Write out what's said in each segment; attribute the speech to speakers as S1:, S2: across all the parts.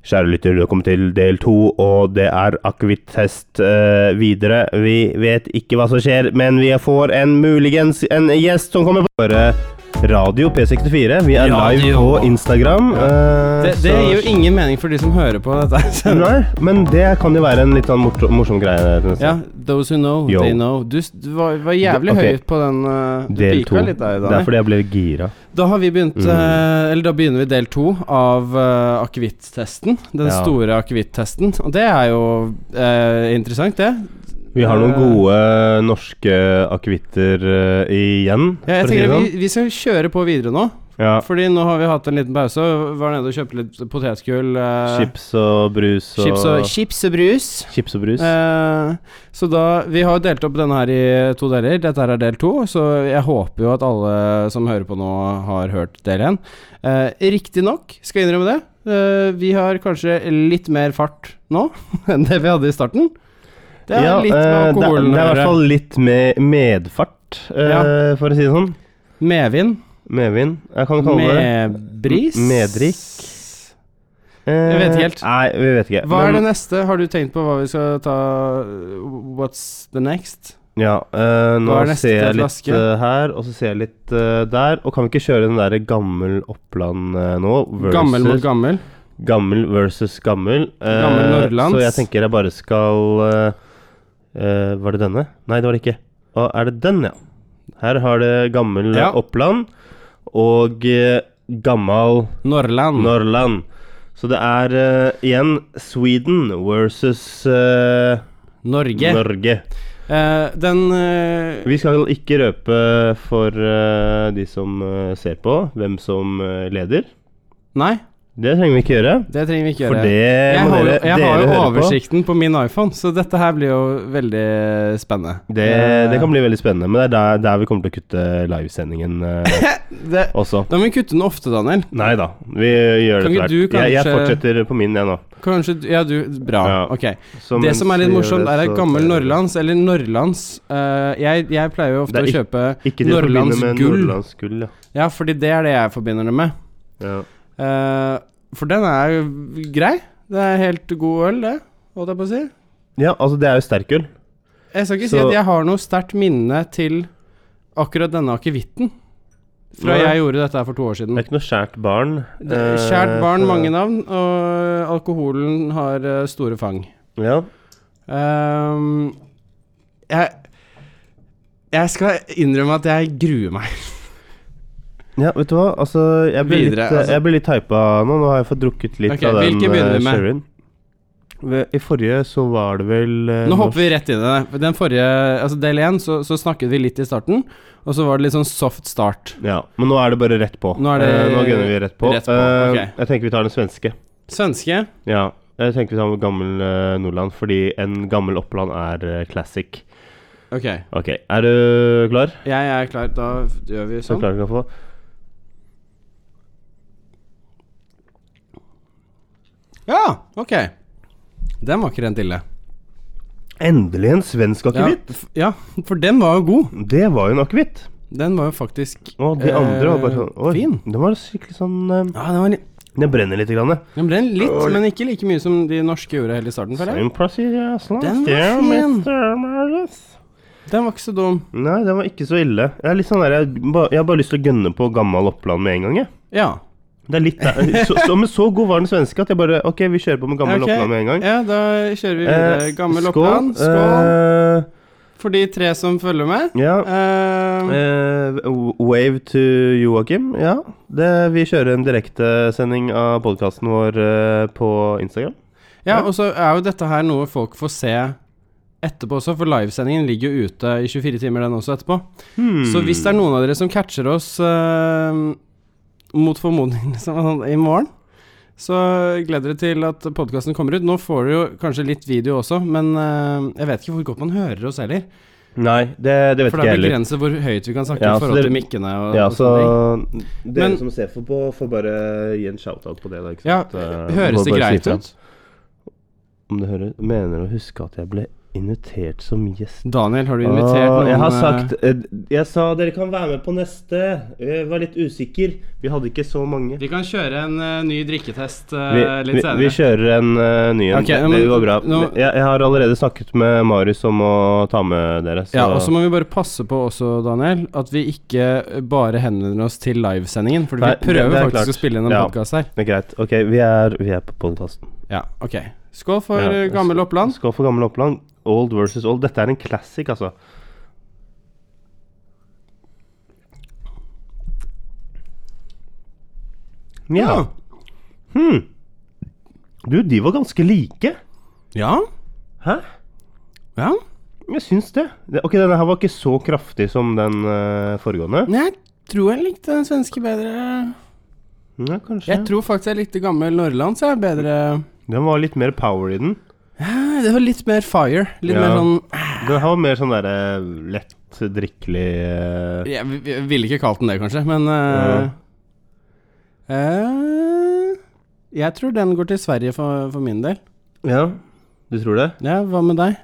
S1: Kjære lytter, velkommen til del to, og det er akevitttest eh, videre. Vi vet ikke hva som skjer, men vi får en muligens en gjest som kommer på Høre Radio P64. Vi er live
S2: Radio.
S1: på Instagram. eh,
S2: Det, det
S1: så-
S2: gir jo ingen mening for de som hører på dette. skjønner du?
S1: Nei, men det kan jo være en litt sånn morsom, morsom greie. til neste.
S2: Ja, those who know,
S1: Yo.
S2: they know. Du, s- du var, var jævlig
S1: Ok.
S2: høyt på den eh, Du
S1: Del to.
S2: pika litt der i
S1: Det er
S2: dag.
S1: fordi jeg ble gira.
S2: Da har vi begynt
S1: Mm.
S2: eh, Eller da begynner vi del to av uh, akevittesten. Den
S1: Ja.
S2: store akevittesten. Og det er jo eh, interessant, det.
S1: Vi har noen
S2: Eh,
S1: gode norske akevitter eh, igjen.
S2: Ja, jeg
S1: for å si det
S2: tenker
S1: sånn.
S2: vi, vi skal kjøre på videre nå.
S1: ja.
S2: Fordi nå har vi hatt en liten pause. og Var nede og kjøpte litt potetgull. eh,
S1: Chips og brus og
S2: chips og, chips og brus.
S1: Chips og brus.
S2: Eh, så da Vi har jo delt opp denne her i to deler. Dette her er del to, så jeg håper jo at alle som hører på nå, har hørt del én. Uh, Riktignok, skal jeg innrømme det, eh, vi har kanskje litt mer fart nå enn det vi hadde i starten. Det er litt
S1: eh,
S2: med
S1: det, er-
S2: alkoholen
S1: det er i
S2: å
S1: hvert
S2: gjøre.
S1: fall litt med medfart, eh,
S2: Ja.
S1: for å si det sånn.
S2: Medvind.
S1: Medvind. Jeg kan kalle det
S2: Medbris.
S1: M- meddrikk. det. Eh,
S2: jeg vet ikke helt.
S1: Nei, vi vet ikke.
S2: Hva er det
S1: Men-
S2: neste? Har du tenkt på hva vi skal ta What's the next?
S1: Ja, eh,
S2: Hva er
S1: nå
S2: neste
S1: ser jeg litt
S2: flaske?
S1: eh, her, og så ser jeg litt eh, der. Og kan vi ikke kjøre den derre gammel Oppland eh, nå? Versus,
S2: Gammel mot gammel.
S1: Gammel versus gammel. Eh,
S2: Gammel Nordlands.
S1: Så jeg tenker jeg bare skal eh, eh, Var det denne? Nei, det var det ikke. Å, er det den, ja. Her har det gammel
S2: Ja.
S1: Oppland og eh, gammal
S2: Norrland.
S1: Norrland. Så det er eh, igjen Sweden versus eh,
S2: Norge.
S1: Norge.
S2: Eh, den eh,
S1: Vi skal ikke røpe for eh, de som eh, ser på, hvem som eh, leder.
S2: Nei,
S1: Det trenger vi ikke gjøre.
S2: det trenger vi ikke
S1: For
S2: gjøre.
S1: det
S2: jeg
S1: må
S2: har, jo-
S1: dere,
S2: jeg
S1: dere
S2: har jo
S1: høre på.
S2: oversikten på. min iPhone, så dette her blir jo veldig eh, spennende.
S1: Det,
S2: Eh.
S1: det kan bli veldig spennende, men det er der, der vi kommer til å kutte livesendingen eh,
S2: det,
S1: også.
S2: Da må vi kutte den ofte, Daniel.
S1: Nei da, vi gjør
S2: Kan
S1: det
S2: ikke
S1: klart.
S2: du
S1: Jeg, jeg
S2: kanskje-
S1: fortsetter på min, jeg nå.
S2: Kanskje du Ja, du Bra.
S1: Ja.
S2: Ok.
S1: Så
S2: det
S1: mens
S2: som er litt
S1: vi gjør
S2: morsomt,
S1: det,
S2: er at
S1: så-
S2: gammel Norrlands, eller Norrlands eh, jeg, jeg pleier jo ofte
S1: Det
S2: å
S1: er
S2: kjøpe
S1: Ikke til å forbinde
S2: Norrlands
S1: med
S2: gull.
S1: Nordlands gull, ja.
S2: Ja, fordi det er det jeg forbinder det med.
S1: ja.
S2: Eh, for den er jo grei. Det er helt god øl, det, holdt jeg på å si.
S1: Ja, altså det er jo sterk gull.
S2: Jeg skal ikke si
S1: Så-
S2: at jeg har noe sterkt minne til akkurat denne akevitten. Fra
S1: Nei.
S2: jeg gjorde dette her for to år
S1: Det
S2: siden.
S1: er ikke noe skjært barn.
S2: Det,
S1: eh,
S2: kjært barn,
S1: så-
S2: mange navn, og eh, alkoholen har eh, store fang.
S1: Ja.
S2: Ehm, jeg, jeg skal innrømme at jeg gruer meg.
S1: ja, vet du hva, altså Jeg blir
S2: Videre,
S1: litt,
S2: altså.
S1: jeg blir litt hypa nå. Nå har jeg fått drukket litt
S2: Ok,
S1: av den
S2: hvilken begynner
S1: eh,
S2: vi med?
S1: sherryen. Ved- I forrige så var det vel eh,
S2: Nå hopper vi rett inn i det. Den forrige, altså del én, så, så snakket vi litt i starten, og så var det litt sånn soft start.
S1: Ja, men nå er det bare rett på.
S2: Nå er det-
S1: Eh, nå gunner vi rett på.
S2: rett på,
S1: Eh,
S2: ok.
S1: Jeg tenker vi tar den svenske.
S2: Svenske.
S1: Ja. Jeg tenker vi tar den gammel eh, Nordland, fordi en gammel Oppland er eh, classic.
S2: Ok,
S1: Ok, er du klar?
S2: jeg er klar. Da gjør vi
S1: Så
S2: sånn.
S1: klar du kan få.
S2: Ja, ok. Den var ikke rent ille.
S1: Endelig en svensk akevitt!
S2: Ja, f- ja, for den var jo god.
S1: Det var jo en akevitt.
S2: Den var jo faktisk
S1: Og de andre var bare
S2: Eh,
S1: sånn Oi,
S2: fin.
S1: den var skikkelig sånn eh,
S2: Ja, den var li-
S1: Den brenner litt. Grann, eh.
S2: Den brenner litt,
S1: Oi.
S2: men ikke like mye som de norske gjorde helt i starten, føler jeg.
S1: Same procedure as last
S2: Den var
S1: year,
S2: fin.
S1: Mr. Marlis.
S2: Den var ikke så dum.
S1: Nei, den var ikke så ille. Jeg, er litt sånn der, jeg, ba, jeg har bare lyst til å gønne på gammel Oppland med en gang. Jeg.
S2: Ja.
S1: Det er litt der. Så, så, men så god var den svenske at jeg bare Ok, vi kjører på med gammel
S2: Ok.
S1: Oppland med en gang.
S2: ja, da kjører vi videre.
S1: Eh,
S2: Gammel Oppland. Skål.
S1: Eh,
S2: For de tre som følger med.
S1: ja.
S2: Eh,
S1: Eh, w- wave to Joakim. Ja. Det, vi kjører en direktesending av podkasten vår eh, på Instagram. Eh.
S2: ja, og så er jo dette her noe folk får se etterpå også, for livesendingen ligger jo ute i 24 timer, den også, etterpå.
S1: Hmm.
S2: Så hvis det er noen av dere som catcher oss eh, mot formodning liksom, sånn i morgen, så gleder dere til at podkasten kommer ut. Nå får dere jo kanskje litt video også, men eh, jeg vet ikke hvor godt man hører oss heller.
S1: Nei, det, det vet ikke jeg
S2: For det er
S1: heller.
S2: begrenset hvor høyt vi kan snakke
S1: Ja, så
S2: i forhold
S1: dere-
S2: til mikkene. Og,
S1: Ja,
S2: og
S1: så
S2: sånne ting.
S1: dere
S2: Men-
S1: som ser for på, får bare gi en shout-out på det. da, ikke
S2: Ja,
S1: sant? Eh, får
S2: høres det
S1: bare si
S2: greit
S1: fra
S2: ut?
S1: Om det høres Mener du å huske at jeg ble Invitert som gjest
S2: Daniel, har du invitert
S1: Ah,
S2: noen
S1: Jeg har
S2: eh,
S1: sagt eh, Jeg sa dere kan være med på neste. Jeg var litt usikker. Vi hadde ikke så mange.
S2: Vi kan kjøre en eh, ny drikketest eh,
S1: Vi,
S2: litt
S1: vi,
S2: senere.
S1: vi kjører en eh, ny en.
S2: Ok, ja,
S1: det
S2: men
S1: går bra.
S2: nå-
S1: jeg, jeg har allerede snakket med Marius om å ta med dere. Så.
S2: Ja, og så må vi bare passe på også, Daniel, at vi ikke bare henvender oss til livesendingen. For vi
S1: Nei, det- det
S2: prøver
S1: er
S2: faktisk
S1: klart.
S2: å spille inn en
S1: Ja.
S2: podkast her.
S1: Men greit. Ok, vi er, vi er på podkasten.
S2: Ja, ok. Skål for
S1: Ja,
S2: eh, gammel Oppland.
S1: Skal for gammel Oppland. Old versus old. Dette er en classic, altså. Ja. Hmm. Du, de var ganske like.
S2: Ja.
S1: Hæ?
S2: ja.
S1: Jeg syns det. Det- Ok, denne her var ikke så kraftig som den eh, foregående.
S2: Jeg tror jeg likte den svenske bedre.
S1: Ja, kanskje.
S2: Jeg tror faktisk jeg likte gammel Norrlands jeg, bedre.
S1: Den var litt mer power i den.
S2: Ja, Det var litt mer fire. Litt
S1: Ja.
S2: mer sånn
S1: Den her var mer sånn derre lett drikkelig eh,
S2: Jeg, vi- vi- ville ikke kalt den det, kanskje, men eh, eh, Jeg tror den går til Sverige for, for min del.
S1: Ja, du tror det?
S2: Ja, hva med deg?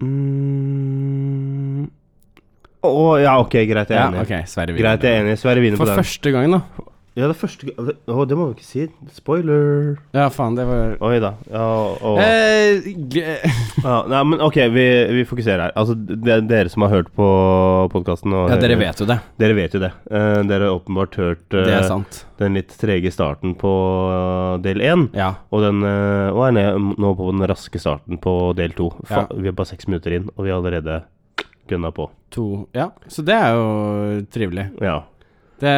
S1: Mm. Å ja, ok, greit, jeg er enig.
S2: ok, Sverige vinner.
S1: Greit, jeg er enig. Sverre vinner
S2: For
S1: på den.
S2: første gang, da.
S1: Ja, det er første g- Å, det må vi ikke si. Spoiler.
S2: Ja, faen, det var
S1: Oi da. Ja, å.
S2: Eh, g-
S1: ja, nei, men ok, vi, vi fokuserer her. Altså, det er dere som har hørt på podkasten
S2: ja, dere vet jo det.
S1: Dere vet jo det. Eh, dere har åpenbart hørt eh,
S2: Det er sant.
S1: den litt trege starten på eh, del én.
S2: Ja.
S1: Og den eh, og er ned nå på den raske starten på del to. Fa
S2: Ja.
S1: Vi er bare seks minutter inn, og vi har allerede gønna på.
S2: To Ja, så det er jo trivelig.
S1: Ja.
S2: Det,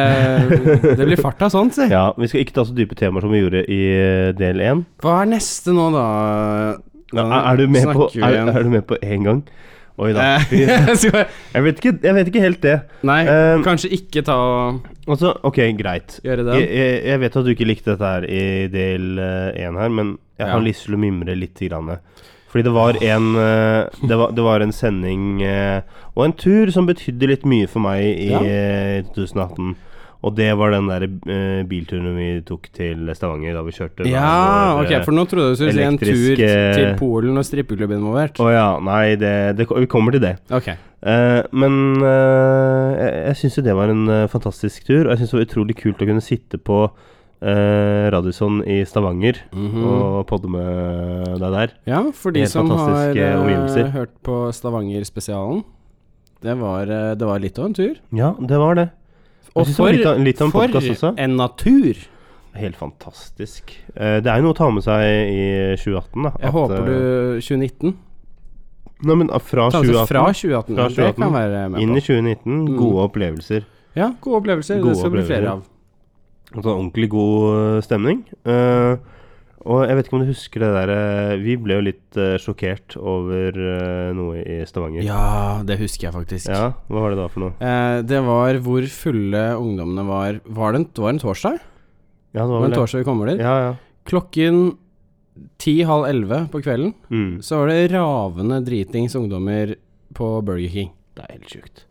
S2: det blir fart av sånt, si.
S1: ja. Vi skal ikke ta så dype temaer som vi gjorde i eh, del én.
S2: Hva er neste nå, da?
S1: Ja, er, er, du med på-
S2: Snakker vi
S1: er,
S2: igjen?
S1: er du med på én gang? Oi da.
S2: Eh,
S1: Vi-
S2: skal jeg-
S1: Jeg vet ikke, jeg vet ikke helt det.
S2: Nei,
S1: Eh,
S2: kanskje ikke ta og
S1: Altså, ok, greit.
S2: gjøre det.
S1: Jeg, jeg, jeg vet at du ikke likte dette her i del eh, én her, men jeg har
S2: Ja.
S1: lyst til å mimre litt. Grann. Fordi det var en eh, det, var, det var en sending eh, og en tur som betydde litt mye for meg i
S2: Ja.
S1: eh, 2018. Og det var den der eh, bilturen vi tok til Stavanger da vi kjørte hver
S2: Ja,
S1: vår,
S2: ok,
S1: eh,
S2: for nå trodde jeg du skulle si en tur
S1: elektriske-
S2: til Polen og strippeklubb involvert.
S1: Å ja. Nei, det, det, vi kommer til det.
S2: Ok.
S1: Eh, men eh, jeg, jeg syns jo det var en eh, fantastisk tur, og jeg syns det var utrolig kult å kunne sitte på eh, Radisson i Stavanger
S2: Mhm.
S1: og podde med deg der.
S2: Ja, for de
S1: Helt
S2: som har
S1: fantastiske
S2: eh,
S1: omgivelser.
S2: hørt på Stavanger-spesialen, det, var, eh, det var litt av en tur.
S1: Ja, det var det. Jeg
S2: Og
S1: synes det var
S2: for,
S1: litt av- litt av en podcast
S2: for
S1: også.
S2: en natur!
S1: Helt fantastisk. Eh, det er jo noe å ta med seg i 2018, da. eh,
S2: Jeg håper du 2019
S1: Nei, men ah, fra
S2: Ta altså
S1: 2018,
S2: fra 2018.
S1: Fra
S2: Det
S1: 2018.
S2: kan være
S1: inn i
S2: med på.
S1: 2019.
S2: Mm.
S1: Gode opplevelser.
S2: Ja, gode opplevelser.
S1: Gode
S2: det skal bli
S1: opplevelser.
S2: flere av.
S1: Og sånn ordentlig god eh, stemning. Eh, og jeg vet ikke om du husker det der eh, Vi ble jo litt eh, sjokkert over eh, noe i Stavanger.
S2: Ja, det husker jeg faktisk.
S1: Ja, hva var det da for noe?
S2: Eh, det var hvor fulle ungdommene var. Var det en, det var en torsdag?
S1: Ja, det
S2: Det
S1: var
S2: var
S1: vel
S2: en
S1: det.
S2: torsdag vi kommer dit.
S1: Ja, ja.
S2: Klokken ti-halv elleve på kvelden
S1: Mm.
S2: så var det ravende dritings ungdommer på Burger King.
S1: Det er helt sjukt.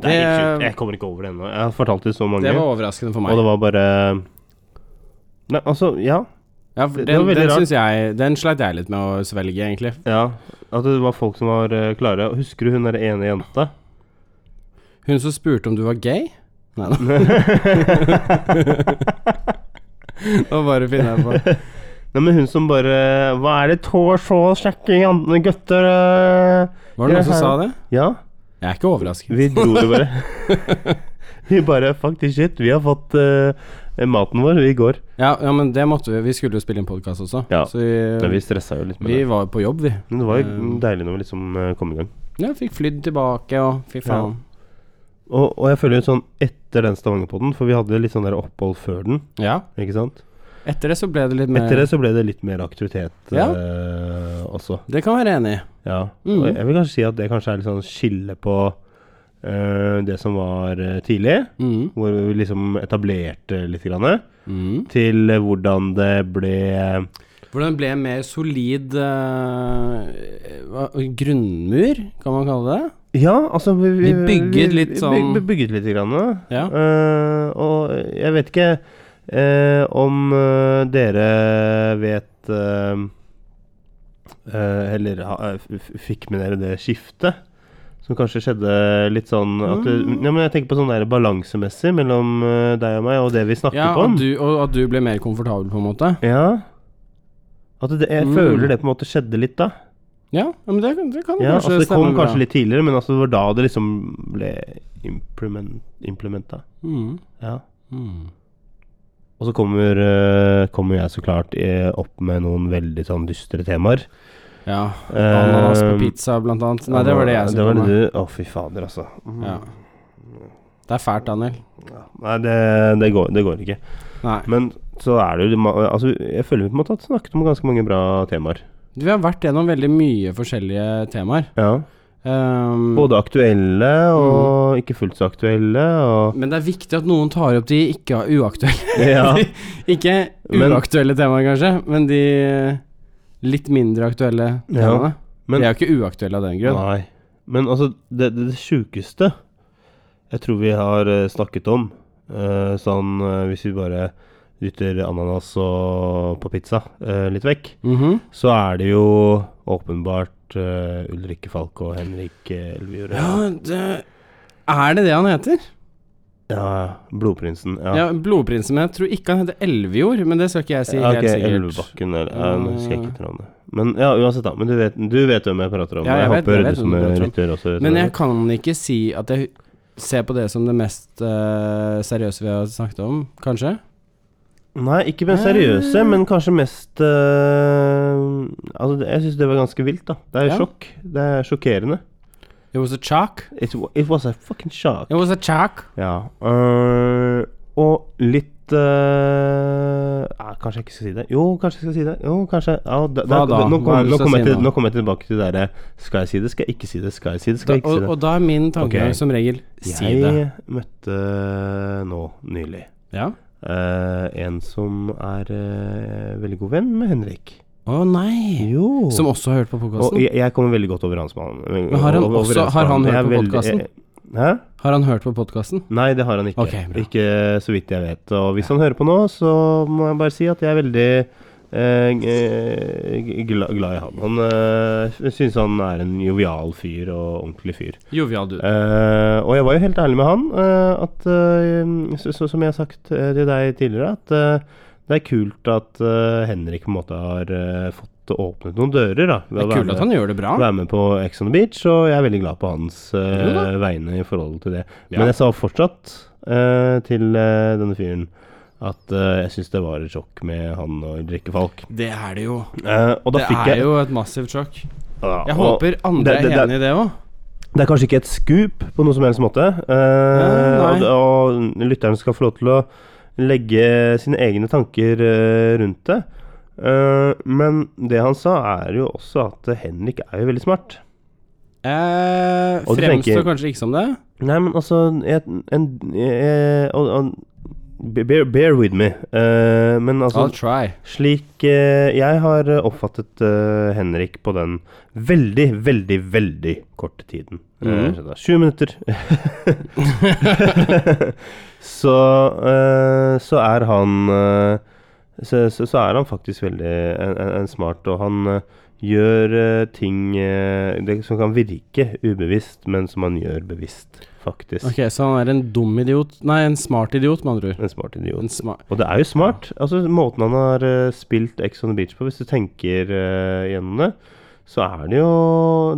S1: Det
S2: Det-
S1: er helt sjukt. Jeg kommer ikke over det ennå. Jeg har fortalt det så mange,
S2: Det var overraskende for
S1: og
S2: meg.
S1: det var bare Nei, altså, ja.
S2: Ja, for
S1: det- det
S2: den,
S1: var veldig
S2: den
S1: rart.
S2: syns jeg Den sleit jeg litt med å svelge, egentlig.
S1: ja. At det var folk som var eh, klare. Og Husker du hun der ene jenta?
S2: Hun som spurte om du var gay? Nei da. Nå bare finner jeg på.
S1: Nei, men hun som bare Hva er det tår så sjekke andre gutter eh?»
S2: Var det noen som sa det?
S1: Ja.
S2: Jeg er ikke overrasket.
S1: Vi dro det bare. vi bare Fuck this shit. Vi har fått eh, maten vår i går.
S2: Ja, ja, men det måtte vi. Vi skulle jo spille inn podkast også,
S1: Ja.
S2: så
S1: Men
S2: vi,
S1: Eh, vi stressa jo litt med
S2: vi
S1: det.
S2: var på jobb, vi.
S1: Men det var jo
S2: Eh,
S1: deilig når vi liksom eh, kom i gang.
S2: Ja, fikk flydd tilbake og fy faen.
S1: Og, og jeg føler jo sånn etter den Stavanger-podden, for vi hadde litt sånn der opphold før den,
S2: Ja.
S1: ikke sant?
S2: Etter det så ble det litt mer
S1: Etter det så ble det litt mer aktivitet
S2: Ja.
S1: eh, også.
S2: Det kan jeg være enig i.
S1: Ja.
S2: Mm.
S1: Og jeg vil kanskje si at det kanskje er litt sånn skille på eh, det som var eh, tidlig,
S2: Mm.
S1: hvor vi liksom etablerte litt, grann,
S2: Mm.
S1: til eh, hvordan det ble
S2: Hvordan ble en mer solid eh, hva- grunnmur, kan man kalle det?
S1: Ja, altså Vi,
S2: Vi bygget litt sånn-
S1: Vi bygget litt. Grann,
S2: Ja.
S1: Eh, og jeg vet ikke eh, om eh, dere vet eh, eh, eller ha- f- f- fikk med dere det skiftet. Som kanskje skjedde litt sånn at du,
S2: Mm.
S1: ja, men Jeg tenker på sånn der balansemessig mellom eh, deg og meg, og det vi snakker
S2: Ja,
S1: om.
S2: og, du, og at du ble mer komfortabel, på en måte.
S1: Ja. At det, jeg
S2: Mm.
S1: føler det på en måte skjedde litt da.
S2: Ja, ja, men det, det kan
S1: Ja, altså
S2: kanskje
S1: Det kom
S2: stemme bra.
S1: kanskje litt tidligere, men altså det var da det liksom ble implement, implementa.
S2: Mm,
S1: Ja.
S2: mm.
S1: Og så kommer, eh, kommer jeg så klart eh, opp med noen veldig sånn dystre temaer.
S2: Ja. Ananas på
S1: Eh,
S2: pizza, blant annet. Nei, det var det jeg
S1: Det
S2: som
S1: var
S2: kom
S1: det
S2: med. Mhm.
S1: du Å, fy fader, altså. Mm.
S2: Ja. Det er fælt, Daniel.
S1: Ja. Nei, det, det, går, det går ikke.
S2: Nei.
S1: Men så er det jo ma- Altså, jeg føler vi på en måte har snakket om ganske mange bra temaer.
S2: Vi har vært gjennom veldig mye forskjellige temaer.
S1: Ja.
S2: Ehm,
S1: Både aktuelle
S2: Mhm.
S1: og ikke fullt så aktuelle, og
S2: men det er viktig at noen tar opp de ikke uaktuelle
S1: Ja.
S2: Ikke
S1: Men-
S2: uaktuelle temaer, kanskje, men de litt mindre aktuelle
S1: Ja,
S2: temaene.
S1: men-
S2: de er jo ikke uaktuelle av den grunn.
S1: Nei. Men altså, det, det, det sjukeste jeg tror vi har eh, snakket om, eh, sånn eh, hvis vi bare dytter ananas og på pizza eh, litt vekk,
S2: Mhm.
S1: så er det jo åpenbart eh, Ulrikke Falk og Henrik eh, Elvejord.
S2: Ja, det Er det det han heter?
S1: ja. Blodprinsen.
S2: Ja,
S1: Ja.
S2: Blodprinsen, men jeg tror ikke han heter Elvejord, men det skal ikke jeg si
S1: Ja, ok,
S2: helt sikkert.
S1: Elvebakken eller ja,
S2: Ja,
S1: Nå husker jeg
S2: ja.
S1: ikke navnet. Men ja, uansett, da. Men du vet, du vet hvem jeg prater om.
S2: Ja,
S1: og
S2: jeg
S1: jeg,
S2: vet- jeg
S1: håper
S2: vet
S1: du som
S2: hvem du prater om.
S1: lytter også vet
S2: Men
S1: hvem
S2: jeg
S1: det
S2: kan ikke si at jeg ser på det som det mest eh, seriøse vi har snakket om, kanskje?
S1: er. Nei, ikke mer seriøse,
S2: Eh.
S1: men kanskje mest eh, Altså, det- jeg syns det var ganske vilt, da. Det er
S2: Ja.
S1: sjokk. Det er sjokkerende.
S2: It was a chalk.
S1: It, wa- it was a fucking shock.
S2: It was a chalk.
S1: Ja. øh, og litt øh, ja, Kanskje jeg ikke skal si det. Jo, kanskje jeg skal si det. Jo, kanskje ja, da, da,
S2: Hva da?
S1: Nå
S2: Hva er
S1: kommer
S2: det
S1: nå
S2: du skal
S1: kommer jeg,
S2: si
S1: til-
S2: nå?
S1: nå kommer jeg tilbake til det derre Skal jeg si det, skal jeg ikke si det, skal jeg si det, skal
S2: Da,
S1: jeg ikke si
S2: og,
S1: det.
S2: og da er min tankegang
S1: Ok.
S2: som regel si det.
S1: Jeg møtte eh, nå nylig
S2: Ja.
S1: øh, en som er øh, veldig god venn med Henrik.
S2: Å nei!
S1: Jo.
S2: Som også har hørt på
S1: og
S2: podkasten?
S1: jeg, jeg kommer veldig godt overens med han.
S2: Men har han
S1: Over- overens
S2: også-
S1: med
S2: har han hørt
S1: Jeg er
S2: på
S1: veldig-
S2: podcasten?
S1: jeg- Hæ?
S2: Har han hørt på podkasten?
S1: Nei, det har han ikke.
S2: Ok, bra.
S1: ikke så vidt jeg vet. Og hvis han hører på nå, så må jeg bare si at jeg er veldig eh, g- gla, glad i han. Han eh, syns han er en jovial fyr og ordentlig fyr.
S2: Jovial dude.
S1: Eh, og jeg var jo helt ærlig med han, eh, at eh, så, så, som jeg har sagt eh, til deg tidligere, at eh, det er kult at eh, Henrik på en måte har eh, fått åpnet noen dører. Da, ved
S2: Det
S1: å
S2: er
S1: være
S2: kult
S1: med-
S2: at han gjør det bra.
S1: være med på Ex on the Beach, og jeg er veldig glad på hans eh,
S2: Jo da.
S1: vegne i forhold til det.
S2: Ja.
S1: Men jeg sa fortsatt eh, til eh, denne fyren at eh, jeg syns det var et sjokk med han og Ulrikke Falk.
S2: Det er det jo.
S1: Eh, og da
S2: Det
S1: fikk
S2: er
S1: jeg
S2: jo et massivt sjokk.
S1: Ja,
S2: Jeg
S1: og
S2: håper andre
S1: det- det-
S2: er
S1: det-
S2: enig i det òg.
S1: Det er kanskje ikke et scoop på noen som helst måte. eh,
S2: Ja,
S1: og,
S2: nei.
S1: og lytterne skal få lov til å legge sine egne tanker eh, rundt det. Eh, men det han sa, er jo også at Henrik er jo veldig smart.
S2: Eh,
S1: Og du
S2: fremstår
S1: tenker-
S2: kanskje ikke som det.
S1: Nei, men altså jeg, en, jeg, og, og, bear, bear with me. Eh, men altså,
S2: I'll try.
S1: slik eh, jeg har eh, oppfattet eh, Henrik på den veldig, veldig, veldig korte tiden eh,
S2: Mhm.
S1: så da, 20 minutter. så, eh, så er han eh, så, så, så er han faktisk veldig en, en, en smart, og han eh, gjør eh, ting eh, det, som kan virke ubevisst, men som han gjør bevisst, faktisk.
S2: Ok, Så han er en dum idiot Nei, en smart idiot, med andre ord.
S1: En smart idiot.
S2: En sma
S1: Og det er jo smart. Altså Måten han har eh, spilt Ex on the Beach på, hvis du tenker eh, gjennom det, så er det jo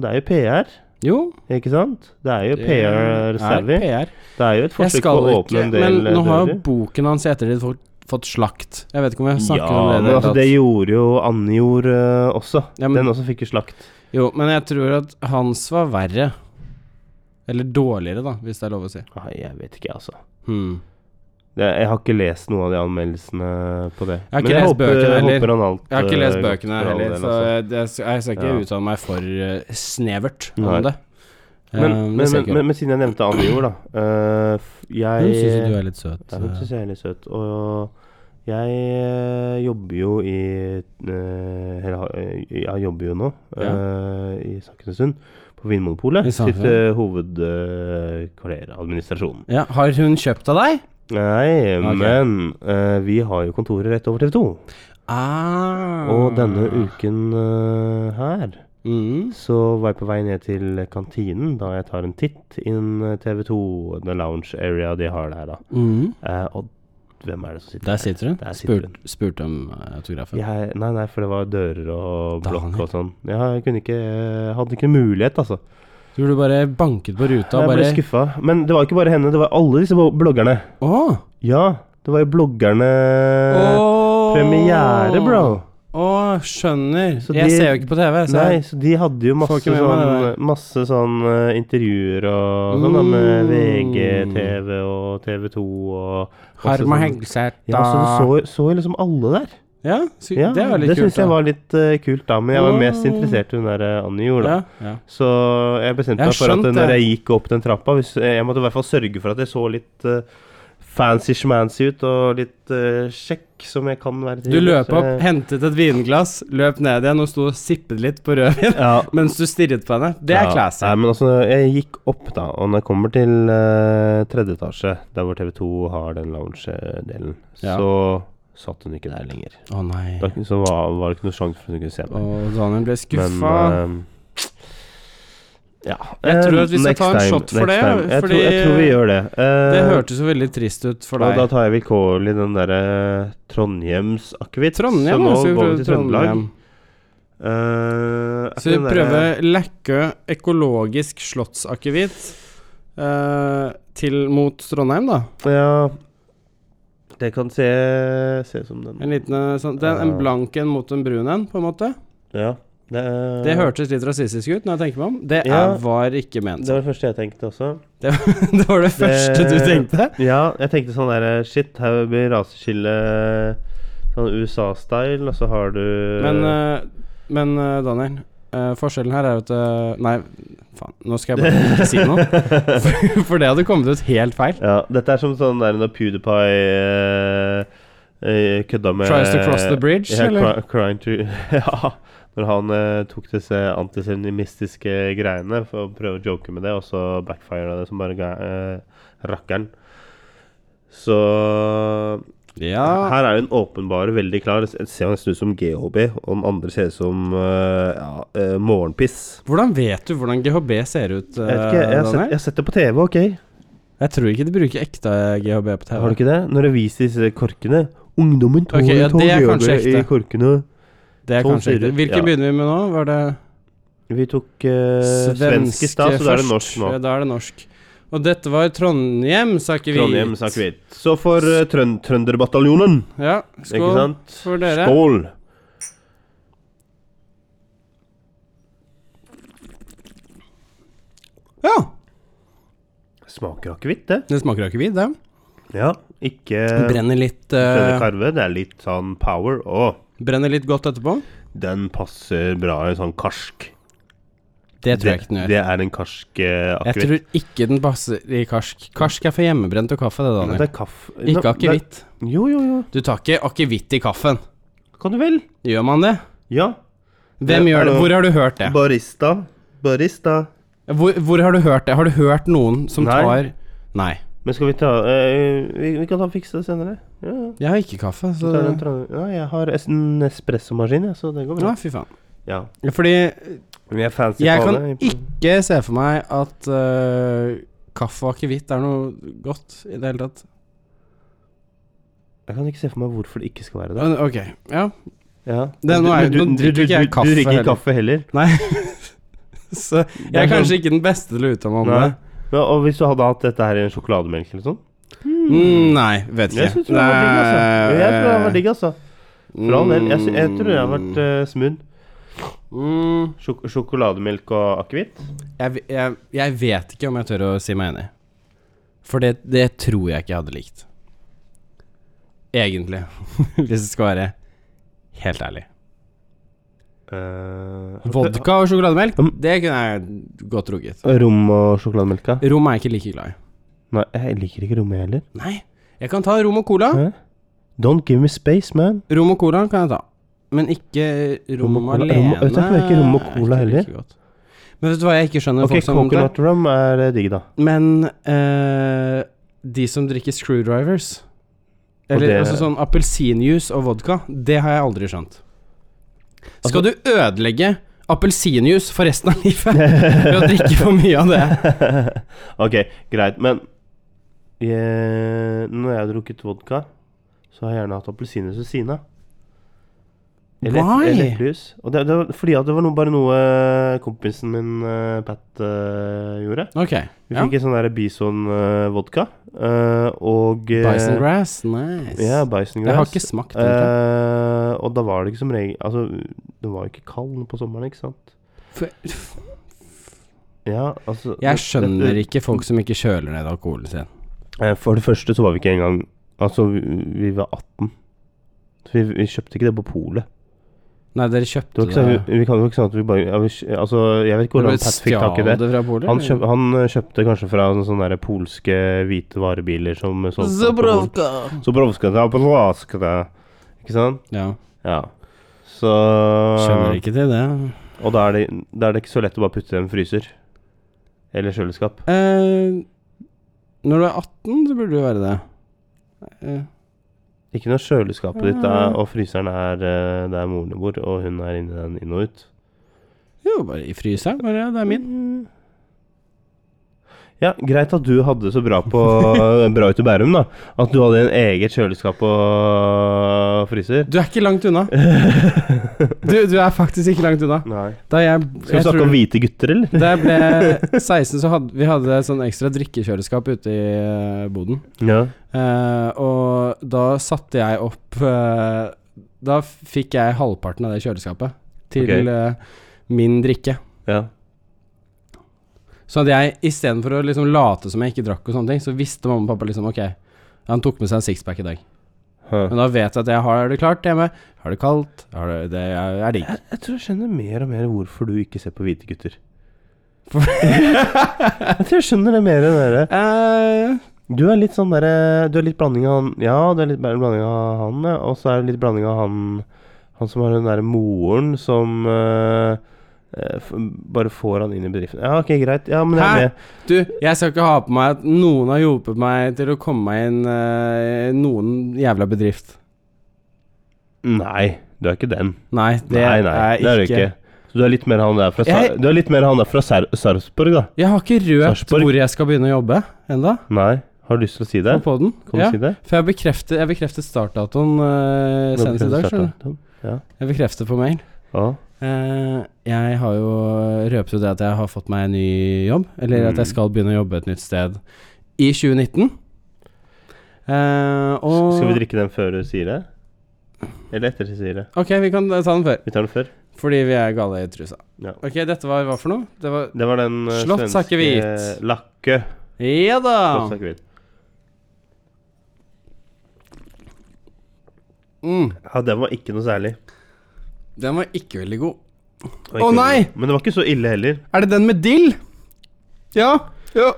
S1: Det er jo PR,
S2: jo,
S1: ikke sant? Det er jo
S2: det er
S1: PR-savvy.
S2: PR.
S1: Det er jo et
S2: Jeg
S1: forsøk på
S2: skal
S1: å
S2: ikke
S1: åpne en del
S2: Men nå
S1: eh,
S2: har jo
S1: dører.
S2: boken hans i ettertid fått, fått slakt. Jeg vet ikke om jeg
S1: Ja,
S2: snakker om det. i
S1: men
S2: hele
S1: altså,
S2: tatt.
S1: det gjorde jo Annejord eh, også.
S2: Ja, men-
S1: Den også fikk jo slakt.
S2: Jo, men jeg tror at hans var verre. Eller dårligere, da, hvis det er lov å si.
S1: Nei, jeg vet ikke, altså.
S2: Hmm.
S1: Det, jeg har ikke lest noe av de anmeldelsene på det.
S2: har ikke
S1: men jeg
S2: lest
S1: håper,
S2: bøkene
S1: jeg
S2: heller.
S1: håper han alt
S2: Jeg har ikke
S1: eh,
S2: lest
S1: godt
S2: bøkene
S1: for all
S2: heller,
S1: del,
S2: så
S1: altså.
S2: jeg, jeg skal ikke
S1: Ja.
S2: uttale meg for eh, snevert om
S1: Nei.
S2: det. Eh,
S1: men, men,
S2: det skal jeg
S1: men,
S2: ikke gjøre.
S1: men, men siden jeg nevnte Annejord, da. eh, f- jeg
S2: Hun syns jo du er litt søt.
S1: Ja, hun
S2: eh.
S1: syns jeg er litt søt. Og jeg eh, jobber jo i eh, Eller har- eh, jeg jobber jo nå
S2: Ja.
S1: eh, i Sakkenesund, på Vinmonopolet.
S2: I Sakene.
S1: Sitt eh, hovedkvarter, administrasjonen.
S2: Ja, har hun kjøpt av deg?
S1: Nei,
S2: Ok.
S1: men eh, vi har jo kontoret rett over TV 2.
S2: Ah.
S1: Og denne uken eh, her
S2: Mm.
S1: så var jeg på vei ned til kantinen da jeg tar en titt inn TV2, the lounge area de har der, da.
S2: Mm.
S1: Eh, og hvem er det som sitter
S2: Der sitter hun.
S1: Der sitter
S2: Spurt, spurte om eh, autografen.
S1: Jeg, nei, nei, for det var dører og blokk
S2: Daniel.
S1: og sånn. Ja, jeg kunne ikke, hadde ikke mulighet, altså.
S2: Tror du bare banket på ruta og
S1: jeg ble
S2: bare
S1: skuffa. Men det var ikke bare henne, det var alle disse blo- bloggerne.
S2: Å!
S1: Ja, det var jo bloggerne
S2: Åh!
S1: Eh, Premiere, bro.
S2: Å, skjønner.
S1: Så
S2: jeg
S1: de-
S2: ser jo ikke på TV. Så
S1: Nei,
S2: jeg,
S1: så de hadde jo masse
S2: Får ikke med meg
S1: sånn,
S2: det
S1: masse sånn eh, intervjuer og sånn da med
S2: Mm.
S1: VGTV og TV2 og masse
S2: Harma
S1: sånn-
S2: Hegseth
S1: Ja, så du så, så jo liksom alle der.
S2: Ja, sy-
S1: Ja,
S2: det var litt kult.
S1: syns jeg var litt eh, kult, da. Men jeg var mest
S2: Mm.
S1: interessert i hun der eh, Annie gjorde, da.
S2: ja, ja.
S1: Så jeg bestemte
S2: Jeg
S1: meg for at
S2: skjønte
S1: når
S2: det.
S1: jeg gikk opp den trappa hvis, Jeg måtte i hvert fall sørge for at jeg så litt eh, fancy schmancy ut, og litt eh, kjekk som jeg kan være. til. Eh,
S2: Du løp
S1: Så
S2: opp,
S1: jeg-
S2: hentet et vinglass, løp ned igjen og sto og sippet litt på rødvin
S1: Ja.
S2: mens du stirret på henne. Det er
S1: Ja.
S2: classy.
S1: Nei, men altså, jeg gikk opp, da, og når jeg kommer til eh, tredje etasje, der hvor TV2 har den lounge-delen,
S2: Ja.
S1: så satt hun ikke der lenger.
S2: Å nei.
S1: Da, så var, var det ikke noe sjanse for at hun kunne se meg.
S2: Og Daniel ble skuffa.
S1: Men, eh, ja.
S2: Jeg tror at vi
S1: Eh,
S2: skal ta en
S1: next time,
S2: shot for
S1: next
S2: det,
S1: time. Jeg,
S2: fordi-
S1: tror, jeg tror vi gjør det. Eh,
S2: det hørtes jo veldig trist ut for
S1: Og da
S2: deg.
S1: tar jeg vilkårlig den derre Trondheims akevitt.
S2: Trondheim,
S1: så nå
S2: da, skal vi
S1: går
S2: prøve
S1: vi til Trøndelag.
S2: Trondheim.
S1: Eh, er ikke
S2: Så vi
S1: den eh, derre-
S2: prøver Lækkø økologisk slottsakevitt eh, til mot Trondheim, da.
S1: eh, Ja. Det kan se, se ut som den.
S2: En liten eh, sånn den, En
S1: Ja.
S2: blank en mot en brun en, på en måte.
S1: Ja. Det, er-
S2: Det hørtes litt rasistisk ut når jeg tenker meg om. Det
S1: Ja.
S2: er, var ikke ment
S1: Det var det første jeg tenkte også.
S2: sånn. Det var det første du tenkte?
S1: Ja, jeg tenkte sånn derre Shit, her blir raseskille sånn USA-style, og så har du
S2: Men, eh, men eh, Daniel, eh, forskjellen her er at eh, Nei, faen, nå skal jeg bare ikke si noe. For, for det hadde kommet ut helt feil.
S1: Ja, dette er som sånn der når PewDiePie eh, eh, kødda med
S2: Tries to cross the bridge,
S1: ja,
S2: eller?
S1: cry- crying to, ja, når han eh, tok disse antisemittiske greiene for å prøve å joke med det, og så backfira det som bare ga- eh, rakkeren. Så
S2: Ja.
S1: her er den åpenbare veldig klar. Det ser nesten ut som GHB, og den andre ser ut som eh, ja, eh, morgenpiss.
S2: Hvordan vet du hvordan GHB ser ut,
S1: Jeg vet ikke, jeg har, sett, jeg
S2: eh, Daniel?
S1: har sett det på TV, ok?
S2: Jeg tror ikke de bruker ekte GHB på TV.
S1: Har du ikke det? Når det viser disse korkene Ungdommen tåler
S2: Ok, ja, det er
S1: tåler
S2: kanskje
S1: GHB i
S2: ekte.
S1: korkene.
S2: Det er
S1: Sånn
S2: kanskje
S1: ser det
S2: ikke
S1: ut,
S2: Hvilken
S1: ja.
S2: begynner vi med nå? Var det
S1: Vi tok eh, svensk i stad, så da er det norsk nå.
S2: Ja, da er det norsk. Og dette var Trondheims akevitt.
S1: Trondheim sa kvitt. Så for eh, trøn Trønderbataljonen,
S2: Ja,
S1: ikke
S2: skål
S1: sant?
S2: for dere.
S1: Skål!
S2: Ja,
S1: Smaker akevitt, det.
S2: det smaker akevitt, det.
S1: Ja, ikke
S2: Det Brenner litt
S1: Brenner
S2: eh,
S1: karve. Det er litt sånn power. Å,
S2: Brenner litt godt etterpå.
S1: den passer bra i sånn karsk.
S2: Det tror jeg ikke den gjør.
S1: Det er en karsk eh,
S2: Jeg
S1: akevitt.
S2: tror ikke den passer i karsk. Karsk er for hjemmebrent og kaffe, det,
S1: Men Det
S2: Daniel.
S1: er kaffe Nå, det
S2: Ikke
S1: er-
S2: akevitt.
S1: Jo, jo, jo.
S2: Du tar ikke akevitt i kaffen.
S1: Kan du vel?
S2: Gjør man det?
S1: Ja.
S2: Hvem
S1: Det er
S2: gjør det?
S1: noe-
S2: Hvor har du hørt det?
S1: Barista. Barista.
S2: Hvor, hvor har du hørt det? Har du hørt noen som
S1: Nei.
S2: tar Nei.
S1: Men skal vi ta eh, vi, vi kan ta fikse det senere. Ja, ja.
S2: Jeg har ikke kaffe, så
S1: Så tar jeg Trondheim- Ja, jeg har es- en espressomaskin, ja, så det går bra.
S2: Ja, fy faen.
S1: Ja.
S2: Fordi
S1: Vi er fancy
S2: Jeg
S1: på
S2: kan
S1: det.
S2: ikke se for meg at øh, kaffe og akevitt er noe godt i det hele tatt.
S1: Jeg kan ikke se for meg hvorfor det ikke skal være det.
S2: Men, Ok, ja.
S1: Ja.
S2: Det- nå er-
S1: Du-
S2: nå
S1: du-
S2: drikker
S1: du-
S2: ikke jeg
S1: du-
S2: kaffe
S1: Du drikker
S2: heller.
S1: ikke kaffe heller.
S2: Nei. Så jeg er kanskje ikke den beste til å uttale meg om
S1: Nei.
S2: det.
S1: Ja, og hvis du hadde hatt dette her i en sjokolademelk eller sånn
S2: Mm, nei, vet ikke.
S1: Jeg syns det var digg, altså.
S2: Nei, eh.
S1: Jeg tror det var digg, altså. For all del. Jeg, sy- jeg
S2: mm,
S1: tror det har vært eh, smooth.
S2: mm,
S1: Sjok sjokolademelk og akevitt.
S2: jeg, v- jeg, jeg vet ikke om jeg tør å si meg enig. For det, det tror jeg ikke jeg hadde likt. Egentlig. Hvis jeg skal være helt ærlig.
S1: Eh,
S2: Vodka og sjokolademelk,
S1: Mm.
S2: det kunne jeg godt drukket.
S1: Rom og sjokolademelka?
S2: Rom er jeg ikke like glad i.
S1: Nei, jeg liker ikke rommet heller.
S2: Nei, jeg kan ta rom og cola.
S1: Hæ? Don't give me space, man.
S2: Rom og cola kan jeg ta, men ikke rom,
S1: Rom og cola-
S2: alene.
S1: rom- vet du, jeg liker ikke rom og cola
S2: er ikke like
S1: heller.
S2: godt. Men vet du hva jeg ikke skjønner?
S1: Ok,
S2: folk som det?
S1: coconut rum er eh, digg, da.
S2: Men eh, de som drikker screwdrivers
S1: Og
S2: Eller
S1: det-
S2: altså sånn appelsinjuice og vodka, det har jeg aldri skjønt. Skal du ødelegge appelsinjuice for resten av livet ved å drikke for mye av det?
S1: ok, greit, men jeg, når jeg har drukket vodka, så har jeg gjerne hatt appelsinjuice ved siden av. Eller, et-
S2: Why?
S1: eller eplejus. Og det, det var fordi at det var noe, bare noe kompisen min, eh, Pat, eh, gjorde.
S2: Ok.
S1: Vi
S2: Ja.
S1: fikk en sånn der bison-vodka. og eh,
S2: Bison grass, nice.
S1: Ja, bison
S2: Jeg har
S1: grass.
S2: ikke smakt den.
S1: Eh, og da var det ikke som regel Altså, den var jo ikke kald på sommeren, ikke sant?
S2: For-
S1: Ja, altså
S2: Jeg skjønner ikke folk som ikke kjøler ned alkoholen sin.
S1: Eh, For det første så var vi ikke engang Altså, vi, vi var 18. Så vi, vi kjøpte ikke det på polet.
S2: Nei, dere
S1: Det
S2: kjøpte
S1: var ikke sånn, vi, vi kan jo ikke sånn at vi bare ja, vi, kj- Altså, jeg vet ikke
S2: Dere
S1: hvordan Pat fikk tak i det.
S2: fra bordet?
S1: Han, kjøp, han eh, kjøpte kanskje fra sånne, sånne der polske hvite varebiler som eh, solgte alkohol. Zobrovska, da, Polska, da. Ikke sant?
S2: Ja.
S1: Ja. Så Eh.
S2: Skjønner ikke til det.
S1: Og da er, det, da er det ikke så lett å bare putte det i en fryser. Eller kjøleskap.
S2: Eh, når du er 18, så burde du være det. Eh,
S1: Ikke når kjøleskapet ditt
S2: Ja.
S1: er, og fryseren er eh, der moren bor, og hun er inni den inn og ut.
S2: jo, bare i fryseren. Bare, ja, det er min.
S1: Mm. Ja, greit at du hadde det så bra på Bra ut i Bærum, da. At du hadde en eget kjøleskap og fryser.
S2: Du er ikke langt unna. Du, du er faktisk ikke langt unna.
S1: Nei.
S2: Da jeg,
S1: Skal vi
S2: jeg
S1: snakke
S2: tror-
S1: om hvite gutter, eller?
S2: Da jeg ble 16, så hadde vi hadde et sånn ekstra drikkekjøleskap ute i eh, boden.
S1: Ja.
S2: Eh, og da satte jeg opp eh, Da fikk jeg halvparten av det kjøleskapet til
S1: Ok.
S2: eh, min drikke.
S1: ja.
S2: Så at jeg istedenfor å liksom late som jeg ikke drakk, og sånne ting, så visste mamma og pappa liksom Ok, han tok med seg en sixpack i dag.
S1: Hæ.
S2: Men da vet jeg at jeg har det klart hjemme. Har det kaldt. Har det, det er, er digg.
S1: Jeg, jeg tror jeg skjønner mer og mer hvorfor du ikke ser på hvite gutter. jeg tror jeg skjønner det mer enn dere.
S2: Eh,
S1: Du er litt sånn derre Du er litt blanding av han Ja, du er litt bl- blanding av han, ja. Og så er det litt blanding av han Han som har den derre moren som eh, eh, f bare får han inn i bedriften. Ja, ok, greit. Ja, men jeg
S2: Hæ?
S1: er med.
S2: du, jeg skal ikke ha på meg at noen har hjulpet meg til å komme meg inn eh, i noen jævla bedrift.
S1: Nei, du er ikke den.
S2: Nei, det
S1: nei, nei,
S2: er ikke
S1: det er du ikke. Så du er litt mer han der fra, Sa-
S2: Jeg-
S1: du er litt mer han der fra Sar Sarpsborg, da?
S2: Jeg har ikke røpt
S1: Sarpsborg.
S2: hvor jeg skal begynne å jobbe enda
S1: Nei? Har du lyst til å si det?
S2: på podden.
S1: Kan du
S2: Ja,
S1: si det?
S2: for jeg bekreftet, jeg bekreftet startdatoen eh,
S1: Når
S2: senest i dag. skjønner du.
S1: startet den? Ja.
S2: Jeg bekreftet på mail.
S1: ja.
S2: Eh, jeg har jo røpet jo det at jeg har fått meg en ny jobb, eller at jeg
S1: Mm.
S2: skal begynne å jobbe et nytt sted i 2019. Eh, og
S1: Skal vi drikke den før du sier det? Eller etter du sier det?
S2: Ok, vi kan ta den før.
S1: Vi tar den før.
S2: Fordi vi er gale i trusa.
S1: Ja.
S2: Ok, dette var hva for noe? Det var
S1: Det var den eh,
S2: Slott Sakkehvit.
S1: svenske Lakke.
S2: Ja da!
S1: Slott Sakkehvit.
S2: Mm.
S1: Ja, den var ikke noe særlig.
S2: Den var ikke veldig god.
S1: Det var ikke
S2: Å,
S1: noe-
S2: nei!
S1: Men det var ikke så ille heller.
S2: Er det den med dill? Ja. ja.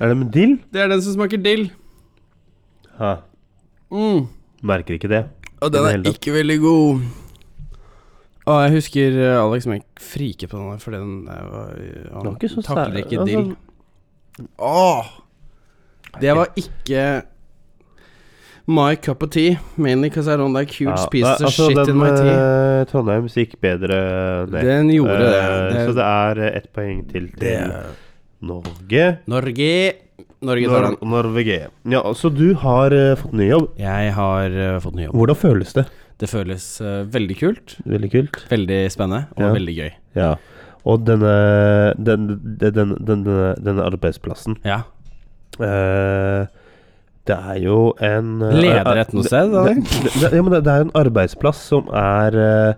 S1: Er det med dill?
S2: Det er den som smaker dill.
S1: Ja,
S2: Mm.
S1: merker ikke det.
S2: Og
S1: den er
S2: ikke veldig god. Og jeg husker eh, Alex som gikk frike på den der, for den der var eh,
S1: Det
S2: Han
S1: var ikke så
S2: takler
S1: særlig.
S2: ikke
S1: Altså-
S2: dill. Åh! Det var ikke my cup of tea. Mainly because I don't like huge
S1: Ja,
S2: pieces
S1: nei,
S2: of shit
S1: den,
S2: in my tea.
S1: eh, Trondheims gikk bedre ned.
S2: Den gjorde det.
S1: Eh,
S2: det.
S1: Så det er eh, ett poeng til til
S2: Det-
S1: Norge.
S2: Norge. Norge tar
S1: Nor
S2: den.
S1: Norvege. Ja, så du har eh, fått ny jobb.
S2: Jeg har eh, fått ny jobb.
S1: Hvordan føles det?
S2: Det føles eh, veldig kult,
S1: Veldig kult.
S2: veldig spennende og
S1: Ja.
S2: veldig gøy.
S1: Ja. Og denne, den, den, den, denne, denne arbeidsplassen
S2: Ja.
S1: Eh, Det er jo en eh,
S2: Leder et noe
S1: det-
S2: sted, da?
S1: det- det- det- Ja, men det, det er en arbeidsplass som er eh,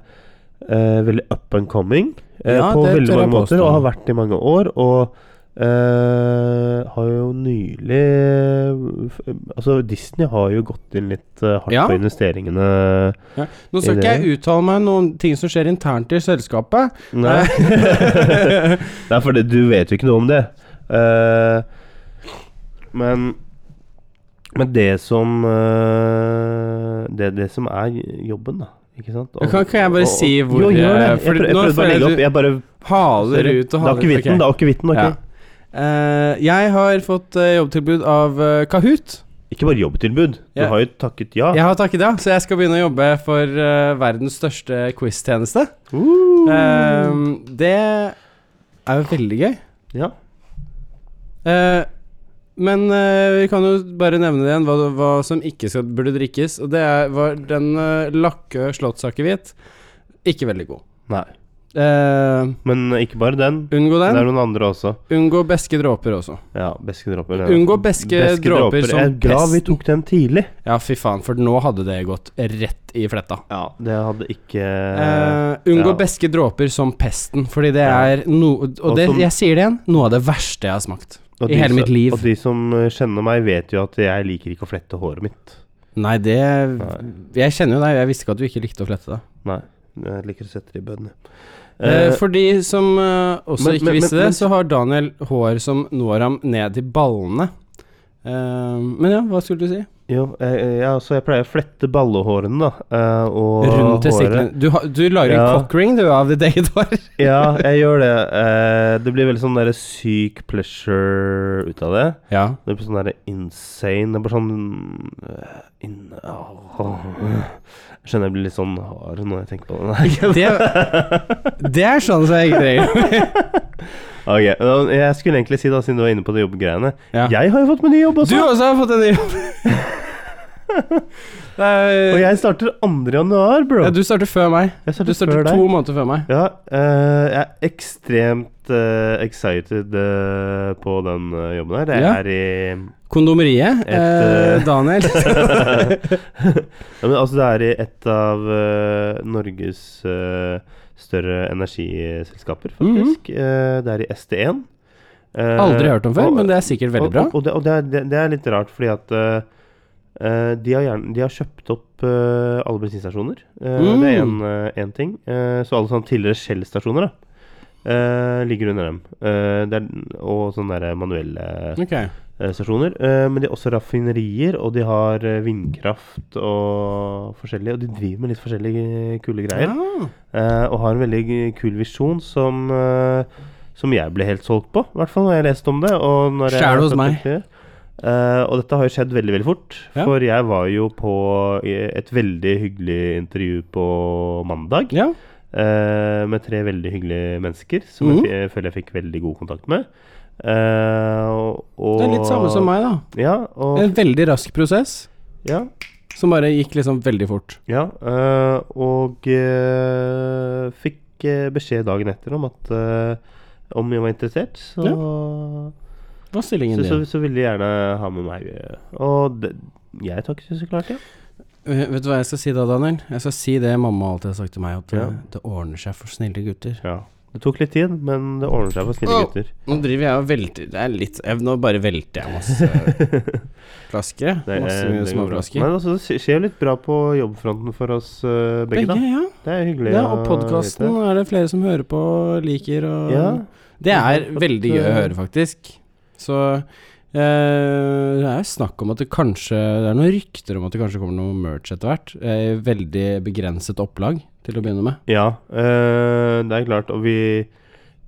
S1: eh, veldig up and coming eh,
S2: Ja,
S1: på
S2: det
S1: veldig
S2: tør jeg
S1: mange måter,
S2: påstå.
S1: og har vært i mange år. Og eh, har jo nylig f- Altså, Disney har jo gått inn litt eh, hardt
S2: Ja.
S1: på investeringene.
S2: Ja. Nå skal
S1: Er
S2: ikke
S1: det-
S2: jeg uttale meg om ting som skjer internt i selskapet.
S1: Nei. Det er fordi du vet jo ikke noe om det. Eh, men Men det som eh, det, det som er jobben, da. Ikke sant? Og-
S2: Kan- kan jeg bare si hvor-
S1: Jo, gjør det.
S2: eh,
S1: Jeg,
S2: fordi
S1: prøv, jeg
S2: nå
S1: prøvde
S2: føler
S1: bare å
S2: jeg
S1: legge
S2: du-
S1: opp. Jeg bare
S2: Haler ut og
S1: Det er
S2: haler
S1: akevitten, det
S2: Ok.
S1: er akevitten. ok?
S2: Ja. Eh, jeg har fått eh, jobbtilbud av eh, Kahoot.
S1: Ikke bare jobbtilbud. Du
S2: Ja.
S1: har jo takket ja.
S2: Jeg har takket ja, så jeg skal begynne å jobbe for eh, verdens største quiz-tjeneste.
S1: Uh,
S2: Ehm, det er jo veldig gøy.
S1: ja.
S2: Eh, men eh, vi kan jo bare nevne det igjen hva, hva som ikke skal, burde drikkes. Og det er, var den eh, lakke slottsakevitt. Ikke veldig god.
S1: Nei.
S2: Eh,
S1: Men ikke bare den.
S2: unngå
S1: Det
S2: den.
S1: er noen andre også.
S2: Unngå beske dråper også.
S1: Ja, beske dråper.
S2: Unngå beske dråper som
S1: Jeg er glad vi
S2: pest.
S1: tok den tidlig.
S2: Ja, fy faen, for nå hadde det gått rett i fletta.
S1: Ja, det hadde ikke
S2: Eh, unngå
S1: ja.
S2: beske dråper som pesten, fordi det
S1: Ja.
S2: er noe
S1: Og
S2: Og det,
S1: som-
S2: jeg sier det igjen, noe av det verste jeg har smakt.
S1: og
S2: i
S1: de
S2: hele
S1: som-
S2: mitt liv.
S1: Og de som eh, kjenner meg, vet jo at jeg liker ikke å flette håret mitt.
S2: Nei, det
S1: Nei.
S2: Jeg kjenner jo deg, jeg visste ikke at du ikke likte å flette deg.
S1: Nei. Jeg liker å sette det i bønn.
S2: Eh, for de som eh, også
S1: men-
S2: ikke
S1: men-
S2: visste
S1: men-
S2: det,
S1: men-
S2: så har Daniel hår som når ham ned i ballene. Eh, men ja, hva skulle du si?
S1: Jo, eh, ja, så jeg pleier å flette ballehårene, da. eh, og
S2: Rundt testiklene.
S1: håret.
S2: Du, har- du lager en
S1: Ja.
S2: cockring du, av ditt eget hår.
S1: Ja, jeg gjør det. Eh, det blir veldig sånn derre syk pleasure ut av det.
S2: Ja.
S1: Det blir sånn derre insane Det blir sånn eh, in, åh. Jeg skjønner jeg blir litt sånn hard når jeg tenker på det. Nei, ikke
S2: Det, det er sånn som jeg ikke trenger.
S1: Ok, eh, Jeg skulle egentlig si, da, siden du var inne på de jobbgreiene
S2: Ja.
S1: Jeg har jo fått meg ny jobb
S2: Du
S1: også!
S2: også har fått en ny jobb. Det er-
S1: og jeg starter 2. januar, bro.
S2: ja, du starter før meg.
S1: jeg
S2: Du
S1: starter,
S2: starter
S1: før deg.
S2: to måneder før meg.
S1: Ja, eh, jeg er ekstremt eh, excited eh, på den eh, jobben her. Jeg
S2: Ja.
S1: er i
S2: Kondomeriet,
S1: Et,
S2: eh,
S1: eh,
S2: Daniel.
S1: ja, men altså, det er i et av eh, Norges eh, større energiselskaper, faktisk. Eh, det er i ST1. Eh,
S2: Mhm. Aldri hørt om før,
S1: og-
S2: men det er sikkert veldig
S1: og,
S2: bra.
S1: Og, og, det, og det, er, det, det er litt rart, fordi at eh, eh, de, har gjerne, de har kjøpt opp eh, alle bensinstasjoner. Eh,
S2: Mm.
S1: Det er én ting. Eh, så alle sånne tidligere Shell-stasjoner da, eh, ligger under dem. Eh, det er, og sånne der manuelle
S2: Ok.
S1: eh, stasjoner. Eh, men de har også raffinerier, og de har eh, vindkraft og forskjellig. Og de driver med litt forskjellige kule greier.
S2: Ah.
S1: Eh, og har en veldig g- kul visjon som, eh, som jeg ble helt solgt på, i hvert fall når jeg leste om det. Og når jeg-
S2: Skjær det hos meg.
S1: Eh, og dette har jo skjedd veldig veldig fort,
S2: Ja.
S1: for jeg var jo på i- et veldig hyggelig intervju på mandag
S2: Ja.
S1: eh, med tre veldig hyggelige mennesker som jeg,
S2: Mhm.
S1: fi- jeg føler jeg fikk veldig god kontakt med. Eh, og,
S2: Det er litt samme som meg, da.
S1: Ja, og,
S2: En veldig rask prosess
S1: ja,
S2: som bare gikk liksom veldig fort.
S1: Ja, øh, og øh, fikk øh, beskjed dagen etter om at øh, om jeg var interessert, så,
S2: Ja. Hva er stillingen
S1: så, så,
S2: din?
S1: så ville de gjerne ha med meg. øh, Og det, jeg takket jo så klart, ja.
S2: Eh, Vet du hva jeg skal si da, Daniel? Jeg skal si det mamma alltid har sagt til meg, at
S1: Ja.
S2: eh, det ordner seg for snille gutter.
S1: ja. Det tok litt tid, men det ordner seg for snille
S2: Åh.
S1: gutter.
S2: Nå driver jeg og velter Det er litt jeg, Nå bare velter jeg masse flasker. jeg.
S1: Det, er-
S2: Masse mye
S1: eh, det går bra.
S2: småflasker.
S1: Men altså, det skje- skjer jo litt bra på jobbfronten for oss øh, begge,
S2: Begge,
S1: da.
S2: ja.
S1: Det er hyggelig.
S2: ja.
S1: å
S2: Og
S1: vite.
S2: podkasten er det flere som hører på og liker. Og
S1: Ja.
S2: Det er
S1: Fått,
S2: veldig gøy å
S1: eh,
S2: høre, faktisk. Så eh, det er jo snakk om at det kanskje Det er noen rykter om at det kanskje kommer noe merch etter hvert. eh, i veldig begrenset opplag, til å begynne med.
S1: Ja, øh, det er klart. Og vi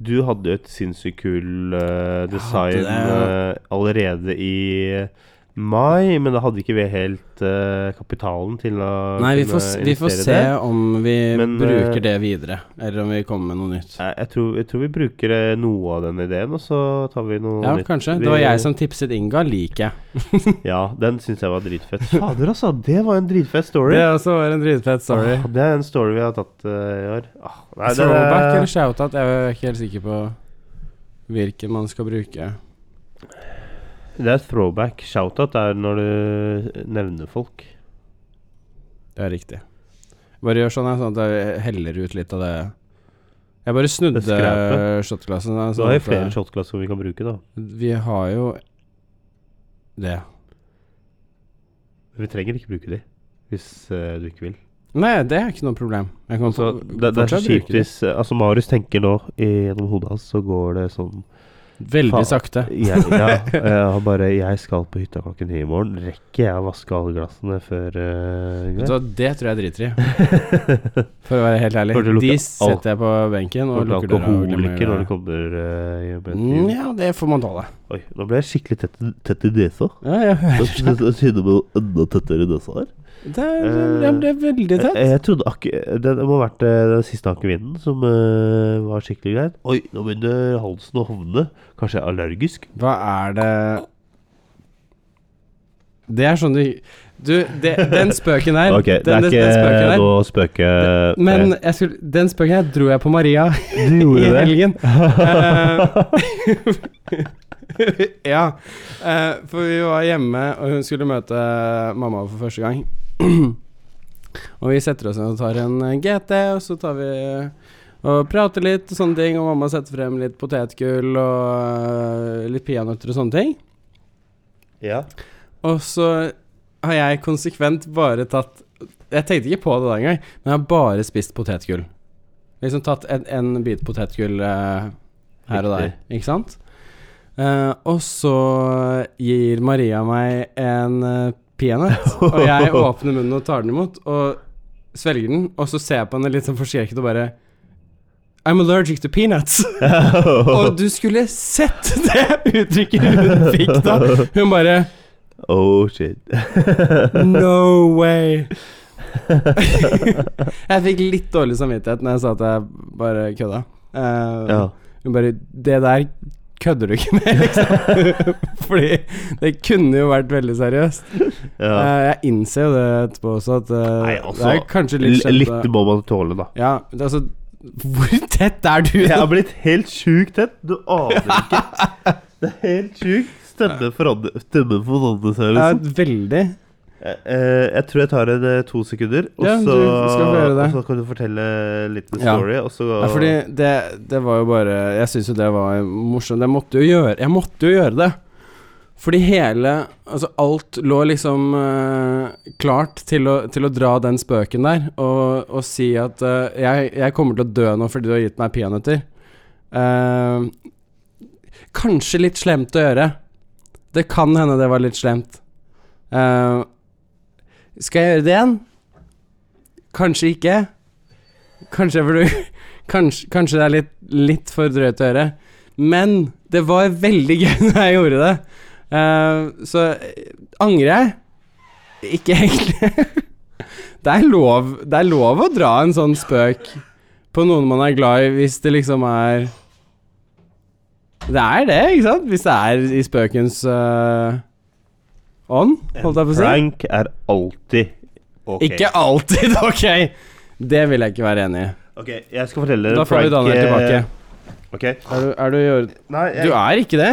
S1: Du hadde jo et sinnssykt kul øh, design
S2: det, ja.
S1: øh, allerede i mai, men da hadde ikke vi helt øh, kapitalen til å
S2: Nei, vi
S1: kunne
S2: får, s- vi får
S1: investere
S2: se
S1: det.
S2: om vi
S1: Men, eh,
S2: bruker det videre, eller om vi kommer med noe nytt.
S1: Nei, Eh, Jeg tror, jeg tror vi bruker eh, noe av den ideen, og så tar vi noe
S2: Ja,
S1: nytt.
S2: kanskje.
S1: Vi-
S2: Det var jeg som tipset Inga, liker jeg.
S1: Ja, den syns jeg var dritfett. Fader, altså! Det var en dritfett story.
S2: Det også var en dritfett story.
S1: Åh, det er en story vi har tatt eh, i år. Åh, nei, det-
S2: Throwback eller shoutout, jeg er ikke helt sikker på hvilken man skal bruke.
S1: Det er throwback. Shoutout er når du nevner folk.
S2: Det er riktig. Bare gjør sånn, jeg, sånn at jeg heller ut litt av det Jeg bare
S1: Det
S2: snudde
S1: skrapet.
S2: shotglasset. da,
S1: Så
S2: sånn
S1: har vi
S2: at,
S1: flere
S2: eh,
S1: shotglass som vi kan bruke, da.
S2: Vi har jo det.
S1: Vi trenger ikke bruke de hvis eh, du ikke vil.
S2: Nei, det er ikke noe problem. Jeg kan
S1: Altså,
S2: for-
S1: det, det er så
S2: fortsatt bruke
S1: kjipt hvis eh, Altså, Marius tenker nå i- gjennom hodet hans, så går det sånn
S2: Veldig
S1: Faen.
S2: sakte.
S1: Jeg, ja, jeg har bare Jeg skal på hytta klokken ni i morgen. Rekker jeg å vaske alle glassene før eh,
S2: Vet du hva, det tror jeg driter i. For å være helt ærlig.
S1: Burde lukte
S2: De
S1: al-
S2: setter jeg på benken og
S1: Lukter
S2: lukker døra. og glemmer å
S1: alkoholiker
S2: gjøre
S1: når
S2: det.
S1: du kommer eh, hjem.
S2: Mm, Ja, det får man tåle.
S1: Oi, nå ble jeg skikkelig tett, tett i nesa.
S2: Ja, ja.
S1: Det det tyder på noe enda tettere nesa her.
S2: Det, det-
S1: Eh,
S2: det ble veldig
S1: Jeg,
S2: tett.
S1: Eh, jeg trodde ak det, det må ha vært eh, den siste akevinden som eh, var skikkelig greit. Oi, nå begynner halsen å hovne. Kanskje jeg er allergisk?
S2: Hva er det Det er sånn du Du, det, den spøken der
S1: Ok, det
S2: den,
S1: er
S2: den spøken
S1: ikke
S2: der
S1: noe spøke...
S2: Men jeg skulle, den spøken her dro jeg på Maria
S1: du
S2: i helgen. Eh, ja. Eh, for vi var hjemme, og hun skulle møte eh, mamma for første gang. og vi setter oss ned og tar en eh, GT, og så tar vi eh, og prater litt og sånne ting. Og mamma setter frem litt potetgull og eh, litt peanøtter og sånne ting.
S1: Ja.
S2: Og så har jeg konsekvent bare tatt Jeg tenkte ikke på det da engang, men jeg har bare spist potetgull. Liksom tatt en, en bit potetgull eh, her og der, ikke sant? Eh, og så gir Maria meg en uh, peanøtt, og jeg åpner munnen og tar den imot, og svelger den, og så ser jeg på henne litt sånn forskrekket og bare I'm allergic to peanuts. og du skulle sett det uttrykket hun fikk da! Hun bare
S1: Oh shit.
S2: No way! jeg fikk litt dårlig samvittighet når jeg sa at jeg bare kødda. Eh,
S1: Ja.
S2: Hun bare Det der kødder du ikke med, liksom. Fordi det kunne jo vært veldig seriøst.
S1: ja.
S2: Eh, jeg innser jo det etterpå også, at eh,
S1: Nei, altså,
S2: det er kanskje litt eh.
S1: L-
S2: skjønt.
S1: Litt må man tåle, da.
S2: Ja, det er altså Hvor tett er du?
S1: Jeg har blitt helt sjukt tett. Du aner ikke. Det er helt sjukt. Stemmen forandrer Stemmen forandrer seg,
S2: Ja,
S1: liksom.
S2: veldig.
S1: Eh, eh, jeg tror jeg tar en eh, to sekunder, og,
S2: Ja, men
S1: så,
S2: du skal få gjøre
S1: og
S2: det.
S1: så kan du fortelle litt en
S2: Ja.
S1: story, og så
S2: Ja, fordi det, det var jo bare Jeg syns jo det var morsomt. Jeg måtte jo gjøre, jeg måtte jo gjøre det. Fordi hele Altså, alt lå liksom eh, klart til å, til å dra den spøken der og, og si at eh, jeg, jeg kommer til å dø nå fordi du har gitt meg peanøtter. Eh, kanskje litt slemt å gjøre. Det kan hende det var litt slemt. Eh, skal jeg gjøre det igjen? Kanskje ikke. Kanskje jeg burde Kanskje, kanskje det er litt, litt for drøyt å gjøre, men det var veldig gøy når jeg gjorde det. Eh, så eh, angrer jeg? Ikke egentlig. det, er lov, det er lov å dra en sånn spøk på noen man er glad i, hvis det liksom er Det er det, ikke sant? Hvis det er i spøkens eh, ånd, holdt jeg på å si.
S1: Prank er alltid ok.
S2: Ikke alltid, ok! Det vil jeg ikke være enig i.
S1: Ok, jeg skal fortelle
S2: Da får vi
S1: prank,
S2: Daniel
S1: eh,
S2: tilbake.
S1: ok.
S2: Er du, er du i orden?
S1: Nei, jeg,
S2: Du er ikke det?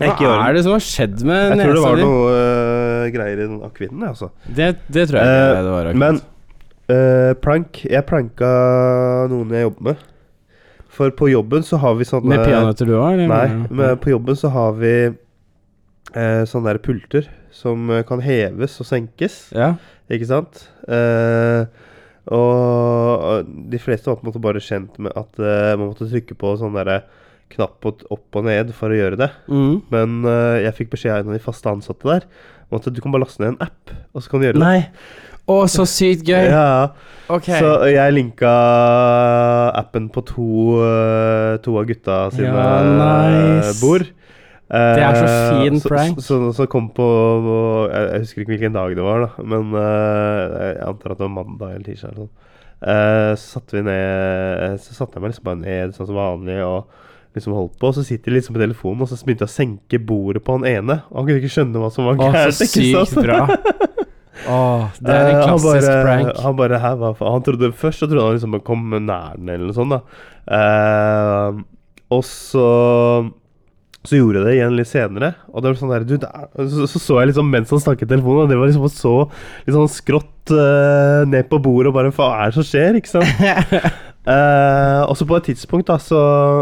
S1: jeg er ikke i
S2: Hva
S1: orden.
S2: er det som har skjedd med
S1: Jeg tror det
S2: nesa
S1: var
S2: di?
S1: noe eh, greier i den akevitten, jeg, altså.
S2: Det, det tror jeg ikke
S1: Eh,
S2: det var. akkurat.
S1: Men eh, prank Jeg pranka noen jeg jobber med. For på jobben så har vi sånn, sånne
S2: med peanøtter du òg,
S1: eh,
S2: eller?
S1: Nei, men på jobben så har vi eh, sånne der pulter som eh, kan heves og senkes,
S2: Ja.
S1: ikke sant? Eh, og de fleste var på en måte bare kjent med at eh, man måtte trykke på sånn derre knapp på t- opp og ned for å gjøre det.
S2: Mm.
S1: Men eh, jeg fikk beskjed av en av de faste ansatte der om at du kan bare laste ned en app, og så kan du gjøre det.
S2: Nei. Å, så sykt
S1: Ja,
S2: gøy.
S1: ja.
S2: Ok.
S1: Så jeg linka appen på to, eh, to av gutta sine
S2: Ja,
S1: eh,
S2: nice.
S1: bord. Eh,
S2: Det er så fin
S1: så,
S2: prank.
S1: Så, så, så kom på og Jeg jeg husker ikke hvilken dag det var, da, men eh, jeg antar at det var mandag eller tirsdag. eller sånn. Eh, så satte vi ned Så satte jeg meg liksom bare ned sånn som vanlig og liksom holdt på. Og så sitter jeg liksom på telefonen, og så begynte jeg å senke bordet på han ene. Og han kunne ikke skjønne hva som var
S2: Å,
S1: gærent.
S2: så
S1: ikke
S2: sykt
S1: sant?
S2: bra. Å, det er en
S1: Eh, han
S2: klassisk
S1: bare,
S2: prank.
S1: Han bare, «Hæ, hva faen?» Han trodde, først så trodde han liksom han kom nær den eller noe sånt. da. Eh, og så så gjorde jeg det igjen litt senere. Og det var sånn der, du, det er- så, så så jeg liksom mens han snakket i telefonen, og det var liksom og så litt sånn skrått eh, ned på bordet og bare Hva er det som skjer? Ikke sant? Eh, og så på et tidspunkt, da, så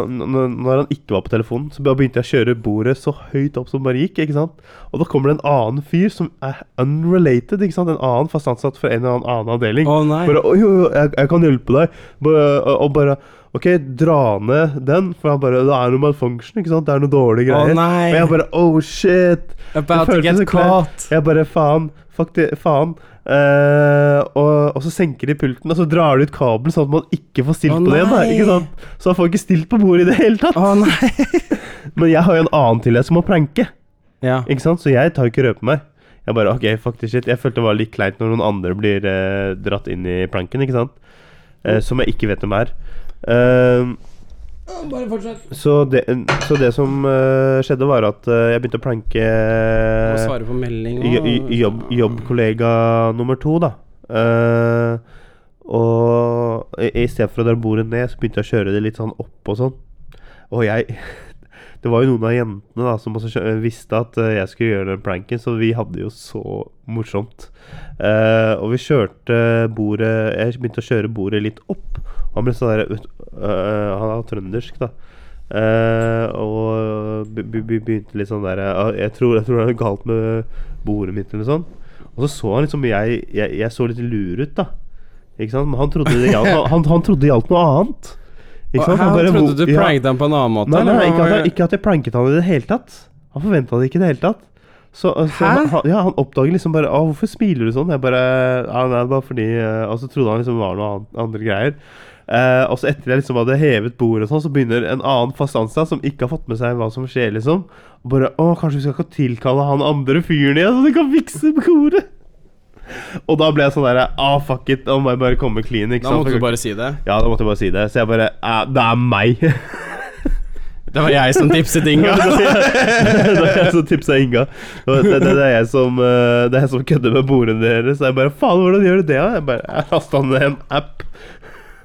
S1: n- n- når han ikke var på telefonen, så begynte jeg å kjøre bordet så høyt opp som bare gikk. ikke sant? Og da kommer det en annen fyr som er unrelated. ikke sant? En annen fast ansatt fra en eller annen annen avdeling.
S2: Å, nei.
S1: Bare «Oi, jo, jo, jeg, jeg kan hjelpe deg. Bare, og- og bare OK, dra ned den, for han bare Det er noe malfunction, ikke sant? Det er noe dårlige
S2: Å
S1: greier.
S2: nei!
S1: og jeg bare Oh shit!
S2: About to
S1: Det føltes
S2: get
S1: så
S2: caught!
S1: Jeg bare faen. Fuck det, faen. Eh, og, og så senker de pulten, og så drar de ut kabelen sånn at man ikke får stilt
S2: Å,
S1: på det igjen. da,
S2: nei.
S1: Ikke sant? Så han får ikke stilt på bordet i det hele tatt.
S2: Å nei!
S1: Men jeg har jo en annen til jeg som må pranke,
S2: Ja.
S1: ikke sant? så jeg tar jo ikke røpe meg. Jeg bare OK, fuck this shit. Jeg følte det var litt kleint når noen andre blir eh, dratt inn i planken, ikke sant? Eh, som jeg ikke vet hvem er. Eh,
S2: Bare fortsett.
S1: så, det, så det som eh, skjedde, var at eh, jeg begynte å planke Eh,
S2: Må svare på melding
S1: jo- jo- jobb, jobbkollega nummer to, da. Eh, og i i stedet for å dra bordet ned, så begynte jeg å kjøre det litt sånn opp og sånn. Og jeg Det var jo noen av jentene da som også skjø- visste at eh, jeg skulle gjøre den pranken, så vi hadde jo så morsomt. Eh, og vi kjørte bordet Jeg begynte å kjøre bordet litt opp. Og han ble sånn der ut- eh, Han er trøndersk, da. Eh, og be- be- be- begynte litt sånn der «Ja, jeg tror, jeg tror det er noe galt med bordet mitt, eller sånn. Og så så han liksom jeg, jeg, jeg så litt lur ut, da. Ikke sant? Men han trodde det gjaldt, noe- han, han trodde det gjaldt noe annet. Ikke sant?
S2: Han
S1: bare,
S2: trodde
S1: hvor-
S2: du
S1: ja.
S2: pranket ham på en annen måte?
S1: Nei, nei,
S2: eller?
S1: nei ikke, at jeg, ikke at jeg pranket han i det hele tatt. Han forventa det ikke i det hele tatt. Så, eh, så
S2: Hæ?
S1: han, han- ja, han oppdager liksom bare Å, hvorfor smiler du sånn? Jeg bare Ja, nei, det er bare fordi eh», Og så trodde han liksom det var noe annet, andre greier. Eh, og så etter jeg liksom hadde hevet bordet og sånn, så begynner en annen fast ansatt som ikke har fått med seg hva som skjer, liksom, og bare Å, kanskje vi skal ikke tilkalle han andre fyren igjen, så du kan fikse bordet? Og da ble jeg sånn derre Ah, fuck it. Nå må jeg bare komme clean, ikke
S2: Da
S1: sant?
S2: måtte du bare si det.
S1: Ja, da måtte jeg bare si det. Så jeg bare «Eh, Det er meg.
S2: Det var jeg som tipset Inga.
S1: det er jeg som tipsa Inga. Og Det, det, det, er jeg som, eh, det er jeg som kødder med bordene deres. Så jeg bare Faen, hvordan gjør du det? da?» Jeg bare Jeg lasta ned en app.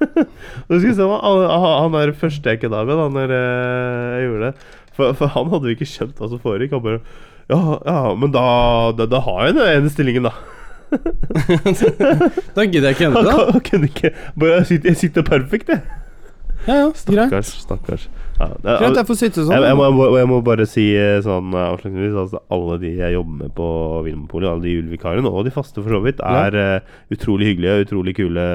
S1: Og du skulle se hva han, han- han er første jeg kødda med da når eh, jeg gjorde det. For, for han hadde jo ikke skjønt hva som foregikk. Han bare Ja, ja, men da, da, da har jeg den ene stillingen, da.
S2: Da gidder jeg ikke
S1: Han,
S2: endre det.
S1: kan, han kunne ikke Bare jeg sitter, jeg sitter perfekt, jeg.
S2: Ja, ja, greit.
S1: Stakkars, stakkars. Ja, det,
S2: Greit, jeg får sitte
S1: Jeg, jeg,
S2: sånn.
S1: må, jeg, må, jeg må bare si eh, sånn eh, avslutningsvis altså, Alle de jeg jobber med på Vinmonopolet, alle de julevikarene og de faste for så vidt,
S2: Ja.
S1: er eh, utrolig hyggelige og utrolig kule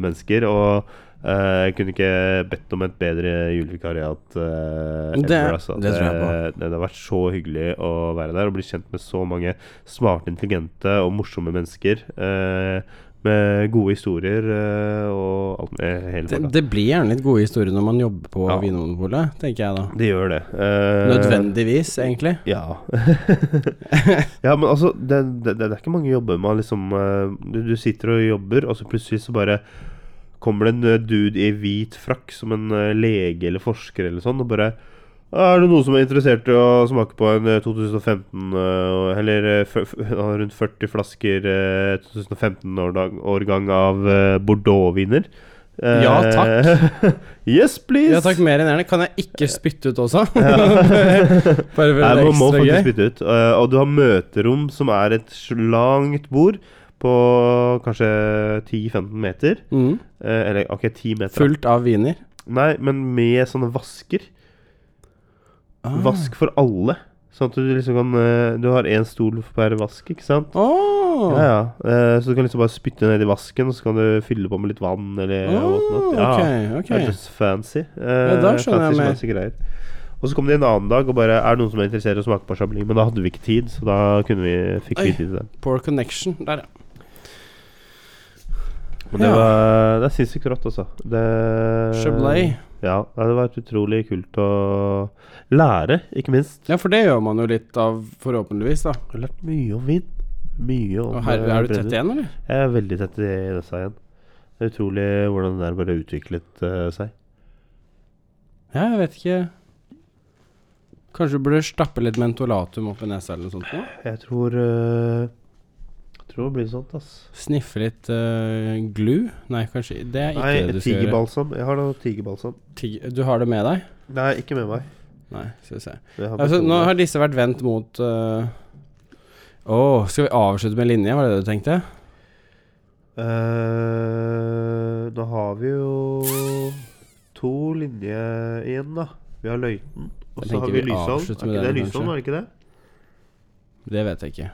S1: mennesker. Og eh, jeg kunne ikke bedt om et bedre julevikariat eh,
S2: Det-
S1: ever. Altså.
S2: det tror jeg på.
S1: Det, det har vært så hyggelig å være der og bli kjent med så mange smarte, intelligente og morsomme mennesker. eh, med gode historier eh, og alt eh, hele
S2: Det,
S1: pakka.
S2: det blir gjerne litt gode historier når man jobber på
S1: Ja.
S2: Vinmonopolet, tenker jeg da.
S1: Det gjør det. Eh,
S2: Nødvendigvis, egentlig.
S1: Ja. ja, men altså, det, det, det er ikke mange jobber man liksom eh, du, du sitter og jobber, og så plutselig så bare kommer det en eh, dude i hvit frakk som en eh, lege eller forsker eller sånn, og bare er det noen som er interessert i å smake på en eh, 2015 eh, Eller eh, f- f- rundt 40 flasker 2015-årgang av eh, Bordeaux-viner? Eh,
S2: Ja,
S1: yes, please!
S2: Ja takk, mer enn gjerne. Kan jeg ikke spytte ut også? Bare for
S1: Nei,
S2: det
S1: man må
S2: ekstra
S1: faktisk
S2: gøy.
S1: bytte ut. eh, og du har møterom som er et sl- langt bord på kanskje 10-15 meter.
S2: Mm.
S1: Eh, eller ok, 10 meter. da.
S2: Fullt av viner.
S1: Nei, men med sånne vasker.
S2: Ah.
S1: Vask for alle. Sånn at du liksom kan eh, Du har én stol per vask, ikke sant?
S2: Åh.
S1: Ja, ja. Eh, så du kan liksom bare spytte ned i vasken, og så kan du fylle på med litt vann eller whatnot.
S2: Åh,
S1: Ja.
S2: Ah, ok,
S1: Det er
S2: ok.
S1: just fancy. Uh,
S2: da skjønner jeg
S1: fancy,
S2: mer.
S1: fancy greier. Og så kom de en annen dag og bare Er det noen som er interessert i å smake på chablis? Men da hadde vi ikke tid, så da kunne vi, fikk vi
S2: Oi.
S1: tid til det.
S2: Poor connection. Der, ja.
S1: Men det,
S2: Ja.
S1: var, det er sinnssykt rått, altså. Det, Eh.
S2: Chablis.
S1: Ja, nei, det var utrolig kult å lære, ikke minst.
S2: Ja, for det gjør man jo litt av, forhåpentligvis, da.
S1: Jeg har lært mye om vin. Mye om
S2: Og her,
S1: eh,
S2: er du
S1: brennevin.
S2: tett igjen, eller?
S1: Jeg er veldig tett i disse igjen. Det er utrolig hvordan det der bare utviklet eh, seg.
S2: Ja, jeg vet ikke. Kanskje du burde stappe litt mentolatum opp i nesa eller noe sånt? Nå?
S1: Jeg tror eh, Jeg tror det blir sånt, ass.
S2: Sniffe litt eh, glu? Nei, kanskje Det er ikke det
S1: Nei,
S2: du skal gjøre.
S1: tigerbalsam. Jeg har noe tigerbalsam.
S2: Tig- du har det med deg?
S1: Nei, ikke med meg.
S2: Nei, skal vi se.
S1: Jeg har
S2: Altså,
S1: personlig.
S2: nå har disse vært vendt mot eh, Å, skal vi avslutte med linje? Var det det du tenkte?
S1: Eh, nå har vi jo to linjer igjen, da. Vi har Løiten, og
S2: Jeg
S1: så har
S2: tenker
S1: vi
S2: vi
S1: Lysholm. Er
S2: avslutter
S1: ikke
S2: med
S1: det
S2: den,
S1: Lysholm,
S2: kanskje.
S1: er det ikke det?
S2: Det vet jeg ikke.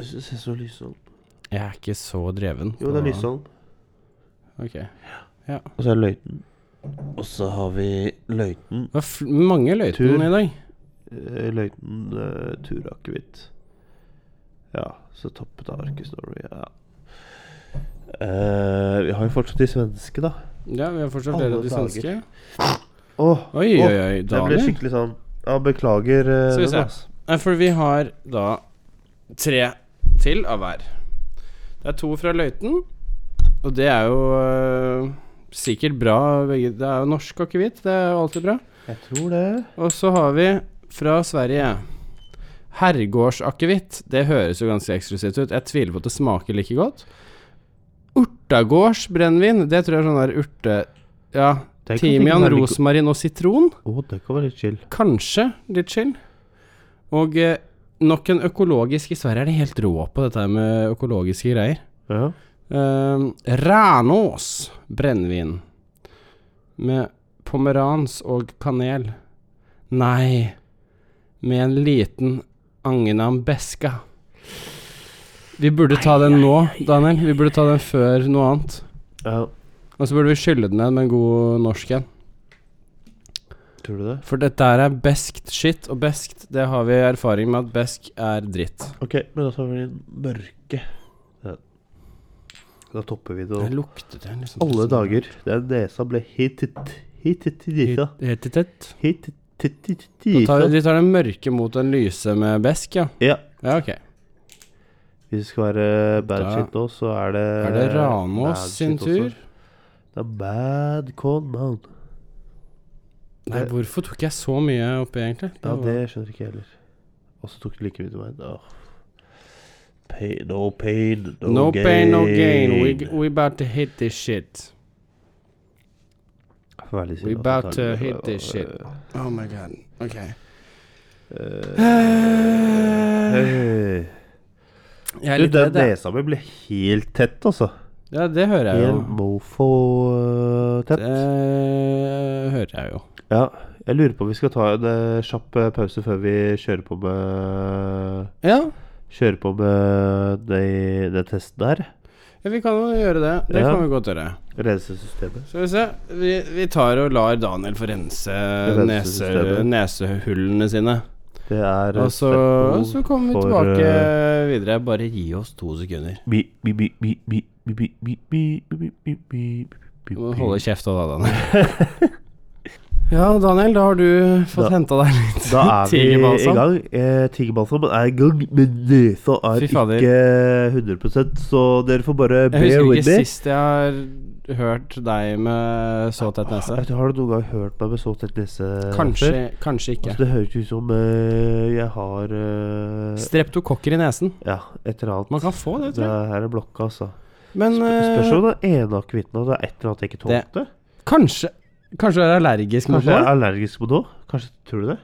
S1: Jeg synes det er så Lysholm.
S2: Jeg er ikke så dreven.
S1: Jo, det er Lysholm.
S2: Ok.
S1: Og så er det Løiten. Og så har vi løyten
S2: Det var fl mange løyter
S3: Tur.
S2: i dag.
S1: eh, Løyten eh, turakevitt. Ja, så toppet av Arcus Story, ja. Eh, vi har jo fortsatt de svenske, da.
S2: Ja, vi har fortsatt
S1: Alle
S2: flere av de
S1: dager.
S2: svenske.
S1: Åh,
S2: Oi,
S1: åh,
S2: oi, oi.
S1: Jeg ble
S2: Daniel.
S1: skikkelig sånn Ja, beklager. eh,
S2: Skal
S1: den,
S2: vi se.
S1: ass.
S2: Nei, for vi har da tre til av hver. Det er to fra Løiten, og det er jo øh, sikkert bra. Begge. Det er jo norsk akevitt, det er jo alltid bra.
S1: Jeg tror det.
S2: Og så har vi fra Sverige Herrgårdsakevitt. Det høres jo ganske eksklusivt ut. Jeg tviler på at det smaker like godt. Urtagårdsbrennevin. Det tror jeg er sånn der urte... Ja.
S1: Det kan
S2: Timian,
S1: sikkert være litt-
S2: rosmarin og sitron.
S1: Å, det kan være litt chill.
S2: Kanskje litt chill. Og eh, nok en økologisk I Sverige er de helt rå på dette her med økologiske greier.
S1: Ja.
S2: Um, Rænås brennevin med pomerans og kanel. Nei, med en liten angenam beska. Vi burde ta den nå, Daniel. Vi burde ta den før noe annet.
S1: ja.
S2: Og så burde vi skylle den ned med en god norsk en.
S1: Tror du det?
S2: For dette her er beskt shit, og beskt, det har vi erfaring med at besk er dritt.
S1: Ok, men da tar vi den mørke. Ja. Da topper vi det.
S2: Det
S1: og-
S2: lukter det liksom
S1: Alle dager. Den nesa ble hit hit hit dita.
S2: Helt i tett.
S1: Hit hit hit
S2: Da tar,
S1: dita.
S2: de tar den mørke mot den lyse med besk, ja.
S1: Ja.
S2: Ja, ok.
S1: Hvis det skal være eh, bad
S2: Da-
S1: shit nå, så er det
S2: Er det
S1: bad
S2: Ranås sin
S1: shit også.
S2: tur?
S1: Det er bad con man.
S2: Nei,
S1: Det-
S2: hvorfor tok jeg så mye oppi, egentlig?
S1: Ja,
S2: var-
S1: det skjønner ikke jeg heller. Og så tok det like mye til meg. Åh. Pain, no pain, no,
S2: No
S1: gain.
S2: pain, no gain. We, we about to hit this shit.
S1: Jeg får være litt
S2: We
S1: snill, altså,
S2: about to
S1: tar vi-
S2: hit this shit. Oh my god. Ok.
S1: Hei.
S2: Jeg er
S1: Du,
S2: litt
S1: den
S2: redd, jeg.
S1: nesa mi ble helt tett, altså.
S2: Ja, det hører jeg
S1: Helt
S2: jo.
S1: mofo-tett.
S2: Det Eh, hører jeg jo.
S1: Ja, jeg lurer på om vi skal ta en eh, kjapp eh, pause før vi kjører på med
S2: Ja,
S1: Kjører på med de- den testen her.
S2: ja vi kan jo gjøre det. Det
S1: Ja.
S2: kan vi godt gjøre.
S1: Rense systemet.
S2: Skal vi se. Vi, vi tar og lar Daniel få rense nese,
S1: systemet.
S2: nesehullene sine.
S1: Det er eh,
S2: Og så,
S1: step
S2: og så
S1: one
S2: kommer vi
S1: for,
S2: tilbake
S1: eh,
S2: videre. Bare gi oss to sekunder.
S1: mi, mi, mi, mi, mi, mi, mi, mi, mi, mi, mi, mi, mi,
S2: Du må
S1: mi.
S2: holde kjeft da, Daniel. ja, Daniel, da har du fått
S1: Da-
S2: henta deg litt
S1: Da er vi i
S2: tigerbalsam.
S1: gang. Eh, Tigerbalsam er i gang, men nesa er
S2: Fy fader.
S1: ikke 100 så dere får bare
S2: Jeg
S1: bear
S2: husker
S1: with
S2: ikke
S1: me.
S2: sist jeg har hørt deg med så tett nese.
S1: Vet du, Har du noen gang hørt meg med så tett nese?
S2: Kanskje,
S1: før?
S2: kanskje ikke.
S1: Altså, det høres ut som eh, jeg har eh,
S2: Streptokokker i nesen.
S1: Ja, et eller annet.
S2: Man kan få det,
S1: Det
S2: tror jeg.
S1: her er blokka, altså.
S2: Men
S1: Spørs
S2: eh,
S1: om den ene akevitten og det er et eller annet jeg ikke
S2: Det-
S1: tålte.
S2: kanskje Kanskje du er allergisk mot
S1: Kanskje jeg er
S2: det?
S1: allergisk mot noe? Kanskje Tror du det?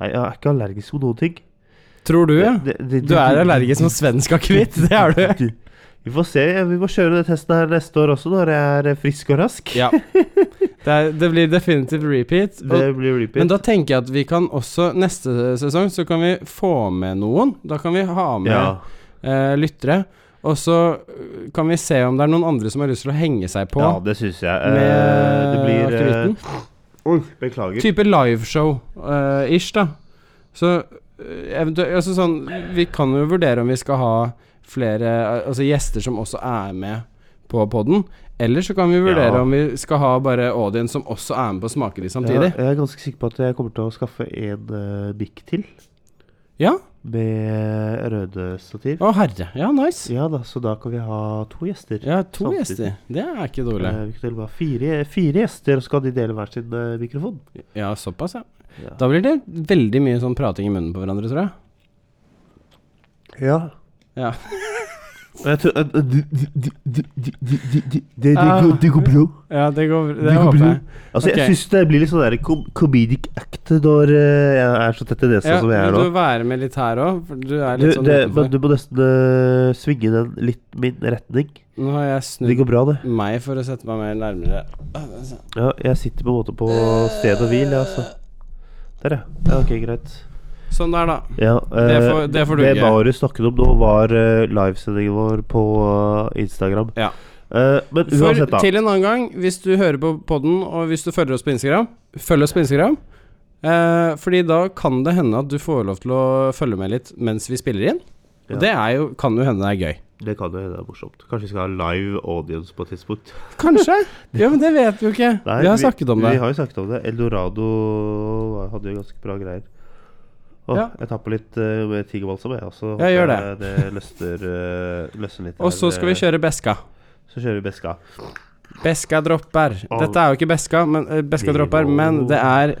S1: Nei, jeg er ikke allergisk mot noen ting.
S2: Tror du? ja?
S1: Det- det- det-
S2: Du er
S1: det-
S2: allergisk mot svensk akevitt, det er du.
S1: Vi får se. Vi må kjøre den testen her neste år også, når jeg er eh, frisk og rask.
S2: Ja. Det, er, det blir definitivt repeat. Og
S1: Det blir repeat.
S2: Men da tenker jeg at vi kan også neste sesong så kan vi få med noen. Da kan vi ha med
S1: ja.
S2: eh, lyttere. Og så øh, kan vi se om det er noen andre som har lyst til å henge seg på
S1: ja, det syns jeg. Eh,
S2: med
S1: det blir eh,
S2: akevitten.
S1: Oi, beklager.
S2: Type liveshow eh, ish, da. Så øh, eventuelt altså sånn, Vi kan jo vurdere om vi skal ha flere eh, altså gjester som også er med på poden. Eller så kan vi vurdere
S1: Ja.
S2: om vi skal ha bare audience som også er med på å smake de samtidig.
S1: Ja, jeg er ganske sikker på at jeg kommer til å skaffe en uh, mikk til
S2: Ja?
S1: med røde stativ.
S2: Å herre. Ja, nice.
S1: Ja da, så da kan vi ha to gjester.
S2: Ja, to
S1: Samtidig.
S2: gjester. Det er ikke dårlig.
S1: Eh, vi kan til og med ha fire, fire gjester, og så skal de dele hver sin eh, mikrofon.
S2: Ja, såpass, ja.
S1: Ja.
S2: Da blir det veldig mye sånn prating i munnen på hverandre, tror jeg.
S1: ja.
S2: Ja.
S1: Og jeg tror eh, eh, de- de- de- de- de- de- de- de- Det
S2: Ah.
S1: går- det går bra.
S2: ja, det går Det,
S1: Det går
S2: håper
S1: bra.
S2: jeg.
S1: Altså,
S2: Ok.
S1: jeg syns det blir litt sånn der com comedic act når eh, jeg er så tett i nesa
S2: Ja,
S1: som jeg er
S2: vil
S1: nå.
S2: du være med litt her òg? Du er
S1: Du,
S2: litt sånn
S1: det, men
S2: utenfor.
S1: du må nesten eh, svinge den litt min retning.
S2: Nå har jeg
S1: Det
S2: snudd
S1: går bra, det.
S2: meg for å sette meg mer nærmere.
S1: Ja, jeg sitter på en måte på sted og hvil, jeg, altså. Der, ja. ja. Ok, greit.
S2: Sånn der, da.
S1: Ja,
S2: Det får-
S1: eh,
S2: det får du
S1: det
S2: ikke.
S1: Marius snakket om nå, var eh, livesendingen vår på eh, Instagram.
S2: Ja.
S1: Eh, men
S2: For,
S1: uansett, da.
S2: til en annen gang, hvis du hører på podden, og hvis du følger oss på Instagram, følg oss på Instagram. Eh, fordi da kan det hende at du får lov til å følge med litt mens vi spiller inn.
S1: Ja.
S2: Og det er jo, kan jo hende det er gøy.
S1: Det kan jo hende det er morsomt. Kanskje vi skal ha live audience på et tidspunkt.
S2: Kanskje? Ja, men det vet vi jo ikke.
S1: Nei,
S2: vi har snakket om det.
S1: Vi har jo snakket om det. Eldorado var- hadde jo ganske bra greier. Åh,
S2: Ja.
S1: Jeg tar på litt eh, med tigerbalsam, jeg også.
S2: Ja, gjør
S1: Håper jeg Det løsner, eh, løsner litt.
S2: Og så
S1: her. Eh,
S2: skal vi kjøre Beska.
S1: Så kjører vi Beska.
S2: Beska dropper. Dette er jo ikke Beska, men, eh, Beska dropper, men det er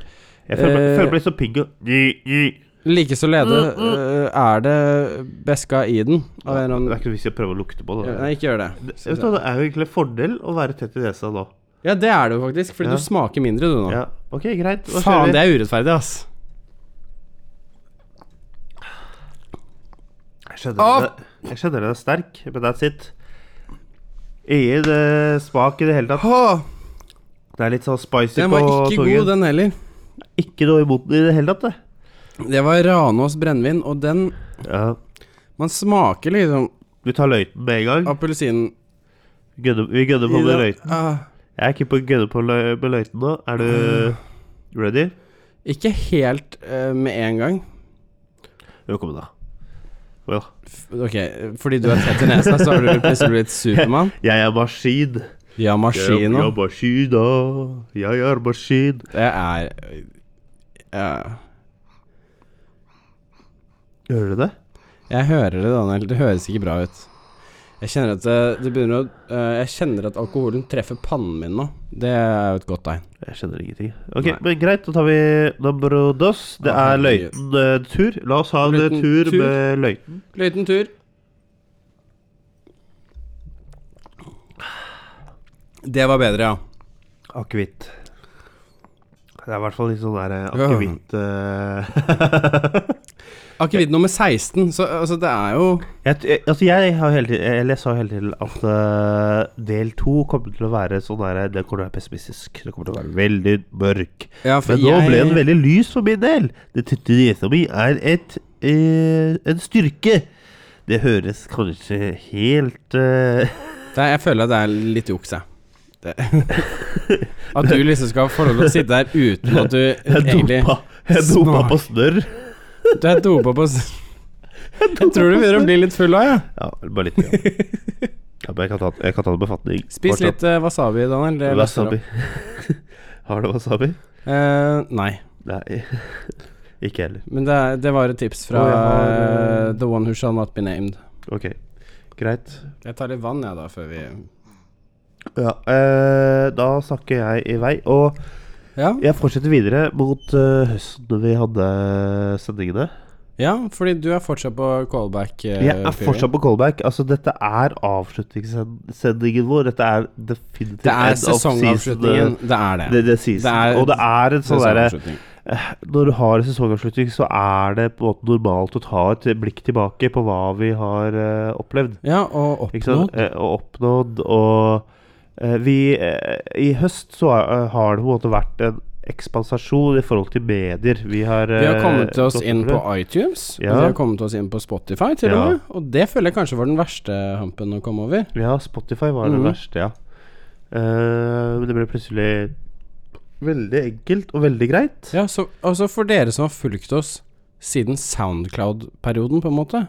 S1: Jeg føler, meg-
S2: Eh,
S1: føler meg litt så pigg og Gi, gi.
S2: like så lede eh, er det Beska i den.
S1: Det
S2: Av en eller
S1: er
S2: annen
S1: ikke noe vits i å prøve å lukte på det.
S2: Nei, ikke gjør det.
S1: Det, vet du, hva, det er jo egentlig en fordel å være tett i nesa nå.
S2: Ja, det er det jo faktisk, fordi
S1: Ja.
S2: du smaker mindre du nå.
S1: Ja, ok, greit. Da
S2: Faen,
S1: kjører vi.
S2: det er urettferdig, ass.
S1: Jeg skjønner, det. jeg skjønner det er sterk, men that's it. Ingen eh, smak i det hele tatt. Det er litt sånn spicy
S2: Den
S1: på
S2: var ikke
S1: tungen.
S2: god, den heller.
S1: Ikke noe imot den i det hele tatt, det.
S2: Det var Ranås brennevin, og den
S1: Ja.
S2: Man smaker liksom
S1: Vi tar løyten med en gang.
S2: appelsinen
S1: Gønner, vi gønner på
S2: i
S1: med
S2: den.
S1: løyten.
S2: Ah,
S1: Jeg er ikke på å gønne på lø- med løyten nå. Er du ready?
S2: ikke helt eh, med en gang.
S1: Jo, kom da. Well,
S2: F- Ok, fordi du er tett i nesa, så har du plutselig blitt Supermann.
S1: jeg er maskin. Jeg
S2: Ja,
S1: er- jeg
S2: maskina.
S1: er maskin, da. Jeg er maskin.
S2: Det er ja.
S1: Hører du det?
S2: Jeg hører det, Daniel. Det høres ikke bra ut. Jeg kjenner at det, det begynner å eh, Jeg kjenner at alkoholen treffer pannen min nå. Det er jo et godt tegn.
S1: Jeg skjønner ingenting. Ok,
S2: Nei.
S1: men Greit, da tar vi number dos. Det
S2: Å,
S1: er
S2: herregud.
S1: løyten eh, tur. La oss ha en eh,
S2: Løyten
S1: tur
S2: tur.
S1: med løyten.
S2: Liten tur. Det var bedre, ja.
S1: Akevitt. Det er i hvert fall litt sånn der eh,
S2: Ja.
S1: akevitt eh,
S2: Akevitt nummer 16, så altså, det er jo
S1: jeg, t- jeg- Altså, jeg har hele tiden Eller jeg sa hele tiden at eh, del to kommer til å være sånn der Det kommer til å være pessimistisk. Det kommer til å være veldig mørk.
S2: ja, for
S1: Men nå
S2: jeg-
S1: ble den veldig lys for min del. Det tette nesa mi er et eh, en styrke. Det høres kanskje helt eh,
S2: det er, Jeg føler at det er litt juks, jeg. Det- At du liksom skal få lov til å sitte der uten at du egentlig
S1: dopa, jeg dopa
S2: smak.
S1: på snørr.
S2: Du er dopa på s- Jeg tror du begynner å bli litt full av, ja.
S1: Ja, bare litt. Ja. Ja, men jeg, kan ta, jeg kan ta en befatning.
S2: Spis
S1: Fortsatt.
S2: litt eh, wasabi, Daniel. Det løser
S1: wasabi.
S2: opp.
S1: Har du wasabi?
S2: Eh, nei,
S1: Nei. Ikke heller.
S2: men det, er, det var et tips fra
S1: Og jeg har,
S2: eh, The One Who Shall Not Be Named.
S1: Ok, greit.
S2: Jeg tar litt vann, jeg, da, før vi
S1: Ja, eh, da snakker jeg i vei. Og
S2: Ja,
S1: jeg fortsetter videre mot eh, høsten da vi hadde sendingene.
S2: Eh, ja fordi du er fortsatt på callback. eh,
S1: Jeg er
S2: period.
S1: fortsatt på callback. Altså, dette er avslutningssendingen vår. Dette er definitivt
S2: Det er
S1: end of season, eh,
S2: sesongavslutningen. Det er det.
S1: Det, det, season.
S2: Det er-
S1: og det er en sånn derre eh,
S2: Sesongavslutning.
S1: Når du har sesongavslutning, så er det på en måte normalt å ta et blikk tilbake på hva vi har eh, opplevd.
S2: Ja, og
S1: Ikke sant?
S2: oppnådd.
S1: Eh, og oppnådd. Og eh, vi eh, I høst så eh, har det på en måte vært en ekspansasjon i forhold til medier. Vi har,
S2: Vi har
S1: eh,
S2: kommet oss
S1: gått
S2: inn på
S1: over
S2: iTunes,
S1: Ja.
S2: og vi har kommet oss inn på Spotify, til
S1: Ja.
S2: og med. Og det føler jeg kanskje var den verste hampen å komme over.
S1: det. Ja, Spotify var det
S2: Mhm.
S1: verste, ja. Eh, Men det ble plutselig veldig enkelt og veldig greit.
S2: Ja, så altså for dere som har fulgt oss siden Soundcloud-perioden, på en måte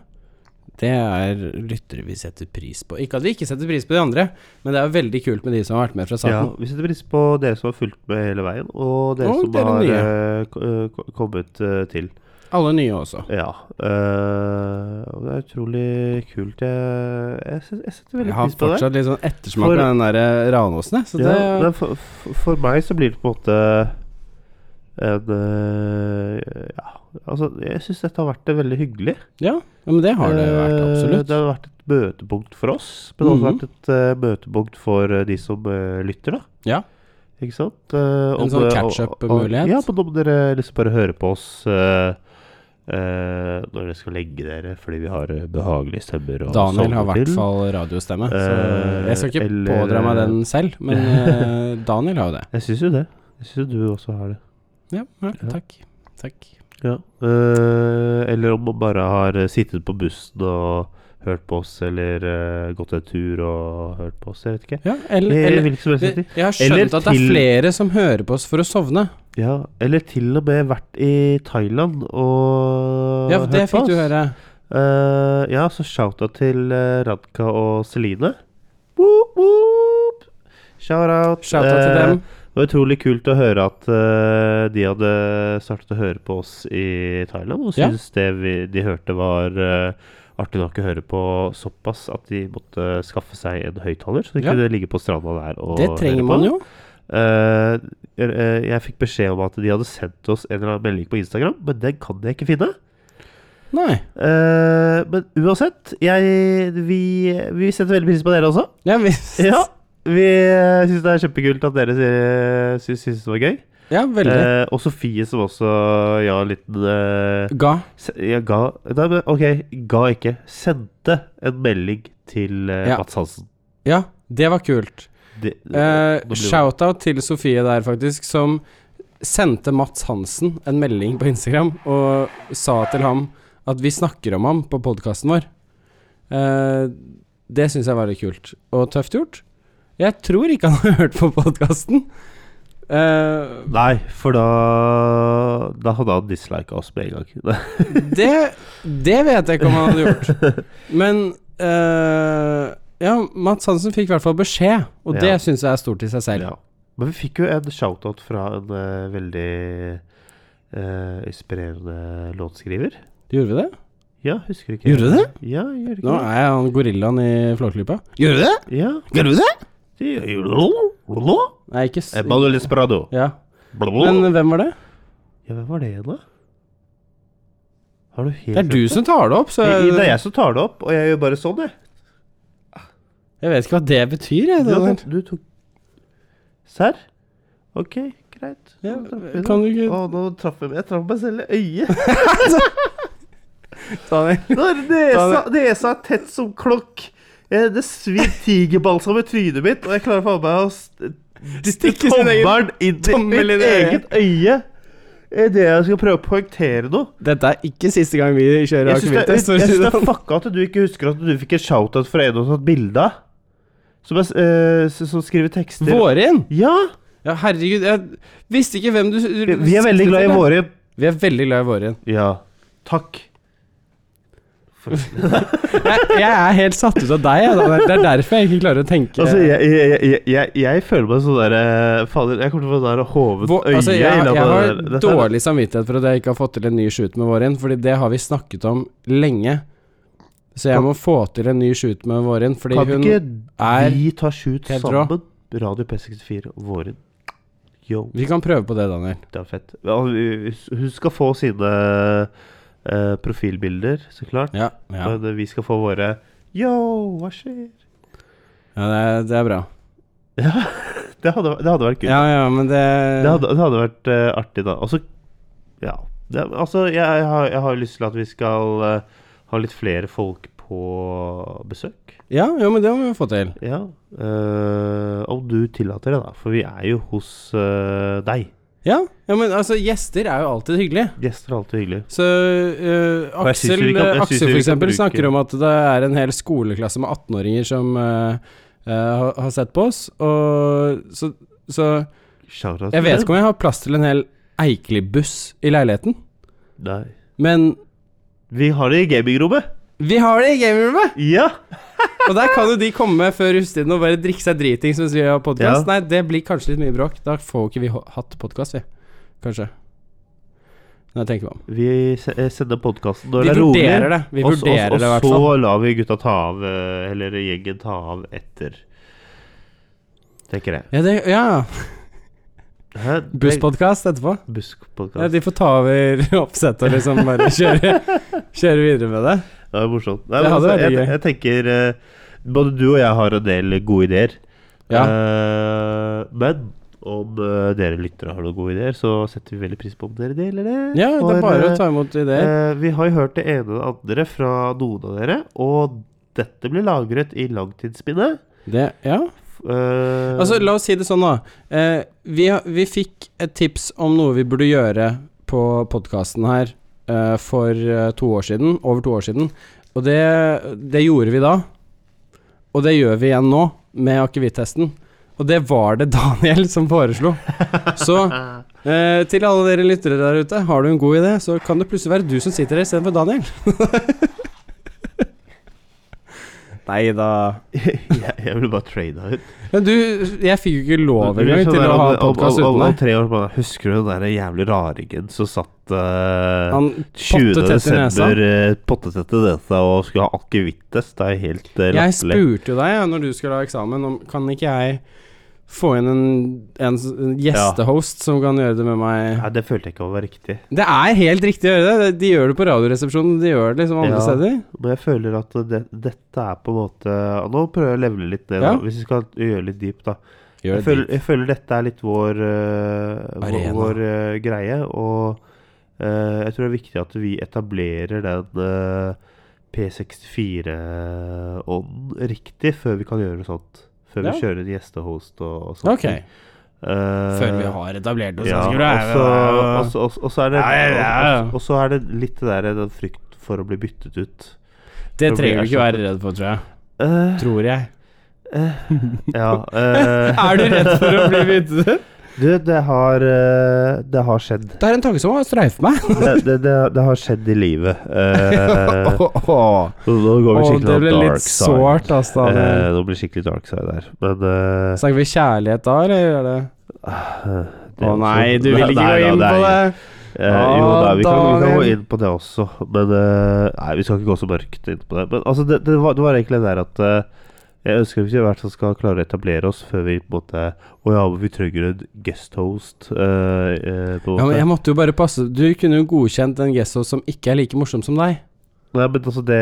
S2: Det er lyttere vi setter pris på. Ikke at vi ikke setter pris på de andre, men det er veldig kult med de som har vært med
S1: Ja,
S2: fra starten.
S1: vi setter pris på dere som har fulgt med hele veien, og dere
S2: Og
S1: som
S2: dere
S1: har
S2: nye.
S1: eh, ko- eh, ko- kommet eh, til.
S2: Alle nye også.
S1: Ja. eh, og det er utrolig kult. Jeg, jeg, sy- jeg setter veldig
S2: Jeg har
S1: pris på det.
S2: fortsatt litt sånn ettersmak
S1: For-
S2: av den der eh, Ranåsen, jeg. Så
S1: Ja,
S2: det
S1: men for, for- for meg så blir det på en måte en eh, Ja, altså, jeg syns dette har vært eh, veldig hyggelig.
S2: Ja, men det har det vært,
S1: Eh,
S2: absolutt.
S1: Det har vært et møtepunkt for oss, men det har også
S2: Mhm.
S1: vært et eh, møtepunkt for eh, de som eh, lytter, da.
S2: Ja.
S1: Ikke sant? Eh, om
S2: sånn
S1: det-
S2: catch-up-mulighet.
S1: og- Ja, men om dere liksom bare hører på oss eh, eh, når dere skal legge dere fordi vi har eh, behagelige stemmer og
S2: Daniel har i hvert
S1: til.
S2: fall radiostemme. så
S1: Eh,
S2: jeg skal ikke
S1: eller-
S2: pådra meg den selv, men eh, Daniel har jo det.
S1: Jeg syns jo det. Jeg syns jo du også har det.
S2: Ja, ja,
S1: Ja.
S2: takk. Takk.
S1: Eh, eller om man bare har eh, sittet på bussen og hørt på oss eller eh, gått en tur og hørt på oss. Jeg vet ikke.
S2: Ja, eller,
S1: Eller,
S2: eller
S1: hvilken som helst
S2: Jeg
S1: tid.
S2: har
S1: Eller
S2: skjønt at det er
S1: til-
S2: flere som hører på oss for å sovne.
S1: Ja, eller til og med vært i Thailand og
S2: Ja, det fikk du høre.
S1: Eh, ja, så shout-out til eh, Radka og Celine. Woop, woop. Shout-out.
S2: Shout-out til
S1: Eh,
S2: dem.
S1: Det var utrolig kult å høre at eh, de hadde startet å høre på oss i Thailand, og
S2: Ja.
S1: syntes det vi, de hørte var eh, artig nok å høre på såpass at de måtte skaffe seg en høyttaler, så de
S2: Ja.
S1: kunne ligge på stranda der og
S2: Det trenger man jo.
S1: Eh, jeg, jeg fikk beskjed om at de hadde sendt oss en eller annen melding på Instagram, men den kan jeg ikke finne.
S2: Nei.
S1: Eh, men uansett, jeg, vi, vi setter veldig pris på dere også.
S2: Ja, vi,
S1: Ja, Vi syns det er kjempekult at dere sy- sy- syns det var gøy.
S2: ja veldig.
S1: Eh, og Sofie, som også ja, en liten eh,
S2: Ga.
S1: se- ja, ga, nei, men, Ok, ga ikke. Sendte en melding til eh,
S2: Ja.
S1: Mats Hansen.
S2: Ja, det var kult.
S1: Det-
S2: Eh,
S1: nå blir det-
S2: Shout-out til Sofie der, faktisk, som sendte Mats Hansen en melding på Instagram og sa til ham at vi snakker om ham på podkasten vår. Eh, det syns jeg var litt kult og tøft gjort. Jeg tror ikke han har hørt på Eh, podkasten.
S1: Nei, for da Da hadde han dislika oss med en gang.
S2: det, det vet jeg ikke om han hadde gjort. Men eh, ja, Mats Hansen fikk i hvert fall beskjed, og det
S1: Ja.
S2: syns jeg er stort i seg selv.
S1: ja. Men vi fikk jo en shout-out fra en eh, veldig eh, inspirerende låtskriver.
S2: Gjorde vi det?
S1: Ja, husker du ikke
S2: Gjorde du det?
S1: Ja, gjør
S2: Nå
S1: ikke det?
S2: er jeg han gorillaen i Flåklypa. Gjør du det?
S1: Ja.
S2: Gjør du det?
S1: Det gjør du.
S2: Nei, ikke s...
S1: Emanuel Esperado.
S2: Ja. Men eh,
S1: Men,
S2: hvem var det?
S1: ja, hvem var det igjen, da? Har du helt
S2: Det er du som tar det opp, så
S1: Det
S2: jeg,
S1: det er jeg som tar det opp, og jeg gjør bare sånn, jeg.
S2: jeg vet ikke hva det betyr. Jeg,
S1: Du,
S2: det der.
S1: tok- du tok Serr? Ok, greit.
S2: Ja,
S1: Nå traff vi det.
S2: kan du ikke
S1: Å, nå traff jeg, jeg traff meg selv i øyet.
S2: ta det?
S1: Når nesa, nesa er tett som klokk. Eh, Det svir tigerbalsam i trynet mitt, og jeg klarer faen meg å st- dytte
S2: Stikke sin egen
S1: tommelen inn i
S2: tommel
S1: mitt
S2: inn i øyet.
S1: eget øye idet jeg skal prøve å poengtere noe.
S2: Dette er ikke siste gang vi kjører
S1: Jeg syns det, jeg
S2: akevittest. for å si
S1: synes det
S2: det
S1: er
S2: sånn.
S1: fucka at du ikke husker at du fikk en shout-out fra en du har tatt bilde av. Som, er s- eh, s- som skriver tekster.
S2: Vårin?
S1: Ja!
S2: sånn. Ja, herregud, jeg visste ikke hvem du
S1: Vi vi er veldig glad i våre
S2: Vi er veldig glad i Vårin.
S1: Ja. Takk.
S2: Jeg, jeg er helt satt ut av deg, jeg. da. Det er derfor jeg ikke klarer å tenke
S1: Altså, jeg, jeg, jeg, jeg, jeg føler meg sånn derre Fader, jeg kommer til å få sånn der hovet
S2: Hvor,
S1: øye
S2: altså, jeg,
S1: i løpet
S2: jeg
S1: av
S2: har
S1: det sånn- der- dette her.
S2: dårlig samvittighet for at jeg ikke har fått til en ny shoot med Vårin, fordi det har vi snakket om lenge. Så jeg må få til en ny shoot med Vårin, fordi
S1: Kan
S2: hun
S1: ikke
S2: er
S1: vi ta shoot
S2: helt rå.
S1: sammen? Radio P64 og Våren. Yo,
S2: Vi kan prøve på det, Daniel.
S1: det er fett. Ja, Hun skal få sine eh, profilbilder, så klart.
S2: Ja, ja.
S1: Men eh, vi skal få våre Yo, hva skjer?
S2: ja det, er, det er bra.
S1: Det hadde, det hadde vært kult.
S2: Ja, ja, men det
S1: Det, hadde, det hadde vært eh, artig, da. Altså, ja. Det, altså, jeg, jeg, har, jeg har lyst til at vi skal eh, ha litt flere folk på besøk.
S2: Ja, jo, men det må vi få til.
S1: Ja. eh, om du tillater det, da. For vi er jo hos eh, deg.
S2: Ja, ja, men altså, gjester er jo alltid hyggelig.
S1: Gjester er alltid hyggelig.
S2: Så eh,
S1: Og jeg synes
S2: Aksel,
S1: vi kan- jeg synes vi
S2: Aksel for
S1: kan
S2: eksempel
S1: bruke-
S2: snakker om at det er en hel skoleklasse med 18-åringer som eh, eh, har, har sett på oss, og så, så
S1: Shout-out
S2: Jeg
S1: til
S2: vet
S1: deg.
S2: ikke om jeg har plass til en hel Eikeli-buss i leiligheten,
S1: Nei.
S2: men
S1: Vi har det i gamingrommet.
S2: vi har det i gamingrommet!
S1: Ja!
S2: Og der kan jo de komme før hustiden og bare drikke seg dritings mens vi har podkast.
S1: Ja.
S2: Nei, det blir kanskje litt mye bråk. Da får jo ikke vi ho- hatt podkast, vi. Kanskje. Når jeg tenker meg om.
S1: Vi se- eh, sender podkasten når
S2: Vi
S1: det er rolig.
S2: vurderer det. Vi
S1: og s- og s-
S2: vurderer det, i hvert
S1: Og
S2: fall.
S1: så lar vi gutta ta av, eh, eller gjengen ta av etter. Tenker jeg.
S2: Ja, det, ja.
S1: Hæ?
S2: busspodkast etterpå.
S1: Busspodkast.
S2: Ja, de får ta over oppsettet og liksom bare kjøre, kjøre videre med det.
S1: Det er morsomt. Nei,
S2: Det
S1: men
S2: hadde
S1: altså,
S2: vært
S1: jeg,
S2: gøy.
S1: jeg tenker eh, Både du og jeg har en del gode ideer. Eh, men om eh, dere lyttere har noen gode ideer, så setter vi veldig pris på om dere deler det.
S2: Ja, det
S1: For,
S2: er bare
S1: eh,
S2: å ta imot ideer.
S1: eh, vi har jo hørt det ene og det andre fra noen av dere, og dette blir lagret i langtidsspinnet.
S2: Det, ja.
S1: Eh,
S2: Altså, la oss si det sånn, da. Eh, vi, har- vi fikk et tips om noe vi burde gjøre på podkasten her eh, for eh, to år siden, over to år siden. Og det, det gjorde vi da. Og det gjør vi igjen nå, med akevittesten. Og det var det Daniel som foreslo. Så eh, til alle dere lyttere der ute, har du en god idé, så kan det plutselig være du som sitter her istedenfor Daniel. Nei da.
S1: jeg, jeg ville bare trada ut.
S2: Men du, jeg fikk jo ikke lov
S1: Det blir
S2: engang
S1: sånn
S2: til
S1: der
S2: å ha
S1: om- om-
S2: podkast
S1: om- om-
S2: uten
S1: om
S2: deg.
S1: tre år bare Husker du den der jævlig raringen som satt eh,
S2: Han
S1: 20.
S2: pottetett i nesa.
S1: desember eh, pottetett i nesa og skulle ha akevittest? Det er helt uh,
S2: Jeg spurte jo deg ja, når du skulle ha eksamen om Kan ikke jeg få inn en, en, s- en gjestehost som kan gjøre det med meg?
S1: Nei, det følte jeg ikke var riktig.
S2: Det er helt riktig å gjøre det. De gjør det på Radioresepsjonen. De gjør det liksom andre
S1: Ja.
S2: steder.
S1: Men jeg føler at det, dette er på en måte og Nå prøver jeg å levele litt ned,
S2: Ja.
S1: da, hvis vi skal gjøre litt deep, da. Jeg føler, jeg føler dette er litt vår, eh, vår,
S2: Arena.
S1: vår eh, greie, og eh, jeg tror det er viktig at vi etablerer den eh, P64-ånden riktig før vi kan gjøre noe sånt. Før
S2: Ja.
S1: vi kjører en gjestehost og, og sånt.
S2: Ok. Før vi har etablert oss.
S1: ja,
S2: så
S1: og
S2: skulle jeg-
S1: så- og så- og så- og så er det
S2: Ja, ja, ja.
S1: og- Og så er det litt det der den frykt for å bli byttet ut.
S2: det
S1: så blir
S2: trenger du ikke
S1: erstattet.
S2: være redd for, tror jeg.
S1: Eh,
S2: Tror jeg.
S1: ja, eh,
S2: Er du redd for å bli vitnet?
S1: Du, det har, eh, det har skjedd.
S2: Det er en tanke som har streifet meg.
S1: det, det, det, det har skjedd i livet. Eh, så nå går vi
S2: Å,
S1: skikkelig
S2: det ble
S1: dark
S2: litt
S1: side.
S2: sårt, altså.
S1: Eh,
S2: Daniel.
S1: nå blir det skikkelig dark side der. Men eh,
S2: Snakker vi kjærlighet da, eller gjør det?
S1: Ah, det
S2: Å
S1: også-
S2: nei, du vil
S1: Nei,
S2: ikke gå
S1: nei,
S2: inn
S1: nei.
S2: på det.
S1: Eh, jo da, vi kan, vi kan
S2: Daniel.
S1: gå inn på det også. Men eh, Nei, vi skal ikke gå så mørkt inn på det. Men altså, det, det, var, det var egentlig det der at eh, jeg ønsker at vi hvert fall skal klare å etablere oss før vi på en måte Å ja, vi trenger en guesthost. Uh, på en måte.
S2: Ja, men jeg måtte jo bare passe Du kunne jo godkjent en gesso som ikke er like morsom som deg.
S1: Nei, men altså det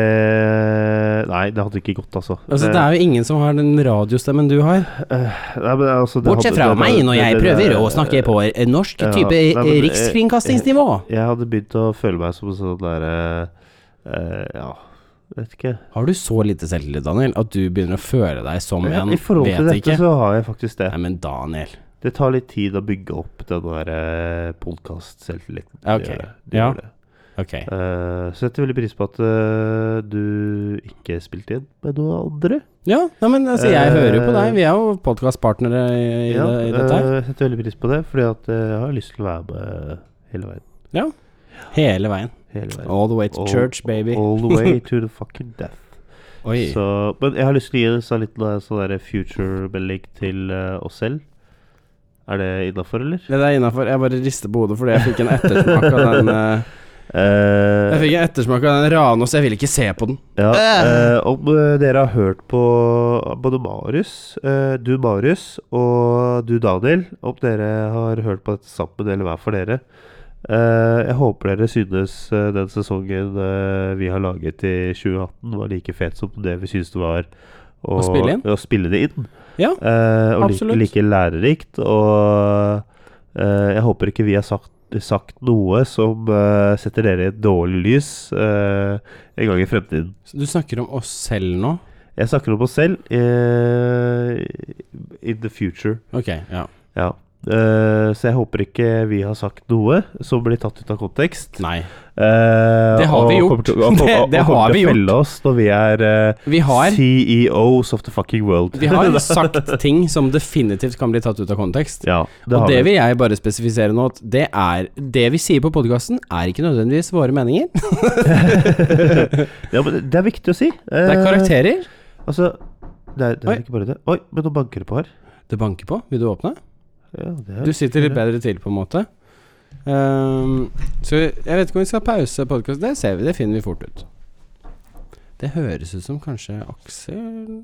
S1: Nei, det hadde ikke gått, altså.
S2: Altså,
S1: Det-
S2: det er jo ingen som har den radiostemmen du har.
S1: Nei, men altså, det
S4: Bortsett
S1: hadde-
S4: fra
S1: det-
S4: meg, når
S1: det-
S4: jeg
S1: det-
S4: prøver
S1: det-
S4: å snakke på norsk
S1: ja,
S4: type
S1: nei, men,
S4: eh,
S1: eh,
S4: rikskringkastingsnivå.
S1: Jeg hadde begynt å føle meg som en sånn derre eh, Ja, vet ikke.
S2: Har du så lite selvtillit, Daniel, at du begynner å føle deg som
S1: Ja,
S2: en
S1: I forhold til
S2: vet
S1: dette
S2: ikke?
S1: så har jeg faktisk det.
S2: Nei, men Daniel
S1: Det tar litt tid å bygge opp den der podkast-selvtilliten.
S2: Ja, ok. Ja.
S1: det.
S2: Ok.
S1: Eh, så setter veldig pris på at eh, du ikke spilte inn med noen andre.
S2: Ja, nei, men altså, jeg
S1: Eh,
S2: hører jo på deg. Vi er jo podkastpartnere i, i,
S1: ja,
S2: det, i dette her.
S1: eh, setter veldig pris på det, fordi at eh, jeg har lyst til å være med hele veien.
S2: Hele veien.
S1: Hele veien.
S2: All the way to
S1: All-
S2: Oh,
S1: Oh,
S2: church, baby.
S1: All the way to the fucking death.
S2: Oi.
S1: Så, men jeg har lyst til å gi en sånn liten eh, sånn der future-belegg til eh, oss selv. Er det innafor, eller?
S2: Det der innafor. Jeg bare rister på hodet fordi jeg fikk en ettersmak av den eh, Jeg fikk Ah! en ettersmak av den Ranos. Jeg vil ikke se på den.
S1: Eh, ja, eh, om eh, dere har hørt på både Marius, eh, du Marius og du Daniel Om dere har hørt på dette sammen eller hver for dere. eh, jeg håper dere synes eh, den sesongen eh, vi har laget i 2018, var like fet som det vi synes det var å,
S2: spille inn?
S1: å spille det inn.
S2: Ja,
S1: Eh, og like,
S2: absolutt.
S1: like lærerikt. Og eh, jeg håper ikke vi har sagt, sagt noe som eh, setter dere i et dårlig lys eh, en gang i fremtiden.
S2: Så du snakker om oss selv nå?
S1: Jeg snakker om oss selv. eh, in the future.
S2: Ok, ja.
S1: Ja. Eh, så jeg håper ikke vi har sagt noe som blir tatt ut av kontekst.
S2: Nei.
S1: Eh,
S2: Det har vi
S1: og
S2: gjort.
S1: kommer til- og kommer-
S2: Det-
S1: og
S2: det
S1: kommer
S2: har
S1: til
S2: vi
S1: å
S2: gjort.
S1: felle oss når vi er eh,
S2: Vi har,
S1: CEOs of the fucking world.
S2: vi har sagt ting som definitivt kan bli tatt ut av kontekst.
S1: ja, det
S2: og
S1: har
S2: det
S1: vi.
S2: vil jeg bare spesifisere nå, at det er Det vi sier på podkasten, er ikke nødvendigvis våre meninger.
S1: ja, men det er viktig å si.
S2: Det er
S1: Eh,
S2: karakterer.
S1: Altså Nei, det
S2: Oi.
S1: er ikke bare det. Oi, men nå banker det på her.
S2: Det banker på. Vil du åpne?
S1: Ja, det er
S2: Du sitter litt bedre til, på en måte. Ehm, så jeg vet ikke om vi skal pause podkasten. Det ser vi, det finner vi fort ut. Det høres ut som kanskje Aksel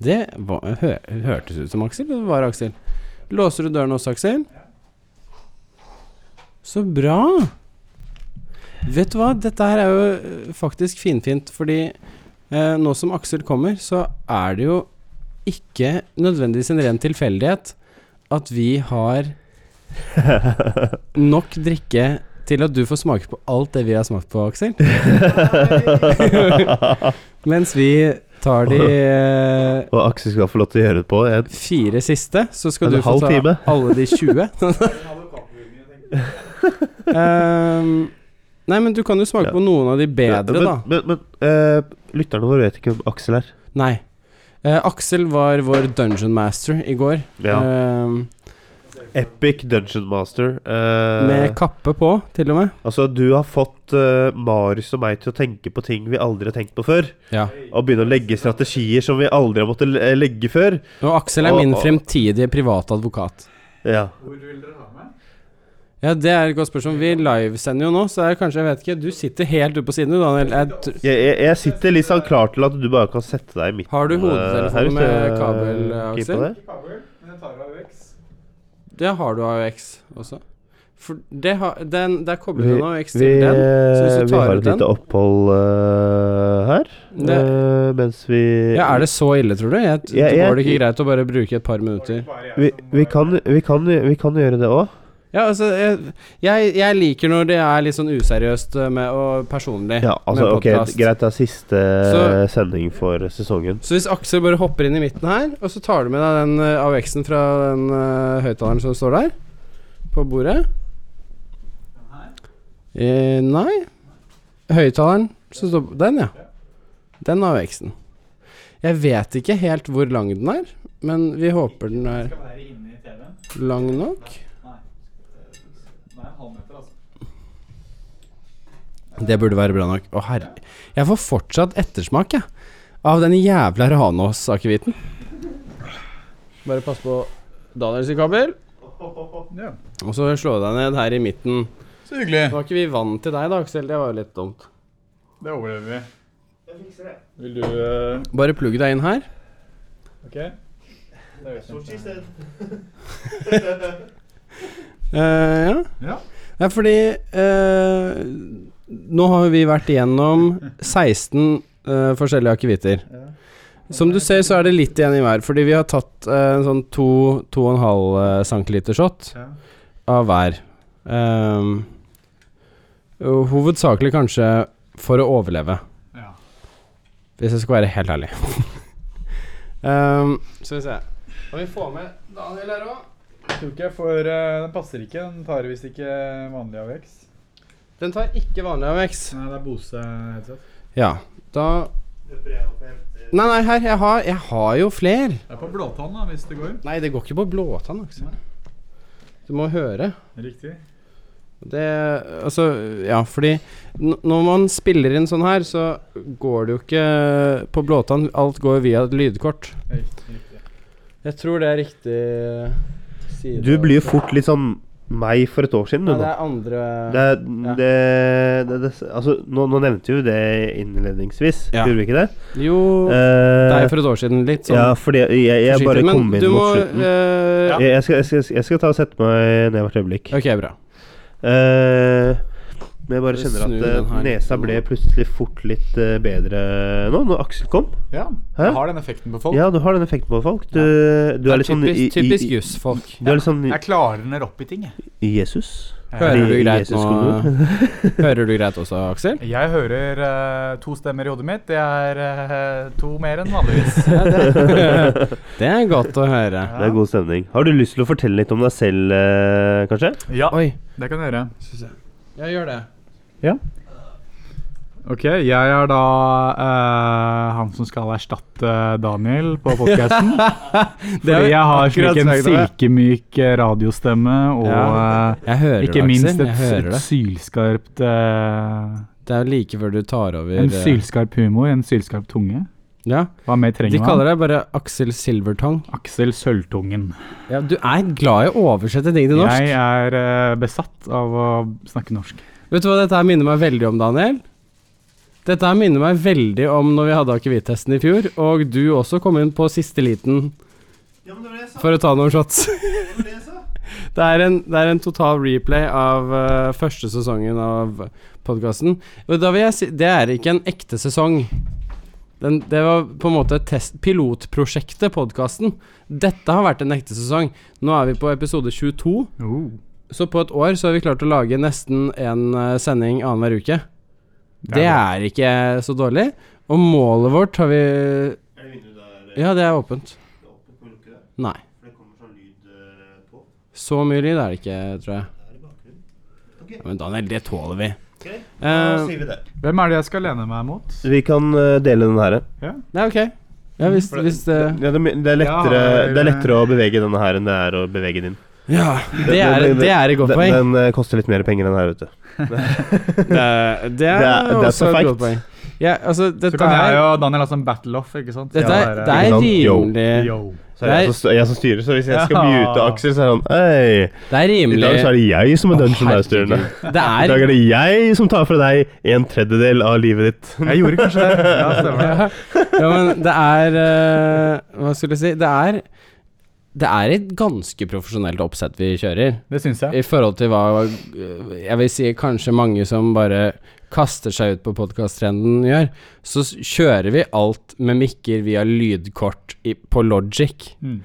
S2: Det var, hø, hørtes ut som Aksel, og det var Aksel. Låser du døren også, Aksel? Så bra! Vet du hva, dette her er jo øh, faktisk finfint, fordi eh, nå som Aksel kommer, så er det jo ikke nødvendigvis en ren tilfeldighet at vi har nok drikke til at du får smake på alt det vi har smakt på, Aksel. Mens vi tar de eh,
S1: Og Aksel skal få lov til å gjøre det på. En.
S2: fire siste, så skal
S1: En
S2: du få
S1: halv
S2: ta
S1: time.
S2: alle de 20. um, Nei, men du kan jo smake
S1: Ja.
S2: på noen av de bedre, da.
S1: Men, men, men eh, lytterne våre vet ikke hvem Aksel er.
S2: Nei. Eh, Aksel var vår dungeon master i går.
S1: Ja.
S2: Eh,
S1: Epic Dungeon Master. eh,
S2: med kappe på, til og med.
S1: altså, du har fått eh, Marius og meg til å tenke på ting vi aldri har tenkt på før.
S2: Ja.
S1: Og begynne å legge strategier som vi aldri har måttet le- legge før.
S2: Og Aksel er
S1: Og-
S2: min
S1: og-
S2: fremtidige private advokat.
S1: Ja.
S2: Ja, det er et godt spørsmål. Vi livesender jo nå, så er det kanskje, jeg vet ikke Du sitter helt ute på siden, du, Daniel. Jeg, tr-
S1: Jeg, jeg, jeg sitter litt sånn klar til at du bare kan sette deg i midten.
S2: Har du
S1: eh,
S2: hodetelefonen
S1: her, hvis
S2: med
S1: du er
S2: kabel,
S1: keen på
S2: Aksel?
S1: det.
S2: det har du AUX også. For det har den, Der kobler
S1: Vi-
S2: du en AUX
S1: Vi, eh,
S2: til den. Så hvis du
S1: vi
S2: tar
S1: har
S2: ut
S1: et
S2: den-
S1: lite opphold eh, her,
S2: Det,
S1: eh, mens vi
S2: ja, Er det så ille, tror du? Jeg,
S1: Ja, jeg-
S2: går det ikke greit å bare bruke et par minutter?
S1: vi, vi, kan, vi, kan, vi kan gjøre det òg.
S2: Ja, altså Jeg, jeg, jeg liker når det er litt sånn useriøst eh, med, og personlig.
S1: Ja, altså,
S2: med
S1: ok,
S2: podcast.
S1: greit, det er siste
S2: Så-
S1: sending for sesongen.
S2: Så hvis Aksel bare hopper inn i midten her, og så tar du med deg den eh, AUX-en fra den eh, høyttaleren som står der, på bordet eh, Nei. Høyttaleren som står Den, ja. Den AUX-en. Jeg vet ikke helt hvor lang den er, men vi håper den er lang nok.
S5: altså.
S2: Det burde være bra nok. Å herre Jeg får fortsatt ettersmak, jeg. Av den jævla Ranås-akevitten. Bare pass på Daniel sin kabel.
S5: Ja.
S2: Og så slå deg ned her i midten.
S5: Så hyggelig.
S2: Nå var ikke vi vant til deg da, Aksel. Det var jo litt dumt.
S5: Det overlever vi. Vil du eh,
S2: Bare plugg deg inn her.
S5: Ok. Det er jo kjent.
S2: Eh, ja.
S5: Ja.
S2: ja, fordi eh, Nå har jo vi vært igjennom 16 eh, forskjellige akevitter.
S5: Ja.
S2: Som du ser, så er det litt igjen i hver, fordi vi har tatt eh, en sånn 2-2,5 cm eh, shot
S5: Ja.
S2: av hver. Ehm, og hovedsakelig kanskje for å overleve,
S5: Ja.
S2: hvis jeg skal være helt ærlig. Ehm, skal vi se Kan vi få med Daniel her òg?
S5: Jeg tror ikke jeg får eh, Den passer ikke. Den tar visst ikke vanlig AVX.
S2: Den tar ikke vanlig AVX.
S5: Nei, det er Bose headset.
S2: Ja, da Nei, nei, her. Jeg har, jeg har jo fler.
S5: Det er på blåtann, da, hvis det går.
S2: Nei, det går ikke på blåtann, Aksel. Du må høre.
S5: Riktig.
S2: Det Altså, ja, fordi n- når man spiller inn sånn her, så går det jo ikke på blåtann. Alt går via et lydkort.
S5: Riktig. riktig.
S2: Jeg tror det er riktig eh, side.
S1: Du blir jo fort litt sånn meg for et år siden, du
S2: Nei, det
S1: nå.
S2: er andre
S1: Det, er- det, det, det Altså, nå, nå nevnte vi jo det innledningsvis,
S2: Ja.
S1: gjorde vi ikke det?
S2: Jo, det
S1: Eh,
S2: er for et år siden. Litt sånn
S1: ja, fordi jeg, jeg bare
S2: forsiktig, men
S1: kom inn
S2: du
S1: mot
S2: må,
S1: slutten.
S2: eh,
S1: Jeg- Jeg, skal, jeg, skal, jeg skal ta og sette meg ned hvert øyeblikk.
S2: Ok, bra.
S1: Eh, men jeg bare
S2: Bare
S1: kjenner
S2: snu
S1: at
S2: den
S1: eh,
S2: her
S1: nesa
S2: litt.
S1: ble plutselig fort litt eh, bedre nå, når Aksel kom.
S5: Ja.
S1: Hæ?
S5: Jeg har den effekten på folk.
S1: Ja, du har den effekten på folk. Du, du
S2: Det
S1: er
S2: er
S1: litt sånn
S2: typisk,
S1: i- i-
S2: typisk jussfolk.
S1: Du er litt sånn
S5: Jeg klarner opp i ting, jeg.
S1: Jesus.
S2: Hører du
S1: I- i
S2: greit nå? eh,
S1: Jesus-koden.
S2: Hører du greit også, Aksel?
S5: Jeg hører eh, to stemmer i hodet mitt. Det er eh, to mer enn vanligvis.
S2: Det er godt å høre.
S1: Det er god stemning. Har du lyst til å fortelle litt om deg selv, eh, kanskje?
S5: Ja,
S2: Oi.
S5: det kan jeg gjøre.
S2: Jeg gjør det.
S5: Ok, jeg er da eh, han som skal erstatte Daniel på podkasten.
S2: har
S5: Fordi
S2: vi
S5: jeg har
S2: akkurat
S5: slik en
S2: snakket om.
S5: silkemyk eh, radiostemme, og
S2: Ja.
S5: eh,
S2: Jeg hører
S5: ikke
S2: det,
S5: minst
S2: Aksel.
S5: et,
S2: Jeg hører
S5: et
S2: det.
S5: sylskarpt eh,
S2: Det er jo like før du tar over
S5: En
S2: eh,
S5: sylskarp humor, en sylskarp tunge.
S2: Ja.
S5: Hva mer trenger
S2: De
S5: man?
S2: kaller deg bare Aksel Silvertong.
S5: Aksel Sølvtungen.
S2: Ja, du er glad i å oversette ting til norsk.
S5: Jeg er eh, besatt av å snakke norsk.
S2: Vet du hva dette her minner meg veldig om, Daniel? Dette her minner meg veldig om når vi hadde akevittesten i fjor, og du også kom inn på siste liten for å ta noen shots. Det er en, det er en total replay av eh, første sesongen av podkasten. Da vil jeg si Det er ikke en ekte sesong. Den, det var på en måte test, pilotprosjektet, podkasten. Dette har vært en ekte sesong. Nå er vi på episode 22. Så på et år så har vi klart å lage nesten en eh, sending annenhver uke. Det er ikke så dårlig. Og målet vårt har vi
S1: eh,
S2: Ja, det er åpent. Nei.
S1: sånn eh,
S2: Så mye lyd er det ikke, tror jeg. Ja, men Daniel, det tåler vi. Eh,
S1: sier vi det.
S5: Hvem er det jeg skal lene meg mot?
S1: Vi kan eh, dele den her.
S2: nei, ok. Ja, hvis,
S1: For det-
S2: hvis eh, det
S1: Ja, det, er my- det, er lettere,
S5: Ja,
S1: det er lettere å bevege denne her enn det er å bevege din.
S2: Ja, det er,
S1: den-
S2: det er et godt
S1: Den,
S2: poeng.
S1: den eh, koster litt mer penger enn den her, vet du.
S2: Det er, det
S1: Det er-
S2: er
S1: det er
S2: også et
S1: perfekt.
S2: godt poeng. Ja, altså,
S5: Så
S2: dette
S5: kan jeg
S2: er
S5: og Daniel ha sånn battle-off, ikke sant?
S2: Dette
S5: Ja,
S2: er, det er
S1: sant? Yo.
S2: rimelig
S5: Yo.
S1: Så er det jeg, som st- jeg som styrer, så hvis jeg skal mute Aksel, så er han Hei,
S2: Det er
S1: i
S2: rimelig
S1: dag så er det jeg som
S2: Å,
S1: er dungeon
S2: herregud.
S1: masteren.
S2: Det
S1: I dag
S2: er
S1: er det jeg som tar fra deg en tredjedel av livet ditt.
S5: Jeg gjorde kanskje det. Ja, stemmer det.
S2: Ja, men det er eh, Hva skulle jeg si Det er det er et ganske profesjonelt oppsett vi kjører,
S5: Det syns jeg.
S2: i forhold til hva eh, Jeg vil si kanskje mange som bare kaster seg ut på podkast-trenden gjør. Så s- kjører vi alt med mikker via lydkort i, på Logic.
S5: Mm.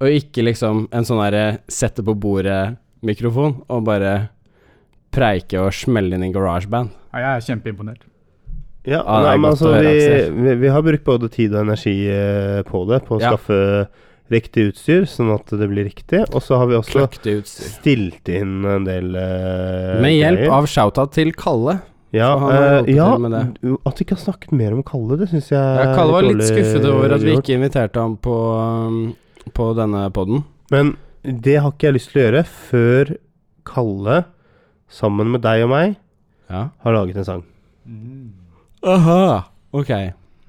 S2: Og ikke liksom en sånn derre sette på bordet-mikrofon og bare preike og smelle inn i garasjeband.
S5: Ja, jeg er kjempeimponert.
S1: Ja,
S2: Ja, Ah, det
S1: nei,
S2: er
S1: men
S2: godt
S1: altså
S2: å høre,
S1: vi,
S2: Aksel.
S1: vi, vi har brukt både tid og energi eh, på det, på å
S2: Ja.
S1: skaffe riktig utstyr, sånn at det blir riktig. Og så har vi også
S2: Kløkte utstyr.
S1: stilt inn en del eh,
S2: Med hjelp
S1: greier.
S2: av shoutout til Kalle.
S1: Ja,
S2: så han har
S1: eh,
S2: hjulpet
S1: ja
S2: til med det.
S1: du- at vi ikke har snakket mer om Kalle, det syns jeg
S2: Ja,
S1: er
S2: Kalle var litt
S1: Eh, dårlig
S2: skuffet over at vi
S1: gjort.
S2: ikke inviterte ham på, um, på denne poden.
S1: Men det har ikke jeg lyst til å gjøre før Kalle, sammen med deg og meg,
S2: Ja.
S1: har laget en sang.
S2: Aha. Ok.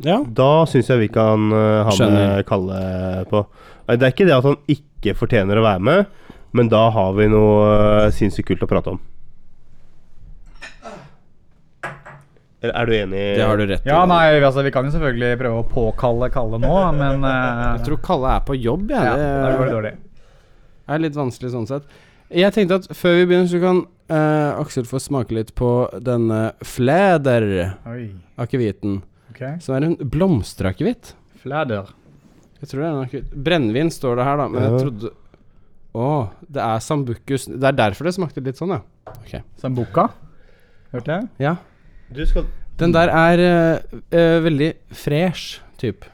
S2: Ja.
S1: Da syns jeg vi kan eh, ha
S2: Skjønner.
S1: med Kalle på. Nei, Det er ikke det at han ikke fortjener å være med, men da har vi noe eh, sinnssykt kult å prate om. Er er du enig?
S2: Det har du rett i.
S5: Ja, nei, vi- altså, vi kan jo selvfølgelig prøve å påkalle Kalle nå, men eh,
S2: Jeg tror Kalle er på jobb, jeg.
S5: ja, Da går det
S2: det
S5: dårlig.
S2: er litt vanskelig sånn sett. Jeg tenkte at før vi begynner, så kan eh, Aksel få smake litt på denne flæder-akevitten.
S5: Oi, ok.
S2: Som er en blomsterakevitt.
S5: Flæder.
S2: Jeg tror det er en akevitt. Brennevin står det her, da, men
S1: Ja.
S2: jeg trodde Å, det er sambucus Det er derfor det smakte litt sånn, ja.
S5: Sambuca. Hørte jeg?
S2: ja.
S1: Du skal,
S2: Den der er eh, eh, veldig fresh type.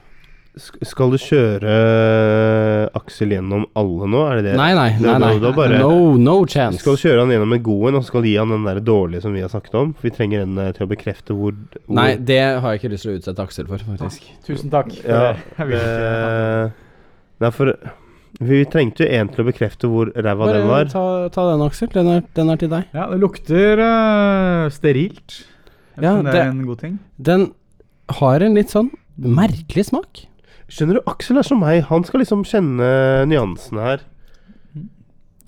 S1: sk- skal du kjøre eh, Aksel gjennom alle nå? Er det det?
S2: Nei, nei,
S1: Det
S2: nei.
S1: var-
S2: nei.
S1: det var bare-
S2: No, no
S1: Du
S2: chance.
S1: skal kjøre han gjennom en god en, og så skal du gi han den der dårlige som vi har snakket om. For vi trenger en eh, til å bekrefte hvor, hvor
S2: Nei, det har jeg ikke lyst til å utsette Aksel for, faktisk.
S5: Tusen takk. for
S1: Ja,
S5: det. Jeg vil ikke.
S1: eh, Nei, for vi trengte jo en til å bekrefte hvor ræva den
S2: Bare
S1: var.
S2: ta, ta den, Aksel. Den er, den er til deg.
S5: Ja, det lukter eh, sterilt. Jeg
S2: Ja,
S5: vet ikke om det
S2: det-
S5: er en god ting.
S2: Den har en litt sånn merkelig smak.
S1: Skjønner du, Aksel er som meg. Han skal liksom kjenne nyansene her.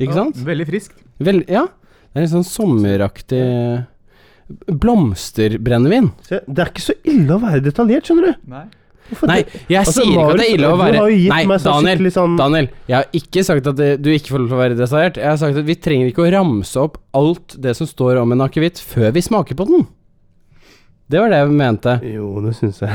S2: Ikke
S5: Ja,
S2: sant?
S5: Veldig friskt.
S2: Vel, ja. Det er litt sånn sommeraktig Blomsterbrennevin.
S1: Se, det er ikke så ille å være detaljert, skjønner du.
S5: Nei.
S1: Hvorfor
S2: Nei,
S1: det-
S2: jeg
S1: altså,
S2: sier ikke at det er
S1: Marius,
S2: ille å
S1: Du
S2: være
S1: har jo gitt
S2: Nei,
S1: meg sånn
S2: Daniel.
S1: skikkelig sånn
S2: Daniel, jeg har ikke sagt at det, du ikke får lov til å være detaljert. Jeg har sagt at vi trenger ikke å ramse opp alt det som står om en akevitt, før vi smaker på den. Det var det jeg mente.
S1: Jo, det syns jeg.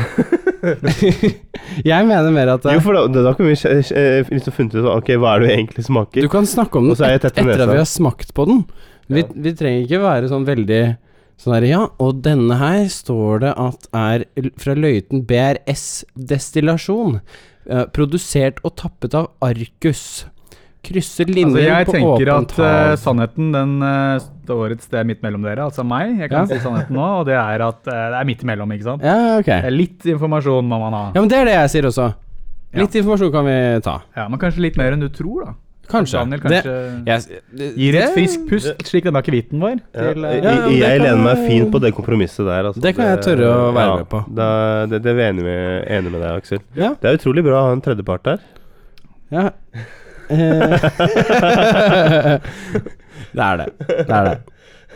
S2: Jeg mener mer at eh,
S1: Jo, for da, da kan vi eh, eh, liksom funnet ut Ok, hva er det du egentlig smaker?
S2: du kan snakke om
S1: Og
S2: den
S1: så er jeg
S2: et,
S1: tett på
S2: etter at
S1: nesa.
S2: vi har smakt på den. Vi,
S1: Ja.
S2: vi trenger ikke være sånn veldig sånn der, Ja, og denne her står det at er l- fra Løiten BRS Destillasjon. eh, produsert og tappet av Arcus. Krysser linjen
S5: Altså, jeg
S2: på
S5: tenker
S2: åpent
S5: at eh,
S2: hav.
S5: sannheten den eh, står et sted midt mellom dere, altså meg. Jeg
S2: Ja.
S5: kan si sannheten nå, og det er at eh, det er midt imellom, ikke sant?
S2: Ja, ok.
S5: Det er litt informasjon må man ha.
S2: Ja, men det er det jeg sier også. Litt informasjon kan vi ta.
S5: Ja, Men kanskje litt mer enn du tror, da.
S2: Kanskje.
S5: Daniel kanskje
S2: jeg, det,
S5: gir et
S2: det-
S5: friskt pust, slik denne akevitten var.
S1: Ja,
S5: Til,
S1: jeg-
S5: eh,
S2: ja,
S1: jeg
S2: det
S1: jeg
S2: kan
S1: lener meg
S2: jeg-
S1: fint på det kompromisset der. Altså.
S2: Det kan jeg tørre å være med på.
S1: Da, det, det er vi enig med, enig med deg, Aksel.
S2: Ja.
S1: Det er utrolig bra å ha en tredjepart der.
S2: Ja. Eh. det er det. Det er det.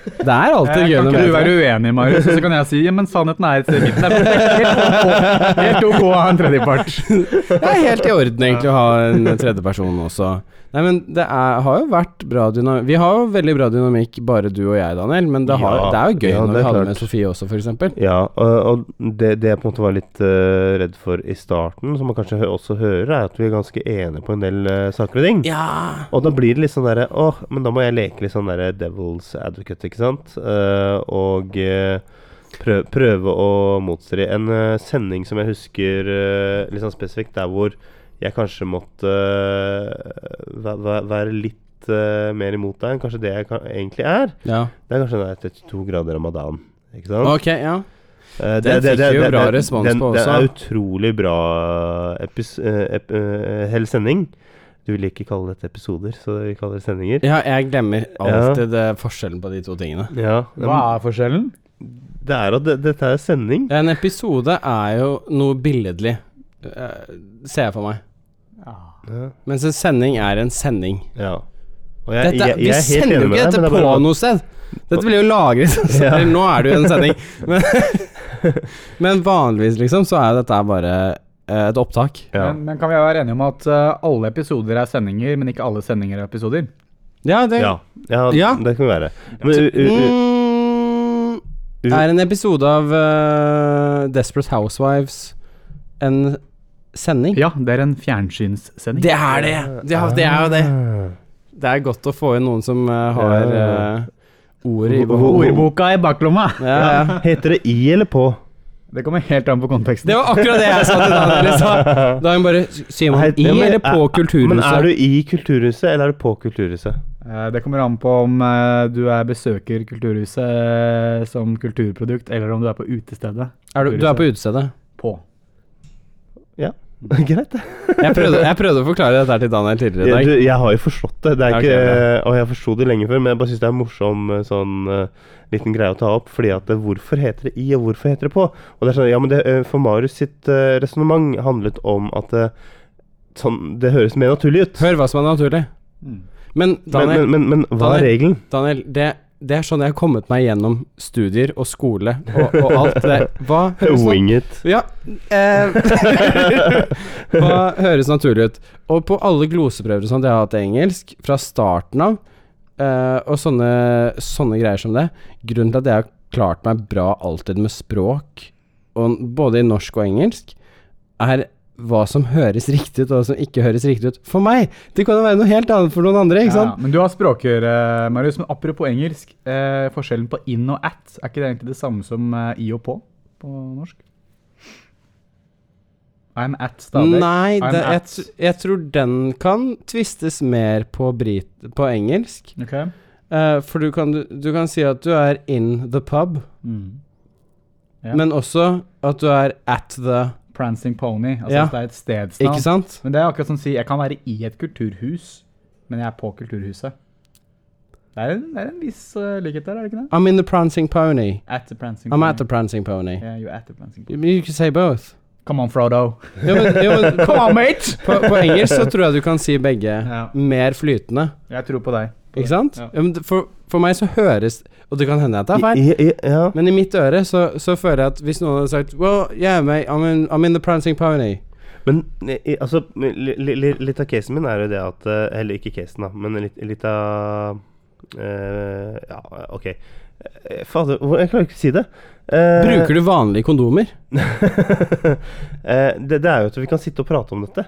S2: Det er alltid
S5: eh,
S2: gøy
S5: kan
S2: når
S5: ikke du
S2: man-
S5: være uenig, Marius? Og så kan jeg si ja, men sannheten er et sted i midten. Det er helt ok- Helt ok å ha en tredjepart.
S2: Det er helt i orden egentlig å ha en tredjeperson også. Nei, men det er, har jo vært bra dynamikk Vi har jo veldig bra dynamikk, bare du og jeg, Daniel, men det, har,
S1: Ja.
S2: det er jo gøy
S1: Ja,
S2: når
S1: det
S2: vi
S1: er
S2: hadde
S1: klart.
S2: med Sofie også, f.eks.
S1: Ja, og, og det, det jeg på en måte var litt eh, redd for i starten, som man kanskje hø også hører, er at vi er ganske enige på en del eh, saker og ting.
S2: Ja.
S1: Og da blir det litt sånn derre Åh, men da må jeg leke litt sånn derre devil's advocate, ikke sant? Eh, og eh, prø prøve å motstri. En eh, sending som jeg husker eh, litt sånn spesifikt, der hvor jeg kanskje måtte eh, væ- væ- være litt eh, mer imot deg enn kanskje det jeg ka egentlig er.
S2: Ja.
S1: Det er kanskje den der 32 grader ramadan. Ikke sant?
S2: Ok, ja.
S1: Eh,
S2: Den fikk vi jo bra
S1: den-
S2: respons
S1: den,
S2: på
S1: Den
S2: også.
S1: er utrolig bra epis, eh, ep, eh, hel sending. Du vil ikke kalle dette episoder, så vi kaller det sendinger.
S2: ja, jeg glemmer alltid eh, forskjellen på de to tingene.
S1: Ja,
S5: Hva er forskjellen?
S1: Det er at det, dette er sending.
S2: En episode er jo noe billedlig, eh, ser jeg for meg.
S1: Ja.
S2: Mens en sending er en sending.
S1: ja. Og jeg,
S2: Dette,
S1: Eh, jeg,
S2: vi
S1: jeg er helt
S2: sender
S1: enig
S2: jo
S1: med deg,
S2: ikke
S1: men
S2: dette
S1: det er
S2: på
S1: bare
S2: noe sted! Dette blir jo lagret. så-
S1: Ja.
S2: eller Nå er det jo en sending. Men, men vanligvis, liksom, så er dette bare eh, et opptak.
S1: Ja.
S5: Men, men kan vi være enige om at eh, alle episoder er sendinger, men ikke alle sendinger er episoder?
S2: Ja, det
S1: Ja. Ja,
S2: Ja.
S1: det kan være. Men, u, u, u,
S2: Mm, er en episode av eh, Desperate Housewives en sending?
S5: Ja, det er en fjernsynssending.
S2: Det er det! Det er, det er jo det. Det er godt å få inn noen som eh, har
S1: Ah. Ja.
S2: eh, ordet i
S1: Hvor-
S2: behold.
S5: Ordboka i baklomma!
S2: Ja, ja.
S1: Heter det i eller på?
S5: Det kommer helt an på konteksten.
S2: Det var akkurat det jeg sa til Daniel i stad. Da hun bare Sier man
S1: Nei,
S2: i
S1: ja, men-
S2: eller på
S1: eh, Men er
S2: Kulturhuset?
S1: du i Kulturhuset, eller er du på Kulturhuset?
S5: Eh, Det kommer an på om eh, du er besøker Kulturhuset eh, som kulturprodukt, eller om du er på utestedet.
S2: Er du, du er på utestedet?
S5: På.
S1: Greit, det.
S2: Jeg prøvde, jeg prøvde å forklare dette her til Daniel tidligere i
S1: Jeg,
S2: dag.
S1: du, jeg har jo forstått det. det er
S2: Ja, ok,
S1: ikke, og jeg forsto det lenge før, men jeg bare syns det er en morsom eh, sånn eh, liten greie å ta opp. Fordi at eh, hvorfor heter det i, og hvorfor heter det på? Og det er sånn, ja, men det, eh, For Marius sitt uh, resonnement handlet om at eh, sånn, det høres mer naturlig ut.
S2: Hør hva som er naturlig.
S5: Mm.
S2: Men
S1: Men,
S2: Daniel,
S1: men, men, men hva er
S2: Daniel.
S1: regelen?
S2: Daniel det, det er sånn jeg har kommet meg gjennom studier og skole og, og alt det. Hva høres sånn- nat-
S1: Wing it.
S2: Ja. Eh, hva høres naturlig ut? Og på alle gloseprøver og sånt jeg har hatt i engelsk, fra starten av, eh, og sånne, sånne greier som det, grunnen til at jeg har klart meg bra alltid med språk, og, både i norsk og engelsk, er hva som høres riktig ut, og hva som ikke høres riktig ut for meg. Det kan jo være noe helt annet for noen andre, ikke
S5: Ja,
S2: sant?
S5: men du har språkøre, eh, Marius. Men apropos engelsk, eh, forskjellen på in og at, er ikke det egentlig det samme som eh, i og på på norsk? I'm at stadig.
S2: Nei,
S5: I'm
S2: det, jeg,
S5: at.
S2: tr- jeg tror den kan tvistes mer på, brit, på engelsk.
S5: Ok.
S2: Eh, for du kan, du kan si at du er in the pub,
S5: Mm. Ja.
S2: men også at du er at the
S5: Prancing pony. Altså
S2: Ja.
S5: at det er et stedsnavn.
S2: Ikke sant?
S5: Men det er akkurat som å si jeg kan være i et kulturhus, men jeg er på kulturhuset. Det er en, det er en viss eh, likhet der, er det ikke det?
S2: I'm in the prancing pony.
S5: At the prancing
S2: I'm at the prancing pony.
S5: Yeah, you're at the prancing pony.
S2: You, you can say both.
S5: Come on, Frodo.
S2: Ja, men, ja, men, på,
S5: Come on, mate!
S2: på, på engelsk så tror jeg du kan si begge
S5: Ja,
S2: mer flytende,
S5: jeg tror på deg.
S2: ikke sant?
S5: Ja.
S2: Ja, men det- for, for meg så høres Og det kan hende at det er feil.
S1: I, i, ja.
S2: Men i mitt øre så, så føler jeg at hvis noen hadde sagt Well, yeah, mate, I'm in, I'm in the prancing pony.
S1: Men eh, i- altså, li, li, li, litt av casen min er jo det at eh, Eller ikke casen, da, men litt, litt av eh, Ja, ok. Eh, Fader, hvor- jeg klarer ikke å si det. Eh,
S2: Bruker du vanlige kondomer?
S1: Eh, det, det er jo at vi kan sitte og prate om dette.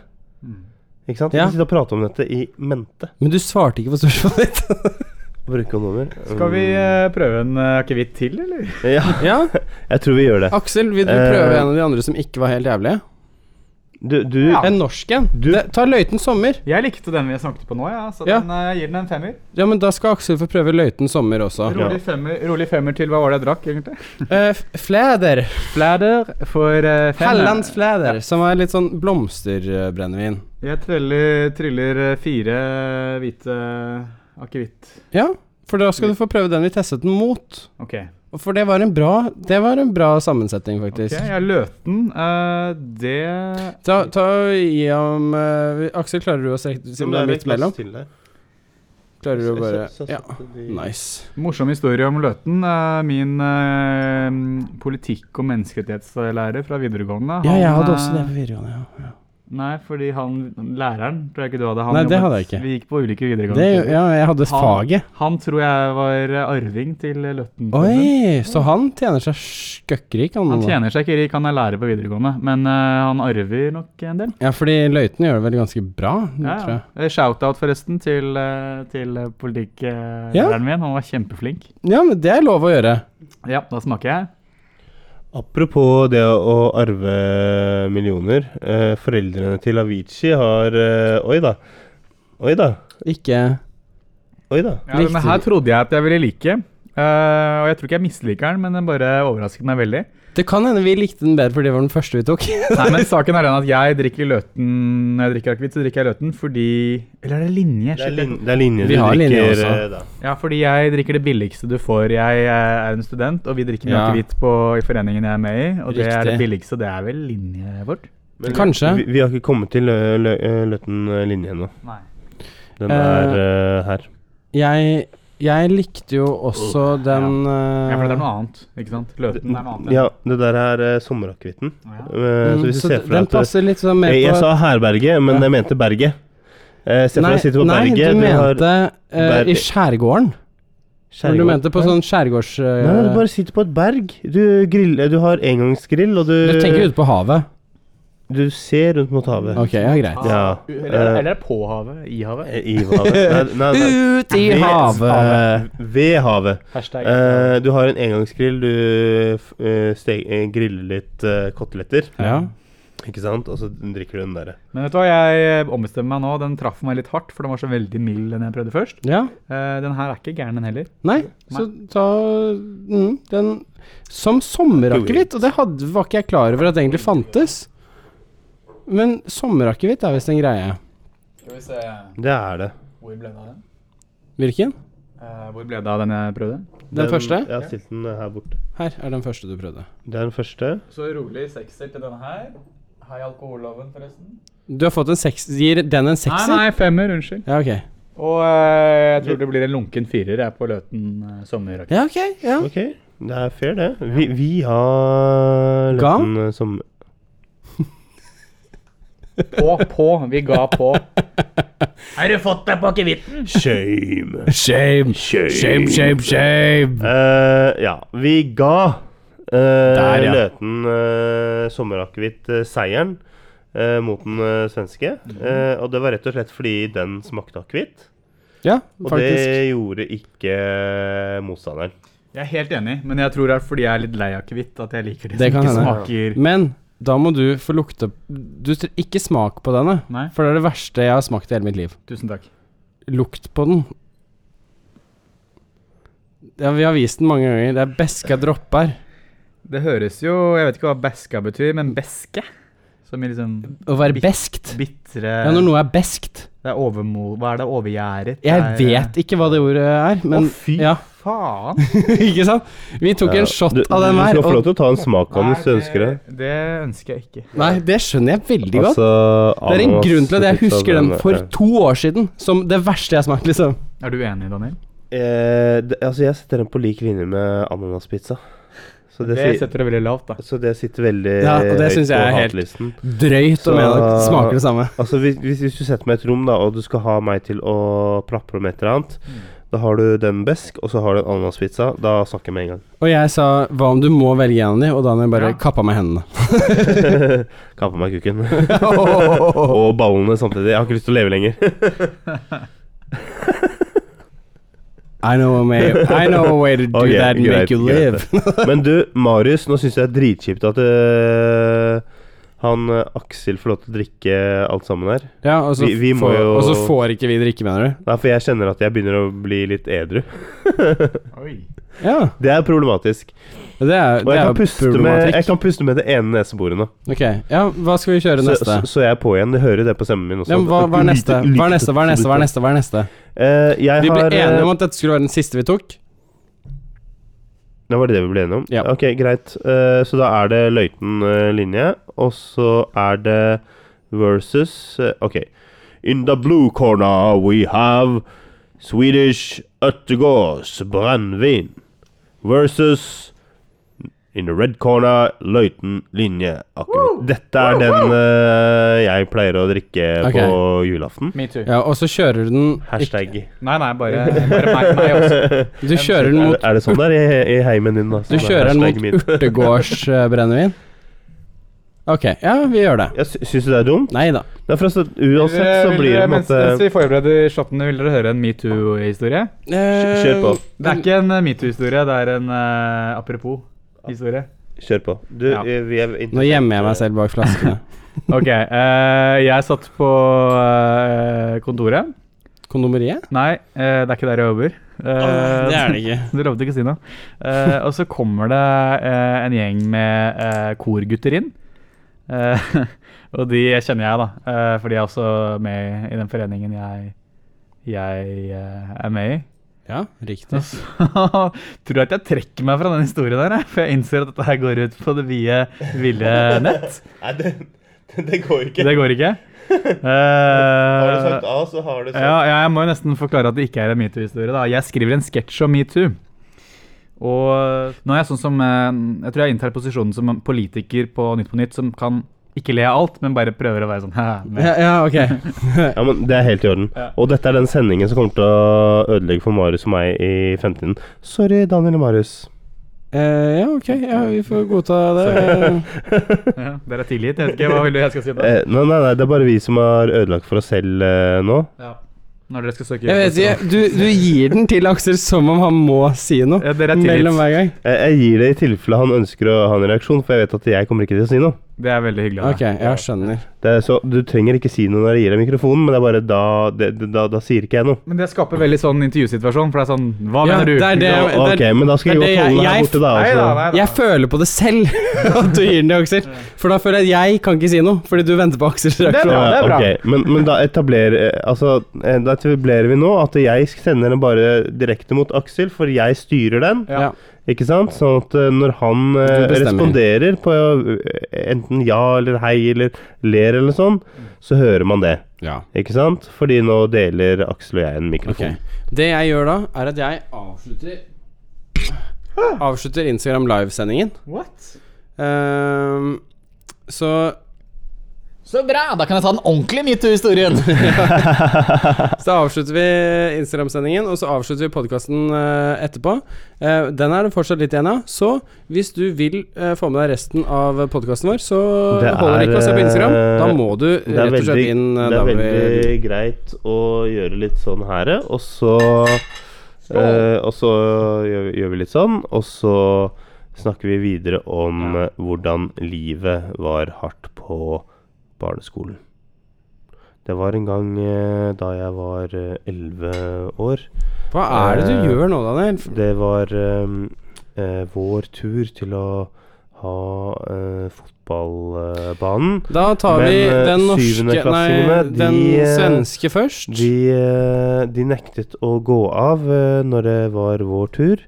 S1: Ikke sant? Vi
S2: Ja.
S1: kan sitte og prate om dette i mente.
S2: Men du svarte ikke på spørsmålet ditt.
S1: Bruke nummer.
S5: Skal vi eh, prøve en eh, akevitt til, eller?
S1: Ja,
S2: ja.
S1: jeg tror vi gjør det.
S2: Aksel, vil du
S1: Eh.
S2: prøve en av de andre som ikke var helt jævlige?
S1: Du, du
S5: Ja.
S2: En norsk en.
S1: Du-
S2: Det- Ta Løiten Sommer.
S5: Jeg likte den vi snakket på nå, ja, så
S2: Ja.
S5: Den, eh, jeg gir den en femmer.
S2: Ja, men da skal Aksel få prøve Løiten Sommer også.
S5: Rolig, femmer. rolig femmer til hva var det jeg drakk, egentlig?
S2: Eh, f- flæder.
S5: Flæder for
S2: eh,
S5: uh,
S2: Hallands flæder, som er litt sånn blomsterbrennevin.
S5: Jeg triller, triller eh, fire hvite akevitt.
S2: Ja, for da skal du få prøve den vi testet den mot.
S5: Ok.
S2: Og For det var en bra, det var en bra sammensetning, faktisk.
S5: Ok, jeg løten. eh, det
S2: Ta, ta og gi ham eh, Aksel, klarer du å strekke Siden det er midt mellom? Klarer du å bare Ja. Nice.
S5: Morsom historie om Løten. eh, Min eh, mm, politikk- og menneskerettighetslærer fra videregående
S2: Ja,
S5: han,
S2: jeg hadde også
S5: eh,
S2: det på videregående. Ja.
S5: Nei, fordi han læreren tror jeg ikke du hadde. Han
S2: Nei, det
S5: jobbet-
S2: hadde jeg ikke.
S5: Vi gikk på ulike videregående
S2: Det,
S5: skoler.
S2: ja, jeg hadde
S5: Han-
S2: faget.
S5: Han tror jeg var eh, arving til Løtten.
S2: Oi, så han tjener seg skøkkrik, han.
S5: Han
S2: nå.
S5: tjener seg ikke rik, han er lærer på videregående, men eh, han arver nok en del.
S2: Ja, fordi Løiten gjør det vel ganske bra,
S5: Ja,
S2: tror
S5: ja.
S2: jeg.
S5: Eh, Shout-out forresten til, eh, til politikklæreren
S2: Ja.
S5: min, han var kjempeflink.
S2: Ja, men det er lov å gjøre.
S5: Ja, da smaker jeg.
S1: Apropos det å arve millioner. Eh, foreldrene til Avicii har eh, Oi da. Oi da.
S2: Ikke
S1: Oi da.
S5: Ja, denne her trodde jeg at jeg ville like. eh, og jeg tror ikke jeg misliker den, men den bare overrasket meg veldig.
S2: Det kan hende vi likte den bedre fordi det var den første vi tok.
S5: Nei, men saken er den at jeg drikker løten Når jeg drikker akevitt, så drikker jeg løten fordi Eller er det linje?
S1: Det er,
S5: Shit, jeg-
S1: lin det er linje
S2: Vi
S1: du
S2: har linje
S1: drikker
S2: også.
S1: eh, da.
S5: Ja, fordi jeg drikker det billigste du får. Jeg eh, er en student, og vi drikker mye
S2: Ja.
S5: akevitt på- i foreningen jeg er med i. Og det er
S2: Riktig.
S5: det billigste. Det er vel linje vårt?
S1: Men
S2: Kanskje.
S1: Vi, vi har ikke kommet til lø- lø- eh, Løten eh, linje ennå.
S5: Nei.
S1: Den er eh, her.
S2: Jeg, jeg likte jo også den
S5: Ja, for det
S2: eh,
S5: er noe annet, ikke sant? Løten er noe annet.
S1: Ja, det der er eh, sommerakevitten.
S5: Ja.
S1: Eh, så
S2: mm,
S1: hvis du
S2: så
S1: ser
S2: d-
S1: for deg
S2: Den
S1: at eh,
S2: passer litt sånn mer
S1: Jeg, jeg
S2: på
S1: sa herberget, men jeg mente berget. Eh, Se for deg å sitte på
S2: nei,
S1: berget. har
S2: du mente eh,
S1: berg-
S2: i skjærgården. Men Du
S1: skjærgård.
S2: mente på sånn skjærgårds... eh,
S1: Nei, du bare sitter på et berg. Du, griller, du har engangsgrill, og du,
S2: du tenker ute på havet.
S1: du ser rundt mot havet.
S2: Ok, ja, greit.
S1: Ja.
S5: Eller,
S1: eh,
S5: eller på havet. I havet.
S1: I havet. Nei, nei, nei.
S2: Ut i
S1: Ved
S2: havet!
S1: Ved havet.
S5: Hashtag.
S1: Eh, du har en engangsgrill. Du f- eh, ste- eh, griller litt eh, koteletter,
S2: Ja.
S1: ikke sant? Og så drikker du den derre.
S5: Men vet du hva, jeg ombestemmer meg nå. Den traff meg litt hardt, for den var så veldig mild den jeg prøvde først.
S2: ja.
S5: Eh, den her er ikke gæren, den heller.
S2: Nei, så ta mm, den som sommerakevitt. Og det hadde, var ikke jeg klar over at det egentlig fantes. Men sommerakevitt er visst en greie.
S5: Skal vi se
S1: Det er det.
S5: Hvor ble det av den?
S2: Hvilken?
S5: Eh, hvor ble det av den jeg prøvde?
S2: Den første?
S1: Jeg har stilt den her borte.
S2: Her er den første du prøvde.
S1: Det er den første.
S5: Så rolig sekser til denne her. Hei, alkoholloven, forresten.
S2: Du har fått en seks... Gir den en
S5: Nei,
S2: sekser?
S5: nei, femmer. Unnskyld.
S2: Ja, ok.
S5: Og eh, jeg tror det blir en lunken firer jeg på Løten uh, sommerrakett.
S2: Ja, ok. Ja.
S1: Ok, det er fair, det. Vi, vi har
S2: Ga?
S1: Løten eh, som
S5: På, på. Vi ga på. Har du fått deg på akevitten?
S1: Shame.
S2: Shame. Shame, shame, shame.
S1: Eh, ja, vi ga eh,
S2: ja.
S1: Løten uh, sommerakevitt eh, seieren eh, mot den eh, svenske. Eh, og det var rett og slett fordi den smakte akevitt.
S2: Ja,
S1: Og
S2: faktisk.
S1: det gjorde ikke eh, motstanderen.
S5: Jeg er helt enig, men jeg tror det er fordi jeg er litt lei av akevitt at jeg liker det,
S2: Det
S5: som
S2: kan
S5: ikke
S2: hende.
S5: smaker
S2: Men da må du få lukte Du tr- Ikke smak på denne,
S5: Nei.
S2: for det er det verste jeg har smakt i hele mitt liv.
S5: Tusen takk.
S2: Lukt på den. Ja, vi har vist den mange ganger. Det er beska dropper.
S5: Det høres jo Jeg vet ikke hva beska betyr, men beske? Som i liksom
S2: Å være
S5: Bitt-
S2: beskt.
S5: bitre
S2: Ja, når noe er beskt.
S5: Det er overmo... Hva er det? Overgjæret?
S2: Jeg vet ikke hva det ordet er, men
S5: fy
S2: ja,
S5: faen!
S2: ikke sant? Vi tok en shot
S1: du,
S2: av den
S1: Du
S2: her.
S1: skal få lov
S2: Og,
S1: til å ta en smak av den hvis du ønsker det.
S5: Det ønsker jeg ikke.
S2: nei, det skjønner jeg veldig godt.
S1: Altså,
S2: Det er en
S1: ananas
S2: grunn til at jeg
S1: pizza,
S2: husker den for
S1: eh,
S2: to år siden som det verste jeg smakte, liksom.
S5: Er du enig, Daniel?
S1: eh, det, Altså, jeg setter den på lik linje med ananaspizza. Så det,
S5: Det
S1: sier-
S5: setter det veldig lavt, da.
S1: så det sitter veldig
S2: Ja, og det synes jeg er helt-
S1: hatlisten.
S2: Drøyt
S1: Så-
S2: om jeg smaker det samme.
S1: Altså hvis, hvis, hvis du setter meg i et rom da og du skal ha meg til å plapre om et eller annet,
S2: Mm.
S1: da har du den besk, og så har du en ananaspizza. Da snakker jeg med en gang.
S2: Og jeg sa 'hva om du må velge en av de', og Daniel bare
S5: Ja.
S2: kappa meg hendene.
S1: Kappa meg kukken. og ballene samtidig. Jeg har ikke lyst til å leve lenger.
S2: I know a way, I know a way to do
S1: Ok,
S2: that and
S1: greit,
S2: make you
S1: greit
S2: live.
S1: det. Men du, Marius, nå syns jeg det er dritkjipt at øh, han øh, Aksel får lov til å drikke alt sammen her.
S2: ja, og så,
S1: Vi- vi må
S2: får,
S1: jo-
S2: og så får ikke vi drikke, mener du?
S1: Nei, for jeg kjenner at jeg begynner å bli litt edru.
S5: Oi.
S2: Ja.
S1: Det er problematisk.
S2: Det er,
S1: Og
S2: det
S1: jeg
S2: er
S1: kan
S2: jo
S1: puste med, jeg
S2: problematikk.
S1: kan puste med det ene neseboret nå.
S2: Ok, ja, hva skal vi kjøre
S1: Så,
S2: neste?
S1: så, så jeg er på igjen. Du hører det på stemmen min også.
S2: Ja, men hva, hva er neste? Hva er neste? Hva er neste? Hva er neste? Hva er neste?
S1: Eh, jeg
S2: Vi ble
S1: har,
S2: enige om
S1: om
S2: at dette skulle være den siste vi tok.
S1: Det var det vi ble enige om?
S2: Ja.
S1: Ok, greit. Eh, så da er det løyten eh, linje, og så er det versus eh, Ok. In the blue corner we have Swedish Öttergårds brennevin versus In the red corner løyten linje akevitt. Dette er den eh, jeg pleier å drikke
S2: Ok.
S1: på julaften.
S5: Me too.
S2: Ja, og så kjører du den
S1: Hashtag.
S5: Nei, nei, bare, bare meg, meg også.
S2: Du kjører den
S1: Er,
S2: mot
S1: er det sånn der i, i heimen din, da?
S2: Du
S1: Sånn er
S2: kjører den
S1: hashtag min.
S2: mot urtegårdsbrennevin? Ok, ja, vi gjør det.
S1: Jeg sy- syns du det er dumt?
S2: Nei da.
S1: Det er for altså, uansett så
S5: Vil dere-
S1: blir det på en
S5: mens,
S1: måte
S5: mens vi forbereder shottene, vil dere høre en metoo-historie?
S1: Kjø- Kjør på.
S2: Mm.
S5: Det er ikke en eh, metoo-historie, det er en eh, apropos-historie.
S1: Kjør på. Du,
S5: Ja.
S1: eh, vi er
S2: Nå gjemmer jeg meg selv bak flaskene.
S5: Ok, eh, jeg satt på eh, kontoret,
S2: Kondomeriet?
S5: Nei, eh, det er ikke der jeg jobber. Eh,
S2: Det er det ikke.
S5: Du lovte ikke å si noe. Eh, og så kommer det eh, en gjeng med eh, korgutter inn. Eh, og de kjenner jeg, da. eh, for de er også med i den foreningen jeg, jeg eh, er med i.
S2: Ja,
S5: Og
S2: riktig.
S5: så tror jeg at jeg trekker meg fra den historien der, jeg, for jeg innser at dette her går ut på det vide, ville nett.
S1: Nei, det, det går ikke.
S5: Det går ikke. Eh,
S1: Har du
S5: Uh,
S1: sagt A, så har du sagt
S5: Ja, ja, jeg må jo nesten forklare at det ikke er en metoo-historie. da. Jeg skriver en sketsj om metoo. Og nå er jeg sånn som eh, Jeg tror jeg inntar posisjonen som en politiker på Nytt på Nytt som kan ikke le av alt, men bare prøver å være sånn «Haha, men».
S2: Ja, ja ok.
S1: Ja, men Det er helt i orden.
S5: Ja.
S1: Og dette er den sendingen som kommer til å ødelegge for Marius og meg i fremtiden. Sorry, Daniel og Marius.
S2: Eh, ja, ok. Ja, vi får godta det.
S5: ja, Dere er tilgitt. Jeg vet ikke hva vil du jeg skal si da.
S1: Eh, nei, nei, nei, det er bare vi som har ødelagt for oss selv eh, nå.
S5: Ja. Når dere skal søke
S2: Jeg vet ikke. Du, du gir den til Aksel som om han må si noe.
S5: Ja, dere er
S2: Mellom
S5: tilgitt.
S2: hver gang.
S1: Eh, jeg gir det i tilfelle han ønsker å ha en reaksjon, for jeg vet at jeg kommer ikke til å si noe.
S5: sånn. Det er veldig hyggelig. av
S2: Ok,
S5: deg.
S2: jeg skjønner.
S1: Det er så, du trenger ikke si noe når jeg gir deg mikrofonen, men det er bare da, det, det- da, da sier ikke jeg noe.
S5: Men det skaper veldig sånn intervjusituasjon, for det er sånn Hva
S2: Ja,
S5: mener du?
S2: det er det-
S1: Ja, ok, men da skal jeg
S2: det er
S1: godt holde
S2: det
S1: meg
S2: jeg-
S1: her borte, da.
S5: Nei da,
S1: Altså.
S5: nei da.
S2: Jeg føler på det selv at du gir den til Aksel. For da føler jeg at jeg kan ikke si noe, fordi du venter på Aksels
S5: Det er
S2: reaksjon.
S5: bra. det er bra.
S1: ok, men, men da etablerer eh, Altså, eh, da etablerer vi nå at jeg sender den bare direkte mot Aksel, for jeg styrer den.
S5: Ja.
S2: Ja.
S1: Ikke sant? Sånn at eh, når han eh,
S2: Du bestemmer.
S1: responderer på eh, enten ja eller hei eller ler eller sånn, så hører man det.
S2: Ja.
S1: Ikke sant? Fordi nå deler Aksel og jeg en mikrofon.
S2: Det jeg gjør da, er at jeg avslutter Avslutter Instagram Live-sendingen.
S5: What?
S2: Ehm, så,
S6: Så bra! Da kan jeg ta den ordentlige metoo-historien.
S2: så avslutter vi Instagram-sendingen, og så avslutter vi podkasten etterpå. Eh, den er det fortsatt litt igjen av, så hvis du vil eh, få med deg resten av podkasten vår, så
S1: Det
S2: holder det ikke å se på Instagram.
S1: er, eh,
S2: Da må du
S1: Det er
S2: rett og
S1: veldig,
S2: slett inn eh,
S1: det
S2: da
S1: er
S2: vi-
S1: veldig greit å gjøre litt sånn her, og så eh, Og så gjør, vi- gjør vi litt sånn, og så snakker vi videre om eh, hvordan livet var hardt på barneskolen. Det var en gang eh, da jeg var elleve år.
S2: Hva er det du
S1: Eh,
S2: gjør nå, Daniel?
S1: Det var ehm, eh, vår tur til å ha eh, fotballbanen.
S2: Da tar
S1: Men,
S2: vi
S1: eh,
S2: den norske Nei,
S1: syvendeklassingene, de,
S2: den
S1: eh,
S2: svenske først.
S1: De, eh, de nektet å gå av eh, når det var vår tur,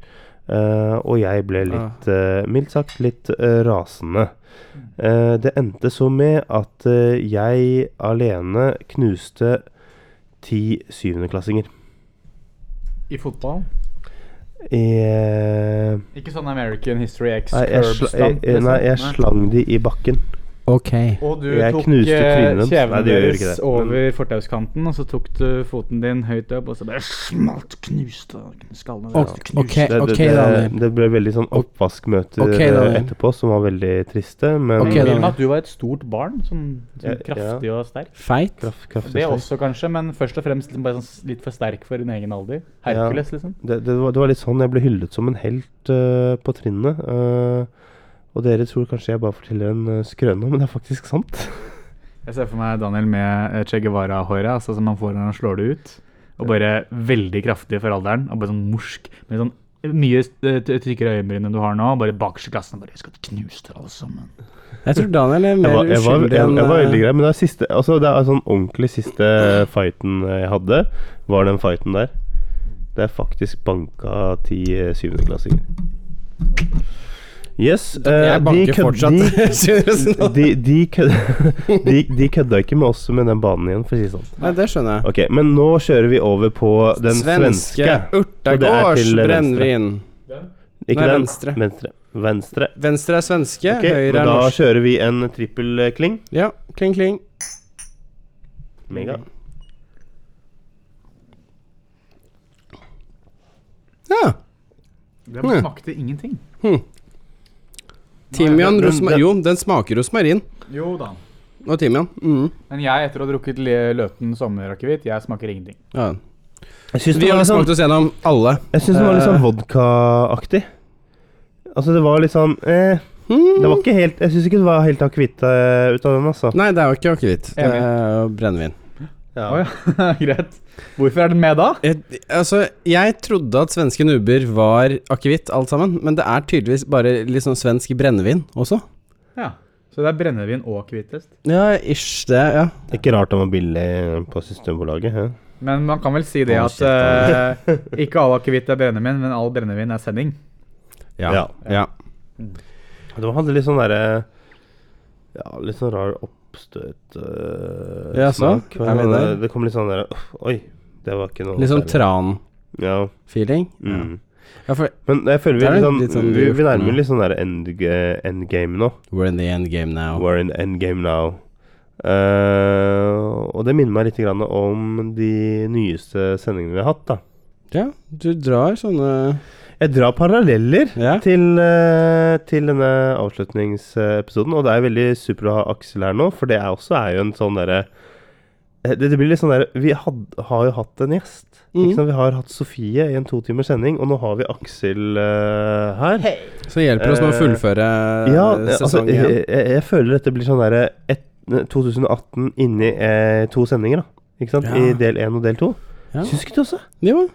S1: eh, og jeg
S5: Ah.
S1: ble litt, eh, mildt sagt, litt eh, rasende. Eh, Det endte så med at eh, jeg alene knuste ti syvendeklassinger
S5: I fotballen?
S1: i eh,
S5: Ikke sånn American History X
S1: Nei, jeg, sla, jeg, jeg,
S5: liksom.
S1: nei, jeg slang de i bakken.
S2: Ok.
S5: Og du
S1: Jeg
S5: tok
S1: knuste
S5: eh,
S1: trynet deres.
S5: kjeven
S1: Nei, det gjør jo ikke
S5: deres
S1: det, men-
S5: over fortauskanten, og så tok du foten din høyt opp, og så bare smalt, knuste skallen over.
S2: Ok, Eh,
S1: Det,
S2: ok,
S1: det,
S2: ok,
S1: det,
S2: Daniel.
S1: det ble veldig sånn oppvaskmøter
S2: Ok,
S1: eh,
S2: Daniel.
S1: etterpå som var veldig triste, men
S2: Ok,
S5: Jeg vil
S2: da.
S5: at du var et stort barn, sånn, sånn
S1: Ja,
S5: kraftig og sterk.
S2: Feit.
S1: kraft, kraftig
S5: Det
S1: sterk.
S5: også, kanskje, men først og fremst liksom bare sånn s- litt for sterk for din egen alder. Hercules, liksom.
S1: det, det, var, det var litt sånn jeg ble hyllet som en helt eh, på trinnet. eh, og dere tror kanskje jeg bare forteller en eh, skrøne, men det er faktisk sant.
S5: Jeg ser for meg Daniel med eh, Che Guevara-håret, altså som han får når han slår det ut, og bare veldig kraftig for alderen, og bare sånn morsk, med sånn mye eh, t- tykkere øyenbryn enn du har nå, bare bakerst i klassen, bare, jeg skal knuse dere alle sammen.
S2: Jeg tror Daniel er
S1: Jeg
S2: mer
S1: var, jeg var,
S2: uskyldig
S1: jeg,
S2: enn
S1: jeg var
S2: eh,
S1: veldig grei, men det er siste Altså, det er sånn ordentlig siste fighten jeg hadde, var den fighten der. Det er faktisk banka ti eh, syvendeklassinger. Yes. eh,
S2: Jeg banker
S1: de kød-
S2: fortsatt. sånn? Syversen.
S1: De, de, de, kød, de, de kødda ikke med oss med den banen igjen, for å si det sånn.
S2: Nei, det skjønner jeg.
S1: Ok, men nå kjører vi over på den svenske. Så det er
S2: urtegårds
S1: til venstre.
S2: brennevin.
S1: Ikke
S2: Nei,
S1: den.
S2: venstre.
S1: Venstre. Venstre.
S2: Venstre er svenske,
S1: Ok, men
S2: høyre er
S1: da
S2: norsk.
S1: kjører vi en trippel eh, kling.
S2: Ja, kling, kling.
S1: Mega.
S2: Mm. Ja.
S5: Det
S2: Mm.
S5: smakte ingenting.
S1: den-
S2: Timian,
S1: den-
S2: rosmarin
S1: den-
S2: Jo, den smaker rosmarin
S5: Jo da.
S2: og timian. Mm.
S5: Men jeg, etter å ha drukket le- løten sommerakevitt, jeg smaker ingenting.
S2: Ja.
S1: Jeg syns
S2: Vi
S1: det var
S2: har
S1: litt sånn,
S2: smakt Eh. oss gjennom alle.
S1: jeg synes det var litt sånn vodkaaktig. Altså, det var litt sånn eh, Det var ikke helt Jeg syns ikke det var helt akevitt eh, ut av den, altså.
S2: Nei, det er jo ikke akevitt. Det
S5: Enig.
S2: er jo brennevin.
S7: Ja.
S5: Å ja, greit. Hvorfor er den med da?
S2: Jeg, altså, jeg trodde at svenske nuber var akevitt alt sammen, men det er tydeligvis bare litt sånn svensk brennevin også.
S5: Ja. Så det er brennevin og akevittest.
S2: Ja, ish, det, ja.
S1: Det er ikke rart den var billig på Systembolaget. hæ?
S5: Men man kan vel si det
S1: Hold
S5: at eh, ikke all akevitt er brennevin, men all brennevin er sending.
S1: Ja.
S2: ja.
S1: De hadde litt sånn derre Ja, litt sånn rar oppstøt eh,
S2: Ja, så?
S1: smak.
S2: Er vi
S1: Men,
S2: der?
S1: eh, Det kom litt sånn derre «Uff, Oi, det var ikke noe
S2: Litt sånn
S1: særlig».
S2: tran-feeling.
S1: Ja. Mm.
S2: Ja, for
S1: Men jeg føler
S2: Det
S1: vi,
S2: er
S1: litt
S2: jo
S1: sånn,
S2: litt sånn
S1: vi, vi
S2: lurt
S1: nærmer
S2: nå.
S1: litt sånn der end, endgame nå.
S2: We're in the end game now.
S1: We're in endgame now. Eh, og det minner meg litt grann om de nyeste sendingene vi har hatt. da
S2: Ja, du drar sånne
S1: Jeg drar paralleller
S2: Ja.
S1: til, eh, til denne avslutningsepisoden, og det er veldig super å ha Aksel her nå, for det er også er jo en sånn derre eh, det, det blir litt sånn der, Vi had, har jo hatt en gjest.
S2: Mhm.
S1: Ikke sant? Vi har hatt Sofie i en to timers sending, og nå har vi Aksel eh, her.
S2: Så hjelper oss med å
S1: Eh,
S2: fullføre
S1: Ja,
S2: eh,
S1: altså,
S2: sesongen. igjen.
S1: jeg, jeg, jeg føler dette blir sånn derre ett- 2018 inni eh, to sendinger, da. Ikke sant?
S2: Ja.
S1: I del én og del to.
S2: Ja.
S1: Syns ikke du også?
S2: Jo,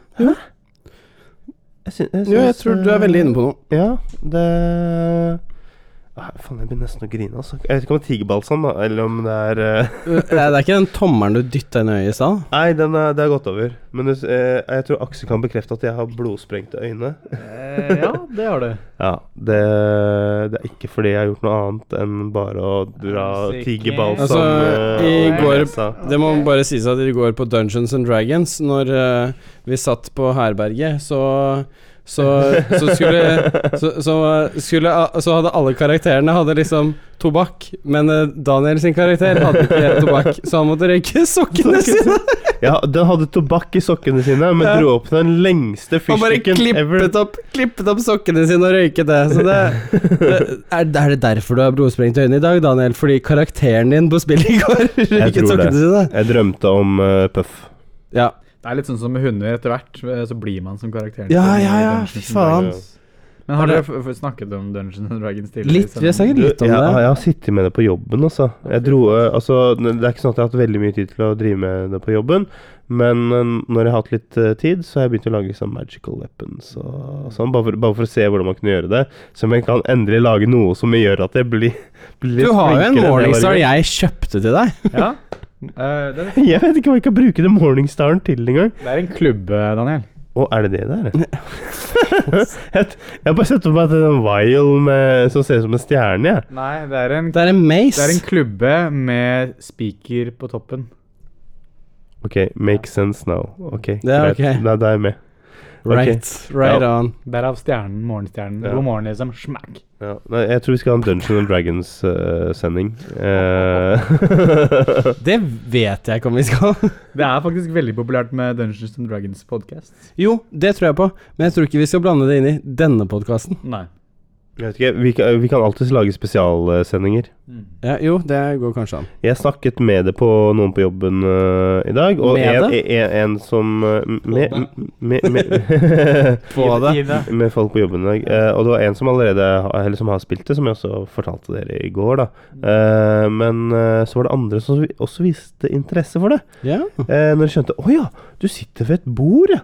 S1: Jeg sy- jeg
S2: jo, jeg
S1: syns,
S2: tror du er
S1: eh,
S2: veldig inne på noe.
S1: Ja, det ah, Faen, jeg begynner nesten å grine, altså. Jeg vet ikke om det er tigerbalsam, da, eller om det er eh,
S2: Eh, Det er ikke den tommelen du dytta inn i øyet i stad?
S1: Nei, den er, det er gått over. Men det, eh, jeg tror Aksel kan bekrefte at jeg har blodsprengte øyne.
S5: Eh, ja, det har du.
S1: Ja, det, det er ikke fordi jeg har gjort noe annet enn bare å dra
S5: Sikkert.
S1: tigerbalsam eh,
S2: Altså, i
S1: over
S2: går-
S1: nesa.
S2: Det må bare sies at i går på Dungeons and Dragons, når eh, vi satt på herberget, så så, så skulle, så, så skulle Så hadde alle karakterene hadde liksom tobakk, men eh, Daniel sin karakter hadde ikke tobakk, så han måtte røyke sokkene sine!
S1: Ja, den hadde tobakk i sokkene sine, men
S2: Ja.
S1: dro opp den lengste
S2: Han bare
S1: fyrstikken ever.
S2: klippet opp, klippet opp sokkene sine og røyket det. Så det, det er, er det derfor du har blodsprengte øyne i dag, Daniel? Fordi karakteren din på spillet i går røyket
S1: tror det.
S2: sokkene sine?
S1: Jeg drømte om eh, Puff.
S2: Ja.
S5: Det er litt sånn som med hunder. Etter hvert eh, så blir man som karakteren.
S2: Ja,
S5: sin i
S2: ja, ja,
S5: Dungeons
S2: fy
S5: and
S2: faen.
S5: Dragons. Men har
S2: Det
S5: dere
S2: er-
S5: f- f- snakket om Dungeons and Dragons tidligere?
S2: Litt, vi har snakket litt om
S1: jeg,
S2: det.
S1: jeg har sittet med det på jobben, altså. Jeg dro, eh, altså. Det er ikke sånn at jeg har hatt veldig mye tid til å drive med det på jobben, men eh, når jeg har hatt litt eh, tid, så har jeg begynt å lage sånn magical weapons og sånn, bare for, bare for å se hvordan man kunne gjøre det. Så man kan endelig lage noe som gjør at jeg blir, blir
S2: Du
S1: litt
S2: har jo en
S1: flinkere enn jeg var i
S2: Morningstar
S1: går.
S2: jeg kjøpte til deg.
S5: Ja. Eh, det, er,
S1: Jeg vet ikke hva jeg kan bruke den Morningstaren til engang.
S5: det er en klubb, eh, Daniel.
S1: Å, er det det der? jeg, jeg har bare sett for meg at det er en vial med- som ser ut som en stjerne, jeg.
S5: Nei, det er en,
S2: Det er en
S5: det
S2: mace.
S5: er en klubbe med spiker på toppen.
S1: Ok, makes sense now. Ok,
S2: Ja,
S1: greit.
S2: ok.
S1: Da, da er jeg med. ok.
S2: Right, right on.
S5: Derav stjernen, morgenstjernen.
S1: Ja.
S5: God morgen, liksom. Smack.
S1: Ja, nei, jeg tror vi skal ha en Dungeons and eh, Dragons-sending. Eh,
S2: Det vet jeg ikke om vi skal.
S5: Det er faktisk veldig populært med Dungeons and Dragons podcast.
S2: Jo, det tror jeg på, men jeg tror ikke vi skal blande det inn i denne podkasten.
S5: Nei.
S1: jeg vet ikke, vi kan, vi kan alltids lage spesialsendinger.
S2: Ja, jo, det går kanskje an.
S1: Jeg snakket med det på noen på jobben eh, i dag, og
S2: Med
S1: en,
S2: det?
S1: en, en som eh, med, med, med,
S2: Få det.
S1: med folk på jobben i dag. Eh, og det var en som allerede har- eller som har spilt det, som jeg også fortalte dere i går, da. Eh, men eh, så var det andre som vi- også viste interesse for det.
S2: Ja.
S1: Eh, når de skjønte Å ja, du sitter ved et bord, ja.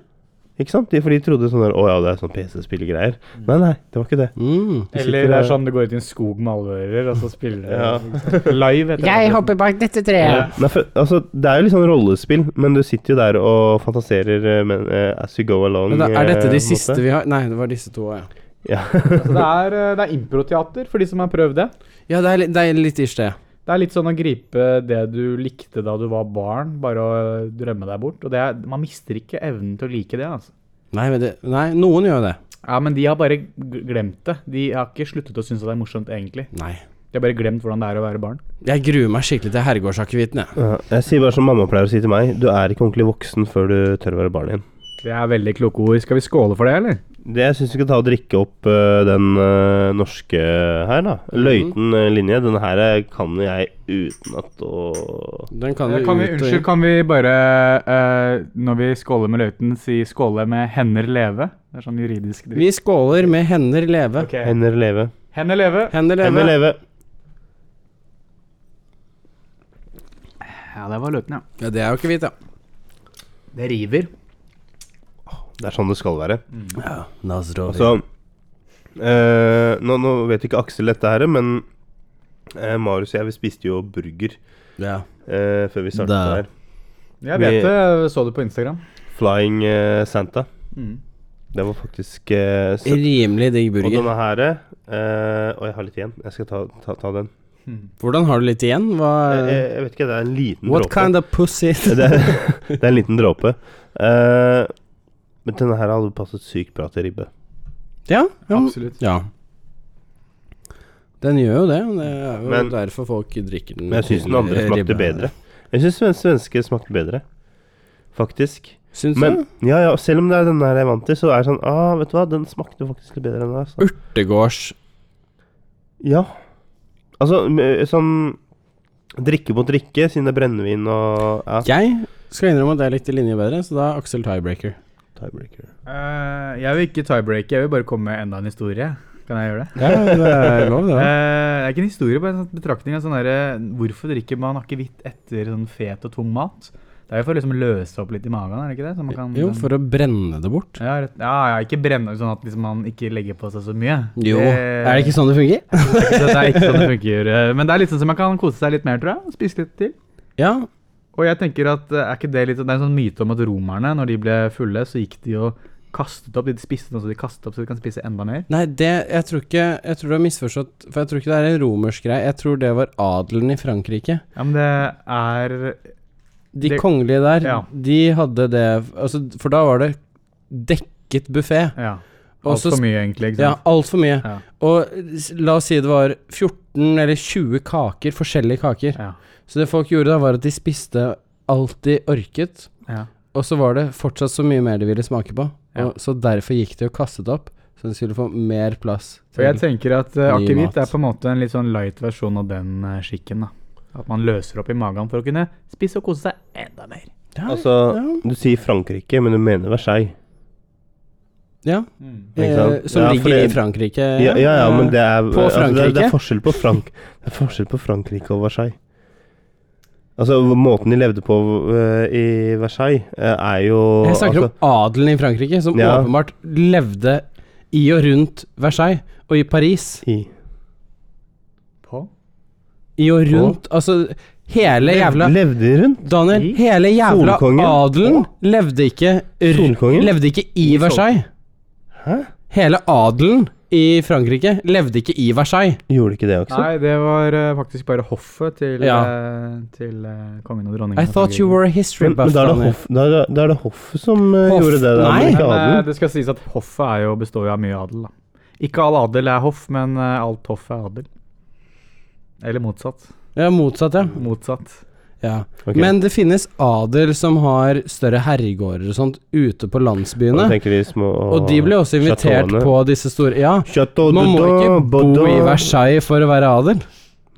S1: Ikke sant? De, for de trodde sånn der Å ja, det er sånn PC-spillegreier. Nei, nei, det var ikke det.
S2: Mm.
S1: Du
S5: Eller
S1: sitter
S5: det er
S1: der-
S5: sånn du går ut i en skog med alveører, og så spiller
S1: Ja.
S5: du live. Etter det.
S6: bak dette
S1: Ja. Nei, for, altså, det er jo litt sånn rollespill, men du sitter jo der og fantaserer eh, men, eh, as you go along.
S2: Men da, er
S1: eh,
S2: dette
S1: på en
S2: de
S1: måte.
S2: siste vi har Nei, det var disse to òg, ja.
S5: Så det er, eh, det er improteater for de som har prøvd det.
S2: Ja, det er, li- det er litt ish, det.
S5: Det er litt sånn å gripe det du likte da du var barn, bare å eh, drømme deg bort. Og det er, man mister ikke evnen til å like det, altså.
S2: Nei, men det, nei, noen gjør det.
S5: Ja, men de har bare g- glemt det. De har ikke sluttet å synes at det er morsomt, egentlig.
S2: Nei.
S5: De har bare glemt hvordan det er å være barn.
S2: Jeg gruer meg skikkelig til herregårdsakevitten, jeg.
S1: Ja, jeg sier bare som mamma pleier å si til meg, du er ikke ordentlig voksen før du tør å være barn igjen.
S5: Det er veldig kloke ord. Skal vi skåle for det, eller?
S1: Det jeg syns vi skal ta og drikke opp eh, den eh, norske her,
S2: Mhm.
S1: da. Løiten eh, linje. Den her eh, kan jeg utenat og
S2: Den kan,
S5: kan vi,
S2: ut og
S5: unnskyld,
S2: inn.
S5: kan vi bare, eh, når vi skåler med løyten, si skåle med 'hender leve'? Det er sånn juridisk dritt.
S2: Vi skåler med hender leve.
S1: Hender leve.
S5: Hender leve.
S2: Hender leve.
S1: Hender leve.
S5: Ja, det var løypen, ja.
S2: Ja, det er jo ikke hvit, ja.
S6: Det river.
S1: Det er sånn det skal være.
S2: Mhm. Altså,
S1: Altså eh, nå, nå vet ikke Aksel dette her, men eh, Marius og jeg vi spiste jo burger
S2: ja.
S1: eh, før vi startet
S2: Da.
S1: her.
S5: Jeg
S1: Vi-
S5: vet det. Så det på Instagram.
S1: Flying eh, Santa.
S5: Mm.
S1: Det var faktisk eh, søtt.
S2: Rimelig digg
S1: Og
S2: burger.
S1: denne her eh, Og jeg har litt igjen. Jeg skal ta, ta, ta den.
S2: Hvordan har du litt igjen? Hva
S1: Jeg, jeg, jeg vet ikke, det er en liten
S2: Eh. What
S1: dråpe.
S2: kind of pussy?
S1: det, er, det er en liten dråpe. Eh, men denne her hadde passet sykt bra til ribbe.
S2: ja, ja, men-
S5: Absolutt.
S2: ja. Den gjør jo det. Det er jo
S1: Men-
S2: derfor folk drikker den.
S1: Men jeg syns den andre
S2: ribba.
S1: smakte bedre. Jeg syns den svenske smakte bedre, faktisk.
S2: Syns
S1: Men
S2: du?
S1: ja, ja, selv om det er den her jeg er vant til, så er det sånn ah, Vet du hva, den smakte faktisk litt bedre enn den her. så-
S2: Urtegårds
S1: Ja. Altså m- sånn Drikke mot drikke, siden det er brennevin og ja.
S2: Jeg skal innrømme at jeg likte linje bedre, så da er Aksel tiebreaker.
S1: Tiebreaker.
S5: Eh, jeg vil ikke tiebreake, jeg vil bare komme med enda en historie. Kan jeg gjøre det?
S2: Ja, det er lov, det.
S5: Eh,
S2: da.
S5: det er ikke en historie, bare en sånn betraktning av sånn derre Hvorfor drikker man akevitt etter sånn fet og tung mat? Det er jo for å liksom løse opp litt i magen, er det ikke det? Så man kan, liksom-
S2: Jo, for å brenne det bort.
S5: ja, rett, ja, ja, ikke brenne sånn at liksom man ikke legger på seg så mye.
S2: Jo. Er det ikke sånn det fungerer?
S5: Så det er ikke sånn det funker. eh, Men det er litt sånn som man kan kose seg litt mer, tror jeg. og Spise litt til.
S2: Ja.
S5: Og jeg tenker at eh, er ikke det litt sånn- Det er en sånn myte om at romerne, når de ble fulle, så gikk de og kastet opp. De spiste noe så de kastet opp, så de kan spise enda mer.
S2: Nei, det Jeg tror ikke Jeg tror du har misforstått, for jeg tror ikke det er en romersk greie. Jeg tror det var adelen i Frankrike.
S5: Ja, men det er
S2: De
S5: Det-
S2: kongelige der,
S5: ja.
S2: de hadde det altså, For da var det dekket buffé.
S5: Ja.
S2: Og så
S5: Altfor mye, egentlig. ikke
S2: Ja,
S5: sant?
S2: altfor mye.
S5: Ja.
S2: Og s- la oss si det var 14 eller 20 kaker, forskjellige kaker.
S5: Ja.
S2: Så det folk gjorde da, var at de spiste alt de orket.
S5: Ja.
S2: Og så var det fortsatt så mye mer de ville smake på.
S5: Ja.
S2: Og, så derfor gikk de og kastet opp, så de skulle få mer plass.
S5: Og jeg tenker at uh,
S2: Ny mat.
S5: akevitt er på en måte en litt sånn light versjon av den eh, skikken. da. At man løser opp i magen for å kunne spise og kose seg enda mer.
S2: ja,
S1: Altså, du sier Frankrike, men du mener Versailles.
S2: ja.
S5: Mm.
S1: Ikke
S2: Eh,
S1: sant?
S2: som
S1: Ja,
S2: ligger
S1: for det-
S2: i Frankrike.
S1: Ja, ja, ja, men det er altså,
S2: På
S1: det, er, det
S2: Frankrike?
S1: er forskjell på Frank Det er forskjell på Frankrike og Versailles. Altså, måten de levde på øh, i Versailles, øh, er jo
S2: Jeg snakker
S1: altså,
S2: om adelen i Frankrike, som
S1: Ja.
S2: åpenbart levde i og rundt Versailles, og i Paris.
S1: i,
S5: På?
S2: I og rundt Altså, hele jævla
S1: Levde de rundt?
S2: Daniel,
S5: I?
S2: hele jævla
S1: Solkongen?
S2: adelen levde ikke, r-
S1: Solkongen?
S2: levde ikke i Versailles.
S1: Hæ?
S2: Hele adelen i Frankrike levde ikke i Versailles.
S1: Gjorde de ikke det, Aksel?
S5: Nei, det var eh, faktisk bare hoffet til,
S2: Ja.
S5: eh, til eh, kongen og dronningen.
S2: I
S5: av
S2: thought you
S5: Frankrike.
S2: were a history
S1: Men,
S2: buff,
S1: men da, er det
S2: Daniel.
S1: hoff, da, er det, da er det hoffet som øh,
S2: Hoff?
S1: gjorde det. Da,
S2: Nei.
S1: men ikke
S5: Men eh,
S1: adelen.
S5: det skal sies at hoffet er jo, består jo av mye adel. da. Ikke all adel er hoff, men eh, alt hoff er adel. Eller motsatt.
S2: Ja, motsatt, ja.
S5: Motsatt.
S2: ja.
S1: Ok.
S2: Men det finnes adel som har større herregårder og sånt ute
S1: Og
S2: på
S1: da
S2: landsbyene.
S1: tenker de små
S2: Og de ble også invitert
S1: Chateauene.
S2: på disse store Ja,
S1: Chateau
S2: man må
S1: Dodon,
S2: ikke bo
S1: Bodon.
S2: i Versailles for å være adel.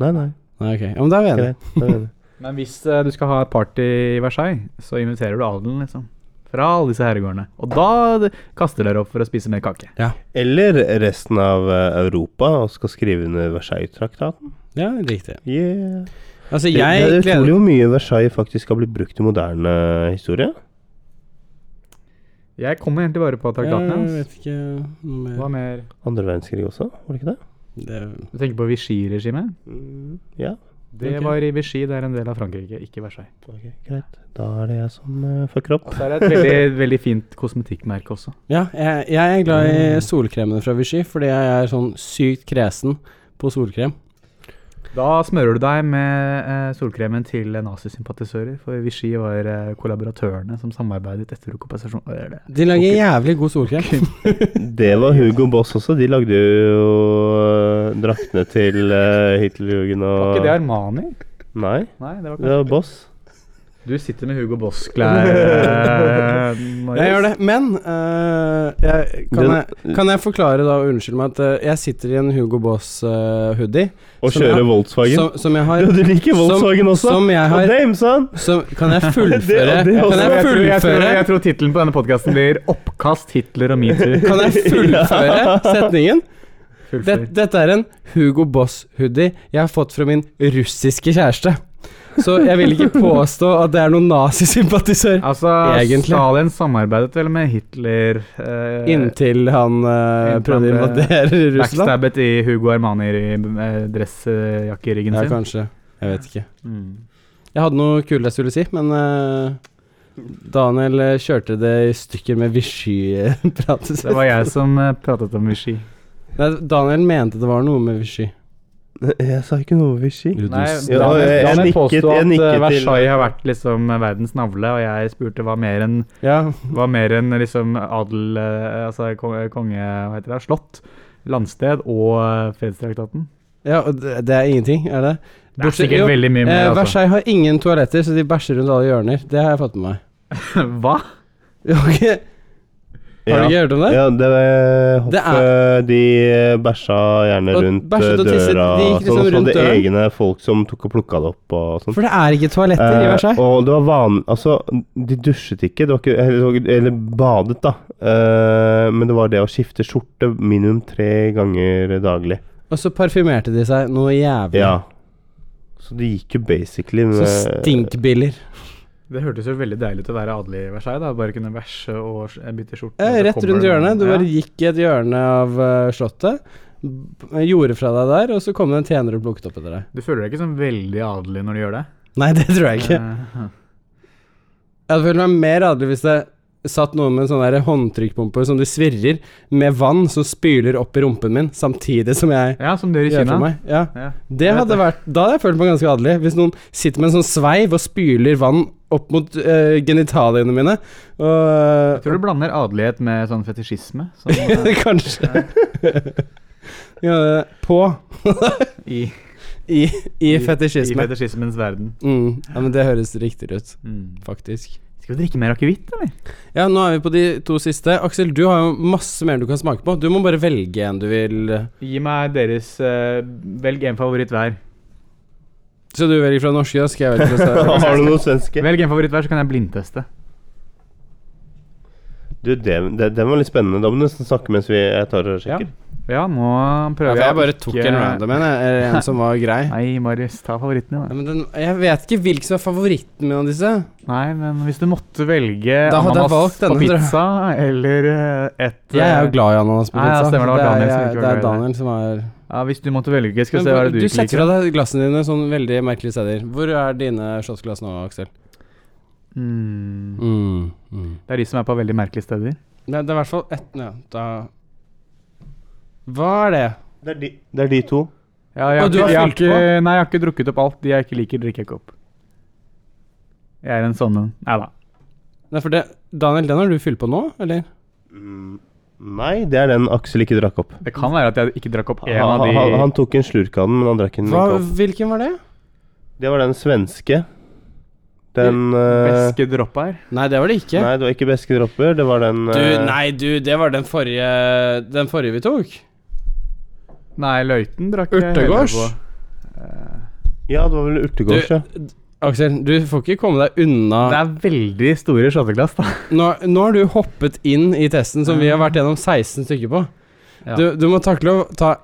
S1: Nei, nei.
S2: Nei, ok. Ja, men da er vi enige.
S1: Greit. da er vi enige.
S5: Men hvis eh, du skal ha et party i Versailles, så inviterer du adelen, liksom. Fra alle disse herregårdene. Og da d- kaster dere opp for å spise mer kake.
S1: Eller resten av øh, Europa og skal skrive under Versailles-traktaten.
S2: Ja, riktig.
S1: Yeah.
S2: Altså,
S1: Det- det
S2: jeg
S1: er utrolig
S2: gleder
S1: hvor mye Versailles faktisk har blitt brukt i moderne historie.
S5: Jeg kommer egentlig bare på traktaten
S2: Jeg
S5: hans.
S2: vet ikke noe
S5: Hva
S2: mer
S5: mer?
S1: Andre verdenskrig også, var det ikke det?
S2: Det-
S5: Du tenker på Vichy-regimet?
S1: Ja,
S5: Det
S2: Ok.
S5: var i Vichy, det er en del av Frankrike, ikke Versailles.
S1: ok, greit. Da er det jeg som eh, fucker opp.
S5: Så er det et veldig, veldig fint kosmetikkmerke også.
S2: Ja, jeg, jeg er glad i
S1: Mm.
S2: solkremene fra Vichy, fordi jeg er sånn sykt kresen på solkrem.
S5: Da smører du deg med eh, solkremen til eh, nazisympatisører, for Vichy var eh, kollaboratørene som samarbeidet etter okkupasjon. Hva er det?
S2: De lager jævlig god solkrem.
S1: Det var Hugo Boss også. De lagde jo eh, draktene til eh, Hitlerjugend
S5: Var ikke
S1: og
S5: det Armani?
S1: Nei,
S5: Nei, det var
S1: det var Boss.
S5: Du sitter med Hugo Boss-klær. Eh,
S2: Jeg gjør
S5: Marius.
S2: det, men øh, jeg, kan, jeg, kan jeg forklare da, og unnskyld meg, at øh, jeg sitter i en Hugo Boss-hoodie
S1: Og
S2: Som
S1: kjøre
S2: jeg-
S1: Volkswagen.
S2: som, som jeg
S1: Ja,
S2: har
S1: du liker Volkswagen også?
S2: som jeg har-
S1: Og Dame, son!
S2: som, Kan jeg fullføre?
S1: Det- det
S2: Kan
S1: også.
S2: jeg
S5: Jeg tror, jeg tror,
S2: fullføre,
S5: jeg tror tittelen på denne podkasten blir 'Oppkast Hitler og metoo'.
S2: kan jeg fullføre setningen? Det,
S5: Fullfør.
S2: dette er en Hugo Boss-hoodie jeg har fått fra min russiske kjæreste. Så jeg vil ikke påstå at det er noen nazisympatisør.
S5: Altså,
S2: Egentlig.
S5: Stalin samarbeidet vel med Hitler eh,
S2: Inntil han eh, prøvde å
S5: Inntil han ble
S2: invadere Russland.
S5: Backstabbet i Hugo Armani i eh, dressjakke i ryggen
S2: Ja,
S5: sin.
S2: kanskje. Jeg vet ikke.
S5: Mm.
S2: Jeg hadde noe kult jeg skulle si, men eh, Daniel eh, kjørte det i stykker med Vichy-pratet
S5: Det
S2: sitt.
S5: var jeg som eh, pratet om Vichy.
S2: Nei, Daniel mente det var noe med Vichy.
S1: Jeg sa ikke noe om Vichy.
S5: Nei,
S1: Ja,
S5: Daniel,
S1: jeg- jeg
S5: Daniel
S1: nikket-
S5: påstod
S1: jeg
S5: at
S1: nikket
S5: eh,
S1: til-
S5: Versailles har vært liksom verdens navle, og jeg spurte hva mer enn
S2: Ja,
S5: hva mer enn liksom adel eh, Altså konge, konge Hva heter det? Slott, landsted og eh, fredstraktaten.
S2: ja og det det er ingenting, er det?
S5: Det er
S2: Bortsett-
S5: sikkert
S2: jo,
S5: veldig mye
S2: Eh,
S5: mer, altså.
S2: Versailles har ingen toaletter, så de bæsjer rundt alle hjørner. Det har jeg fått med meg.
S5: Hva?
S2: Ja, ok. Har du ikke hørt om det?
S1: Ja, det var hoffet
S2: Det
S1: De eh, bæsja gjerne
S2: Og
S1: rundt eh,
S2: bæsjet og tisset, de
S1: døra.
S2: gikk liksom
S1: sånn at de
S2: rundt
S1: hadde
S2: døren.
S1: egne folk som tok og plukka det opp og sånn.
S2: For det er ikke toaletter i
S1: Eh,
S2: Versailles.
S1: og det var vanlig Altså, de dusjet ikke, det var ikke eller, det var ikke- eller badet, da. Eh, men det var det å skifte skjorte minimum tre ganger daglig.
S2: Og så parfymerte de seg noe jævlig.
S1: Ja. eh, Så det gikk jo basically med
S2: Så stinkbiller.
S5: Det hørtes jo veldig deilig ut å være adelig i Versailles. da, Bare kunne bæsje og sk- bytte skjorte.
S2: Eh,
S5: og så
S2: rett
S5: kommer
S2: rundt
S5: det-
S2: hjørnet. Du
S5: Ja.
S2: bare gikk i et hjørne av eh, slottet, b- eh, gjorde fra deg der, og så kom det en tjener og plukket opp etter deg.
S5: Du føler deg ikke sånn veldig adelig når du gjør det.
S2: Nei, det tror jeg ikke.
S5: Eh,
S2: Jeg hadde følt meg mer adelig hvis det satt noen med en sånn der håndtrykkpumpe som de svirrer med vann som spyler opp i rumpen min, samtidig som jeg
S5: Ja, som dere i
S2: gjør for
S5: Kina.
S2: meg. Ja.
S5: Ja.
S2: Det hadde vært, da hadde jeg følt meg ganske adelig. Hvis noen sitter med en sånn sveiv og spyler vann opp mot eh, genitaliene mine.
S5: Jeg
S2: Og,
S5: tror du blander adelighet med sånn fetisjisme. Som, eh,
S2: Kanskje. ja, på i,
S5: i,
S2: i
S5: i- I
S2: fetisjisme.
S5: fetisjismens verden.
S2: Mm, ja, men det høres riktigere ut,
S5: Mm.
S2: faktisk.
S5: Skal vi drikke mer akevitt, eller?
S2: Ja, nå er vi på de to siste. Aksel, du har jo masse mer du kan smake på. Du må bare velge en du vil. eh.
S5: Gi meg deres eh, Velg en favoritt hver.
S2: Så du velger fra norske, da skal jeg velge fra Sverige.
S1: Har du noen svenske?
S5: Velg en favoritt hver, så kan jeg blindteste.
S1: Du, det, det, den var litt spennende. Da må du nesten snakke mens vi, jeg tar og
S5: Ja.
S1: sjekker.
S5: ja, nå
S2: Ja,
S5: prøver
S2: for
S5: jeg.
S2: jeg
S5: å
S2: bare
S5: ikke-
S2: tok en random en, jeg, eller en som var grei.
S5: Nei, Marius, ta favorittene,
S2: Ja,
S5: da.
S2: men den, jeg vet ikke hvilken som er favoritten min av disse.
S5: Nei, men hvis du måtte velge
S2: Da hadde jeg
S5: ananas
S2: valgt denne,
S5: på
S2: tror jeg.
S5: pizza eller eh, et
S2: Jeg er
S5: eh,
S2: jo glad i ananas på
S5: Nei, ja,
S2: pizza.
S5: stemmer, det var
S2: er-
S5: Daniel som
S2: jeg-
S5: ikke var
S2: det er
S5: glad i det.
S2: Daniel som er
S5: eh, Ja, Hvis du måtte velge, skal
S2: Men
S5: vi se hva er
S2: hvor-
S5: det du
S2: Du
S5: ikke
S2: setter
S5: liker.
S2: fra deg glassene dine sånn veldig merkelige steder. Hvor er dine shotsglass nå, Aksel?
S5: Mm.
S2: Mm.
S5: Det er de som er på veldig merkelige steder.
S2: Nei, det er i hvert fall ett ja, da Hva er det?
S1: Det, er de, det er de to.
S5: Ja, jeg,
S2: Å, du
S5: ikke-
S2: har
S5: jeg,
S2: fylt
S5: ikke, nei, jeg har ikke drukket opp alt. De jeg ikke liker, drikker jeg ikke opp. Jeg er en sånn en. Nei da.
S2: Nei, for det Daniel, den har du fylt på nå, eller?
S1: Mm, Nei, det er den Aksel ikke drakk opp.
S5: Det kan være at jeg ikke drakk opp en
S1: Han,
S5: av de
S1: han, han tok en slurk av den, men han drakk den
S2: Hva,
S1: ikke opp.
S2: hvilken var det?
S1: Det var den svenske. Den eh,
S5: væskedroppa her.
S2: Nei, det var det ikke.
S1: Nei, det var ikke beske dropper. Det var den
S2: Du,
S1: eh,
S2: nei, du, det var den forrige Den forrige vi tok.
S5: Nei, Løiten drakk eh, jeg heller
S2: Urtegårds?
S5: på.
S1: Ja, det var vel urtegårds, ja.
S2: Aksel, du får ikke komme deg unna
S5: Det er veldig store shotteglass, da.
S2: Nå, nå har du hoppet inn i testen som vi har vært gjennom 16 stykker på.
S5: Ja.
S2: Du, du må takle å ta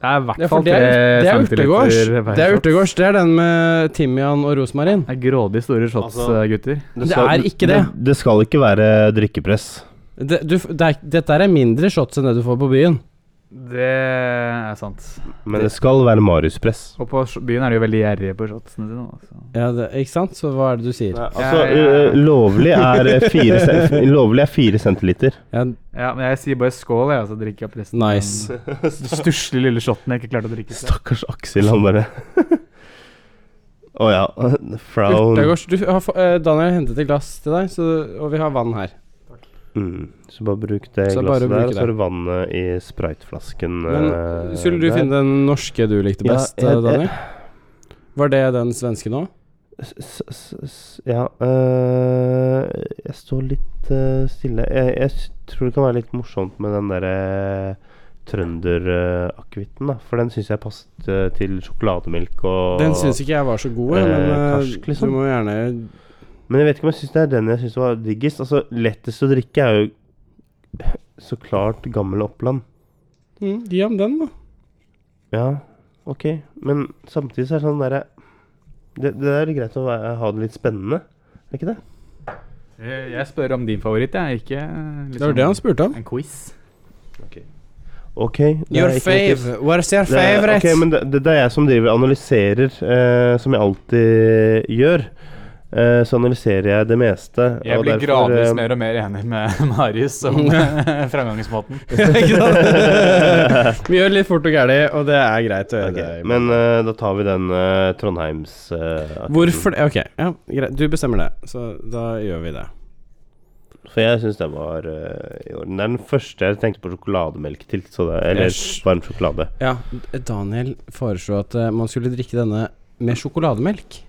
S5: Det er i
S2: ja,
S5: hvert
S2: for
S5: fall
S2: Det er, det er urtegårds.
S5: hver
S2: Det er
S5: shot.
S2: urtegårds. Det er den med timian og rosmarin.
S5: Det er grådig store shots,
S1: Altså-
S5: eh, gutter.
S2: Det er ikke det.
S1: Det, skal ikke være drikkepress.
S2: Det, du, f- det er, dette er mindre shots enn det du får på byen.
S5: Det er sant.
S1: Men det skal være Marius-press.
S5: Og på sh- byen er de jo veldig gjerrige på shotsene sine. da, så-
S2: Ja, det, ikke sant? Så hva er det du sier?
S1: Altså,
S5: Ja, ja, ja.
S1: eh, lovlig er eh, fire, cen- lovlig er fire centiliter.
S2: Ja,
S5: Ja, men jeg sier bare skål, jeg, og så drikker jeg opp resten.
S2: nice.
S5: Den stusslige lille shotten jeg ikke klarte å drikke. selv.
S1: Stakkars Aksel, han bare Å ja. Frown.
S2: Urtegårds. Du har, få- eh, Daniel har hentet et glass til deg, så, og vi har vann her.
S1: Mm. Så bare bruk det
S2: Så bare
S1: glasset
S2: bruke
S1: der, og så
S2: det.
S1: er det vannet i spriteflasken
S2: Men
S1: eh,
S2: skulle du
S1: der.
S2: finne den norske du likte
S1: Ja,
S2: best,
S1: jeg-
S2: eh, Daniel? Var det den svenske nå?
S1: S- s- s- s- Ja øh, Jeg står litt øh, stille. Jeg, jeg s- tror det kan være litt morsomt med den derre øh, trønderakevitten, da. For den syns jeg passet øh, til sjokolademelk og
S2: Den syns ikke jeg var så god,
S1: Eh,
S2: men eh,
S1: karsk, liksom.
S2: du må gjerne
S1: Men jeg vet ikke om jeg syns det er den jeg syns var diggest. Altså, lettest å drikke er jo så klart gammel Oppland.
S2: mm, Gi ham den, da.
S1: Ja, ok. Men samtidig så er det sånn derre Det, det er greit å være, ha det litt spennende, er ikke det?
S5: Eh, Jeg spør om din favoritt, jeg. Ikke eh,
S2: Det var det han
S5: liksom
S2: spurte om.
S5: en quiz.
S1: OK. Det er
S2: Your
S1: ikke noe tips.
S2: fave. Where's your
S1: Det er,
S2: favorite?
S1: ok, men det, det, det er jeg som driver og analyserer, eh, som jeg alltid gjør. Eh, så analyserer jeg det meste.
S5: Jeg
S1: og
S5: blir
S1: derfor,
S5: gradvis
S1: eh,
S5: mer og mer enig med Marius om framgangsmåten.
S2: Ikke sant? Vi gjør litt fort og gæli, og det er greit å gjøre
S1: ok,
S2: det.
S1: Men eh, da tar vi den eh, Trondheims... eh,
S2: Hvorfor det? Ok, ja, greit. Du bestemmer det, så da gjør vi det.
S1: For jeg syns den var eh, i orden. Det er den første jeg tenkte på sjokolademelk til. Så det, eller
S2: Yes.
S1: varm sjokolade.
S2: Ja, D- Daniel foreslo at eh, man skulle drikke denne med sjokolademelk.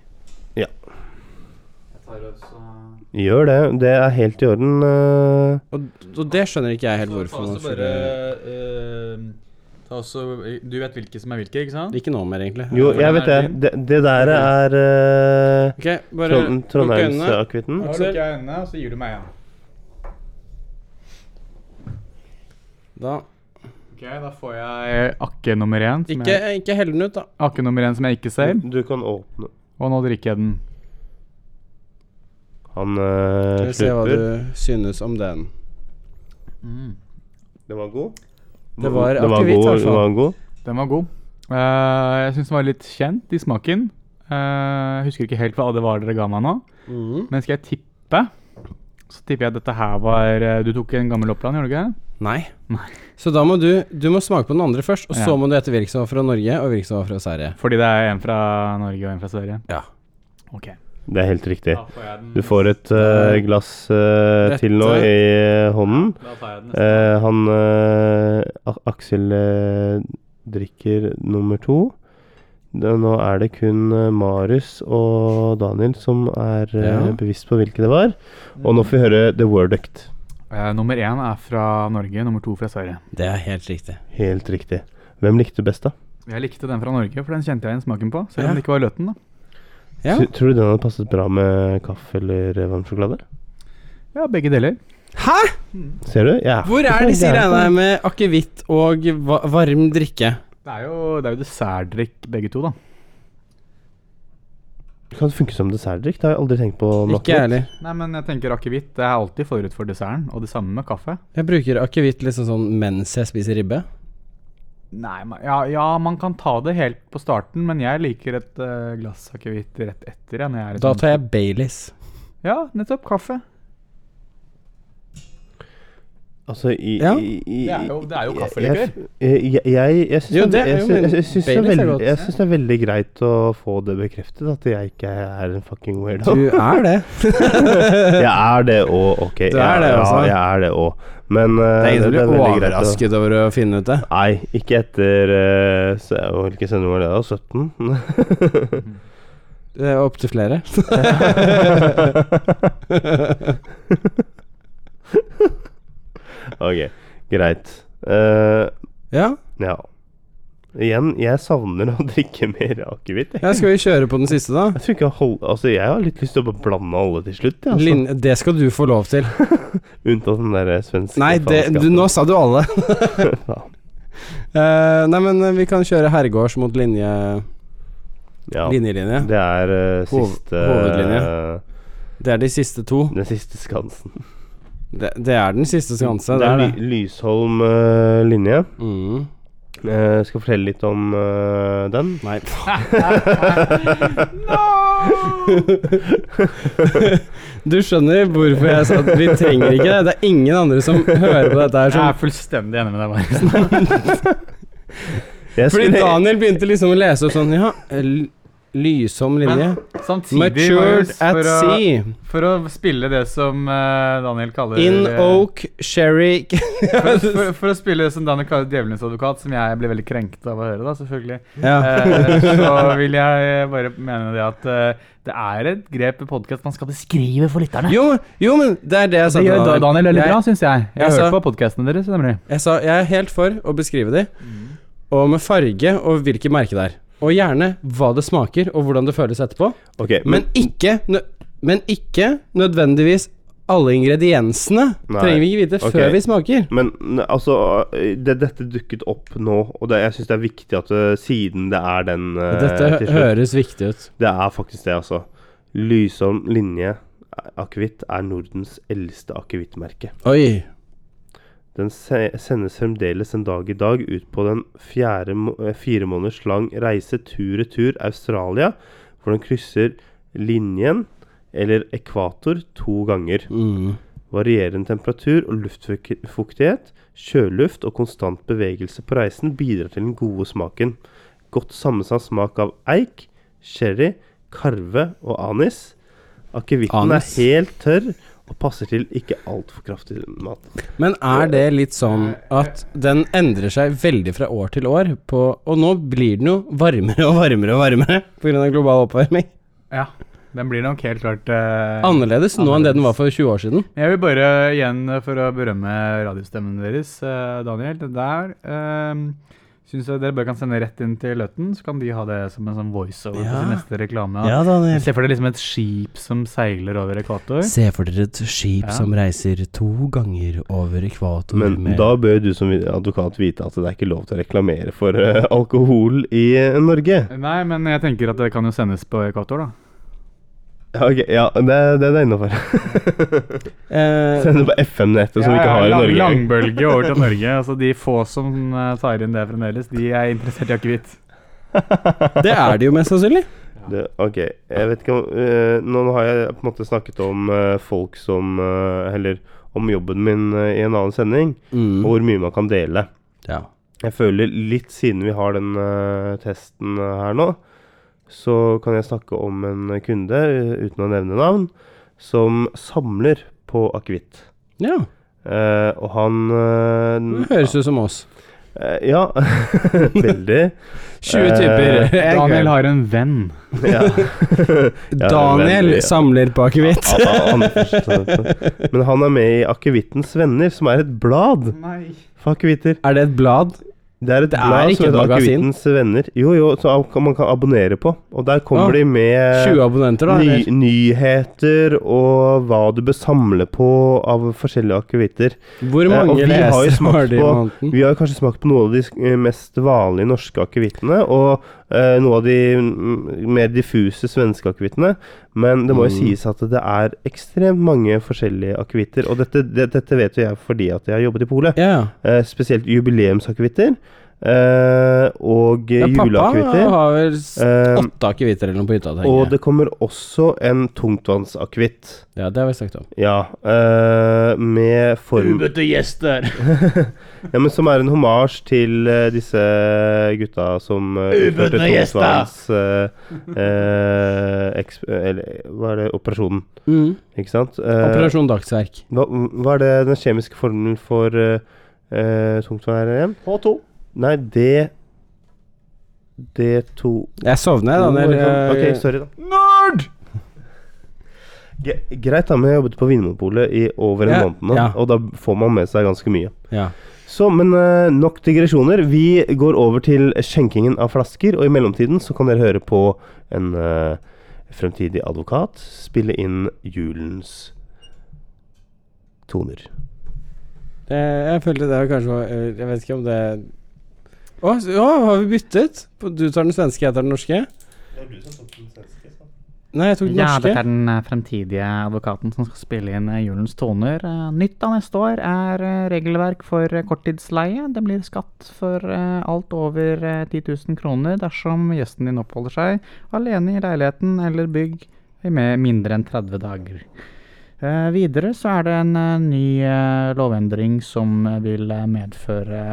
S1: Gjør det. Det er helt i orden. eh.
S2: Og, og det skjønner ikke jeg helt hvorfor man
S5: altså
S2: skulle
S5: eh, Du vet hvilke som er hvilke, ikke sant?
S2: Ikke nå mer, egentlig.
S1: jo,
S5: hvordan
S1: jeg vet det.
S5: er den?
S1: Det, det der er eh,
S2: Ok,
S1: Trond,
S2: bare lukk øynene.
S1: Trondheimsakvitten.
S2: Da lukker
S5: jeg øynene, og så gir du meg en.
S2: Da.
S5: Ok, Da får jeg akke nummer én. Som
S2: Ikke,
S5: jeg,
S2: ikke hell den ut, da.
S5: akke nummer én som jeg ikke ser.
S1: Du kan åpne
S5: Og nå drikker jeg den.
S1: Han eh,
S2: Skal vi se hva
S1: slurper.
S2: du synes om den.
S1: Den var god.
S2: Det var
S1: den var
S2: akevitt, i
S1: god,
S2: hvert
S1: den
S2: fall.
S1: var god.
S5: Den var god. Eh, jeg syns den var litt kjent i smaken. Eh, jeg husker ikke helt hva det var dere ga meg nå.
S2: Mhm.
S5: Men skal jeg tippe, så tipper jeg at dette her var eh, Du tok en gammel Oppland, gjorde du ikke? det?
S2: Nei.
S5: Nei.
S2: Så da må du Du må smake på den andre først, og så
S5: Ja.
S2: må du gjette hvilken som var fra Norge, og hvilken som var fra Sverige.
S5: Fordi det er en fra Norge og en fra Sverige?
S2: Ja.
S5: Ok.
S1: Det er helt riktig.
S5: får jeg den.
S1: Du får et eh, glass eh,
S2: Dette-
S1: til nå i eh, hånden.
S5: Da tar jeg den.
S1: Eh, han eh, A- Aksel eh, drikker nummer to. Da- Nå er det kun eh, Marius og Daniel som er eh,
S2: Ja.
S1: bevisst på hvilke det var. Og nå får vi høre The Worduct.
S5: Eh, nummer én er fra Norge, nummer to fra Sverige.
S2: Det er helt riktig.
S1: Helt riktig. Hvem likte du best, da?
S5: Jeg likte den fra Norge, for den kjente jeg igjen smaken på. Selv om
S2: Ja.
S5: det ikke var løten, da.
S2: Ja.
S1: Tr- Tror du den hadde passet bra med kaffe eller eh, varm sjokolade?
S5: Ja, begge deler.
S2: Hæ?!
S1: Ser du? Ja.
S2: Hvor er disse greiene her med akevitt og va varm drikke?
S5: Det er jo, det er jo dessertdrikk, begge to, da.
S1: Det kan funke som dessertdrikk. Det har jeg aldri tenkt på. om
S2: Ikke jeg
S1: akevitt.
S2: heller.
S5: Nei, men jeg tenker akevitt. Det er alltid forut for desserten. Og det samme med kaffe.
S2: Jeg bruker akevitt liksom sånn mens jeg spiser ribbe.
S5: Nei, ma- ja, ja, man kan ta det helt på starten, men jeg liker et eh, glass akevitt rett etter. Ja, når jeg er litt
S2: Da
S5: sånn-
S2: tar jeg Baileys.
S5: Ja, nettopp. Kaffe.
S1: Altså, i,
S2: Ja.
S1: i, i
S5: Det er jo- det er jo
S1: i-
S5: kaffelikør.
S1: Jeg, jeg, jeg, jeg syns
S2: Jo,
S1: det,
S2: det er
S1: jeg
S2: jo
S1: syns-
S2: min-
S1: jeg syns det, er
S2: Baileys er
S1: veldig-
S2: godt.
S1: jeg syns det er veldig greit å få det bekreftet, at jeg ikke er en fucking weirdo.
S2: Du er det.
S1: Jeg er det òg, ok.
S2: Du er det,
S1: ja,
S2: altså.
S1: Ja, jeg er det òg. Men eh,
S2: Det er ingen som blir
S1: veldig greit å-
S2: overrasket over å finne ut det.
S1: Nei, ikke etter eh, se- Hvilken sending var det, da? 17?
S2: Det er Opptil flere.
S1: ok, greit. Eh,
S2: Ja,
S1: ja. Igjen, jeg savner å drikke mer akevitt. jeg.
S2: ja skal vi kjøre på den siste, da?
S1: Jeg tror ikke jeg hold, Altså, jeg har litt lyst til å bare blande alle til slutt, jeg, altså.
S2: Lin det skal du få lov til.
S1: Unntatt den der eh, svenske
S2: Nei, det, du, nå sa du alle.
S1: faenskapen.
S2: Eh, nei, men eh, vi kan kjøre herregårds mot linje,
S1: ja.
S2: linjelinje.
S1: Det er eh,
S2: Hov-
S1: siste
S2: hovedlinje.
S1: eh,
S2: Det er de siste to.
S1: Den siste skansen.
S2: Det, det er den siste skanse.
S1: det er Ly- Lysholm eh, linje.
S2: Mm.
S1: Eh, skal fortelle litt om eh, den.
S2: Nei. Du skjønner hvorfor jeg sa at vi trenger ikke det. Det er ingen andre som hører på dette her
S5: Jeg
S2: som
S5: er fullstendig enig med deg, Marius.
S1: Jeg
S2: Fordi
S1: skulle-
S2: Daniel begynte liksom å lese opp sånn Ja, l- lysom linje.
S5: Samtidig,
S2: Matured
S5: Marius,
S2: at
S5: for å,
S2: sea.
S5: For å spille det som eh, Daniel kaller
S2: In
S5: eh,
S2: oak sherry
S5: for, for, for å spille det som Daniel kaller djevelens advokat, som jeg ble veldig krenket av å høre, da, selvfølgelig,
S2: Ja.
S5: eh, så vil jeg eh, bare mene det at eh, det er et grep i podkast man skal beskrive for lytterne.
S2: Jo, men- jo, men det er det jeg sa
S5: det
S2: til
S5: gjør Da- Daniel veldig
S2: Jeg-
S5: bra, syns jeg. Jeg
S2: jeg
S5: har
S2: sa-
S5: hørt på podkastene deres. nemlig.
S2: Jeg sa jeg er helt for å beskrive de,
S1: Mm.
S2: og med farge og hvilket merke det er. Og gjerne hva det smaker, og hvordan det føles etterpå.
S1: Ok, men
S2: Men ikke, nø men ikke nødvendigvis alle ingrediensene.
S1: Nei.
S2: Trenger vi ikke vite
S1: Ok.
S2: før vi smaker.
S1: Men ne, altså, det, dette dukket opp nå, og det, jeg syns det er viktig at eh, siden det er den eh,
S2: Dette
S1: til slutt
S2: høres viktig ut.
S1: Det er faktisk det, altså. Lysholm linje eh, akevitt er Nordens eldste akevittmerke.
S2: Oi.
S1: Den se sendes fremdeles en dag i dag ut på den fjerde må eh, fire måneders lang reise tur-retur Australia, hvor den krysser linjen, eller ekvator, to ganger.
S2: Mm.
S1: Varierende temperatur og luftfuktighet, kjøluft og konstant bevegelse på reisen bidrar til den gode smaken. Godt sammensatt smak av eik, sherry, karve og anis. Akevitten er
S2: Anis.
S1: helt tørr og passer til ikke altfor kraftig mat.
S2: Men er det litt sånn at den endrer seg veldig fra år til år, på, og nå blir den jo varmere og varmere og varmere pga. global oppvarming?
S5: Ja, den blir nok helt klart eh,
S2: Annerledes nå enn det den var for 20 år siden.
S5: Jeg vil bare igjen eh, for å berømme radiostemmen deres, eh, Daniel. Det der eh, syns jeg dere bare kan sende rett inn til Løtten, så kan de ha det som en sånn voiceover på
S2: Ja.
S5: sin neste reklame.
S2: Daniel.
S5: Se for deg liksom et skip som seiler over ekvator.
S2: Se for dere et skip
S5: Ja.
S2: som reiser to ganger over ekvator
S1: Men
S2: med
S1: da bør du som advokat vite at det er ikke lov til å reklamere for eh, alkohol i eh, Norge.
S5: Nei, men jeg tenker at det kan jo sendes på ekvator, da.
S1: Ja, ok, ja det, det er innafor.
S2: eh,
S1: Sende på FM-nettet som vi ikke har i
S5: lang-
S1: Norge.
S5: Langbølge over til Norge. Altså, de få som eh, tar inn det fremdeles, de er interessert i akevitt.
S2: Det er det jo mest sannsynlig.
S1: Det, ok, jeg vet ikke om eh, Nå har jeg på en måte snakket om eh, folk som eh, Eller om jobben min eh, i en annen sending,
S5: Mm.
S1: og hvor mye man kan dele.
S2: Mm. Ja.
S1: Jeg føler litt siden vi har den eh, testen eh, her nå, så kan jeg snakke om en kunde, eh, uten å nevne navn, som samler på akevitt.
S2: ja.
S1: Eh, og han eh,
S2: Det høres ut som oss.
S1: eh, Ja, veldig.
S2: 20 typer.
S1: Eh,
S2: en
S5: Daniel
S2: kveld.
S5: har en venn.
S1: Ja. Ja,
S2: Daniel
S1: veldig.
S2: samler på akevitt.
S1: Ja, ja, han forstår. Men han er med i Akevittens Venner, som er et blad
S5: Nei.
S1: for akevitter.
S2: Er det et blad?
S1: Det er et
S2: Det er
S1: blad
S2: ikke
S1: som
S2: et
S1: heter
S2: magasin.
S1: Akevittens Venner. Jo, jo, som ab- man kan abonnere på. Og der kommer
S2: Ah,
S1: de med
S2: 20 abonnenter, da?
S1: ny,
S2: eller?
S1: nyheter og hva du bør samle på av forskjellige akevitter. Eh,
S2: Hvor
S1: og
S2: mange
S1: vi har jo
S2: lesere
S1: smakt
S2: har de i
S1: på-
S2: måneden?
S1: Vi har kanskje smakt på noen av de sk- eh, mest vanlige norske akevittene, og eh, noen av de mm, mer diffuse svenske akevittene, men det må jo
S2: Mm.
S1: sies at det er ekstremt mange forskjellige akevitter, og dette, det, dette vet jo jeg fordi at jeg har jobbet i polet.
S2: Ja.
S1: Eh, spesielt jubileumsakevitter eh, og
S2: ja, pappa
S1: juleakevitter.
S2: har vel s-
S1: Eh,
S2: åtte akevitter eller noe på hytta,
S1: og
S2: tenker jeg.
S1: det kommer også en tungtvannsakevitt.
S2: Ja, det har vi snakket om.
S1: Ja, eh, med form
S6: gjester.
S1: Ja, men som er en hommage til eh, disse gutta som uh,
S6: Ubudne
S1: utførte
S6: gjester!
S1: Tungsvangs eh, Eller hva er det? Operasjonen,
S2: Mm.
S1: ikke sant? Eh,
S2: Operasjon Dagsverk.
S1: hva, hva er det den kjemiske formelen for uh, tungtvann er igjen?
S6: H2.
S1: Nei, D D2
S2: Jeg sovner, Daniel.
S1: Ok,
S2: Eh,
S1: sorry, da. Ge- Greit, da, men jeg jobbet på Vinmonopolet i over en
S2: Ja,
S1: måned nå,
S2: ja.
S1: og da får man med seg ganske mye.
S2: Ja.
S1: Så, men eh, nok digresjoner. Vi går over til skjenkingen av flasker, og i mellomtiden så kan dere høre på en eh, fremtidig advokat spille inn julens toner.
S2: Eh, Jeg følte det kanskje var eh, Jeg vet ikke om det Å, s- å, har vi byttet? På- Du tar den svenske, jeg tar den norske. Nei, jeg tok den
S8: Ja,
S2: norske.
S8: dette er den eh, fremtidige advokaten som skal spille inn eh, julens toner. Eh, Nytt av neste år er eh, regelverk for eh, korttidsleie. Det blir skatt for eh, alt over eh, 10 000 kroner dersom gjesten din oppholder seg alene i leiligheten eller bygg i med mindre enn 30 dager. Eh, videre så er det en eh, ny eh, lovendring som eh, vil eh, medføre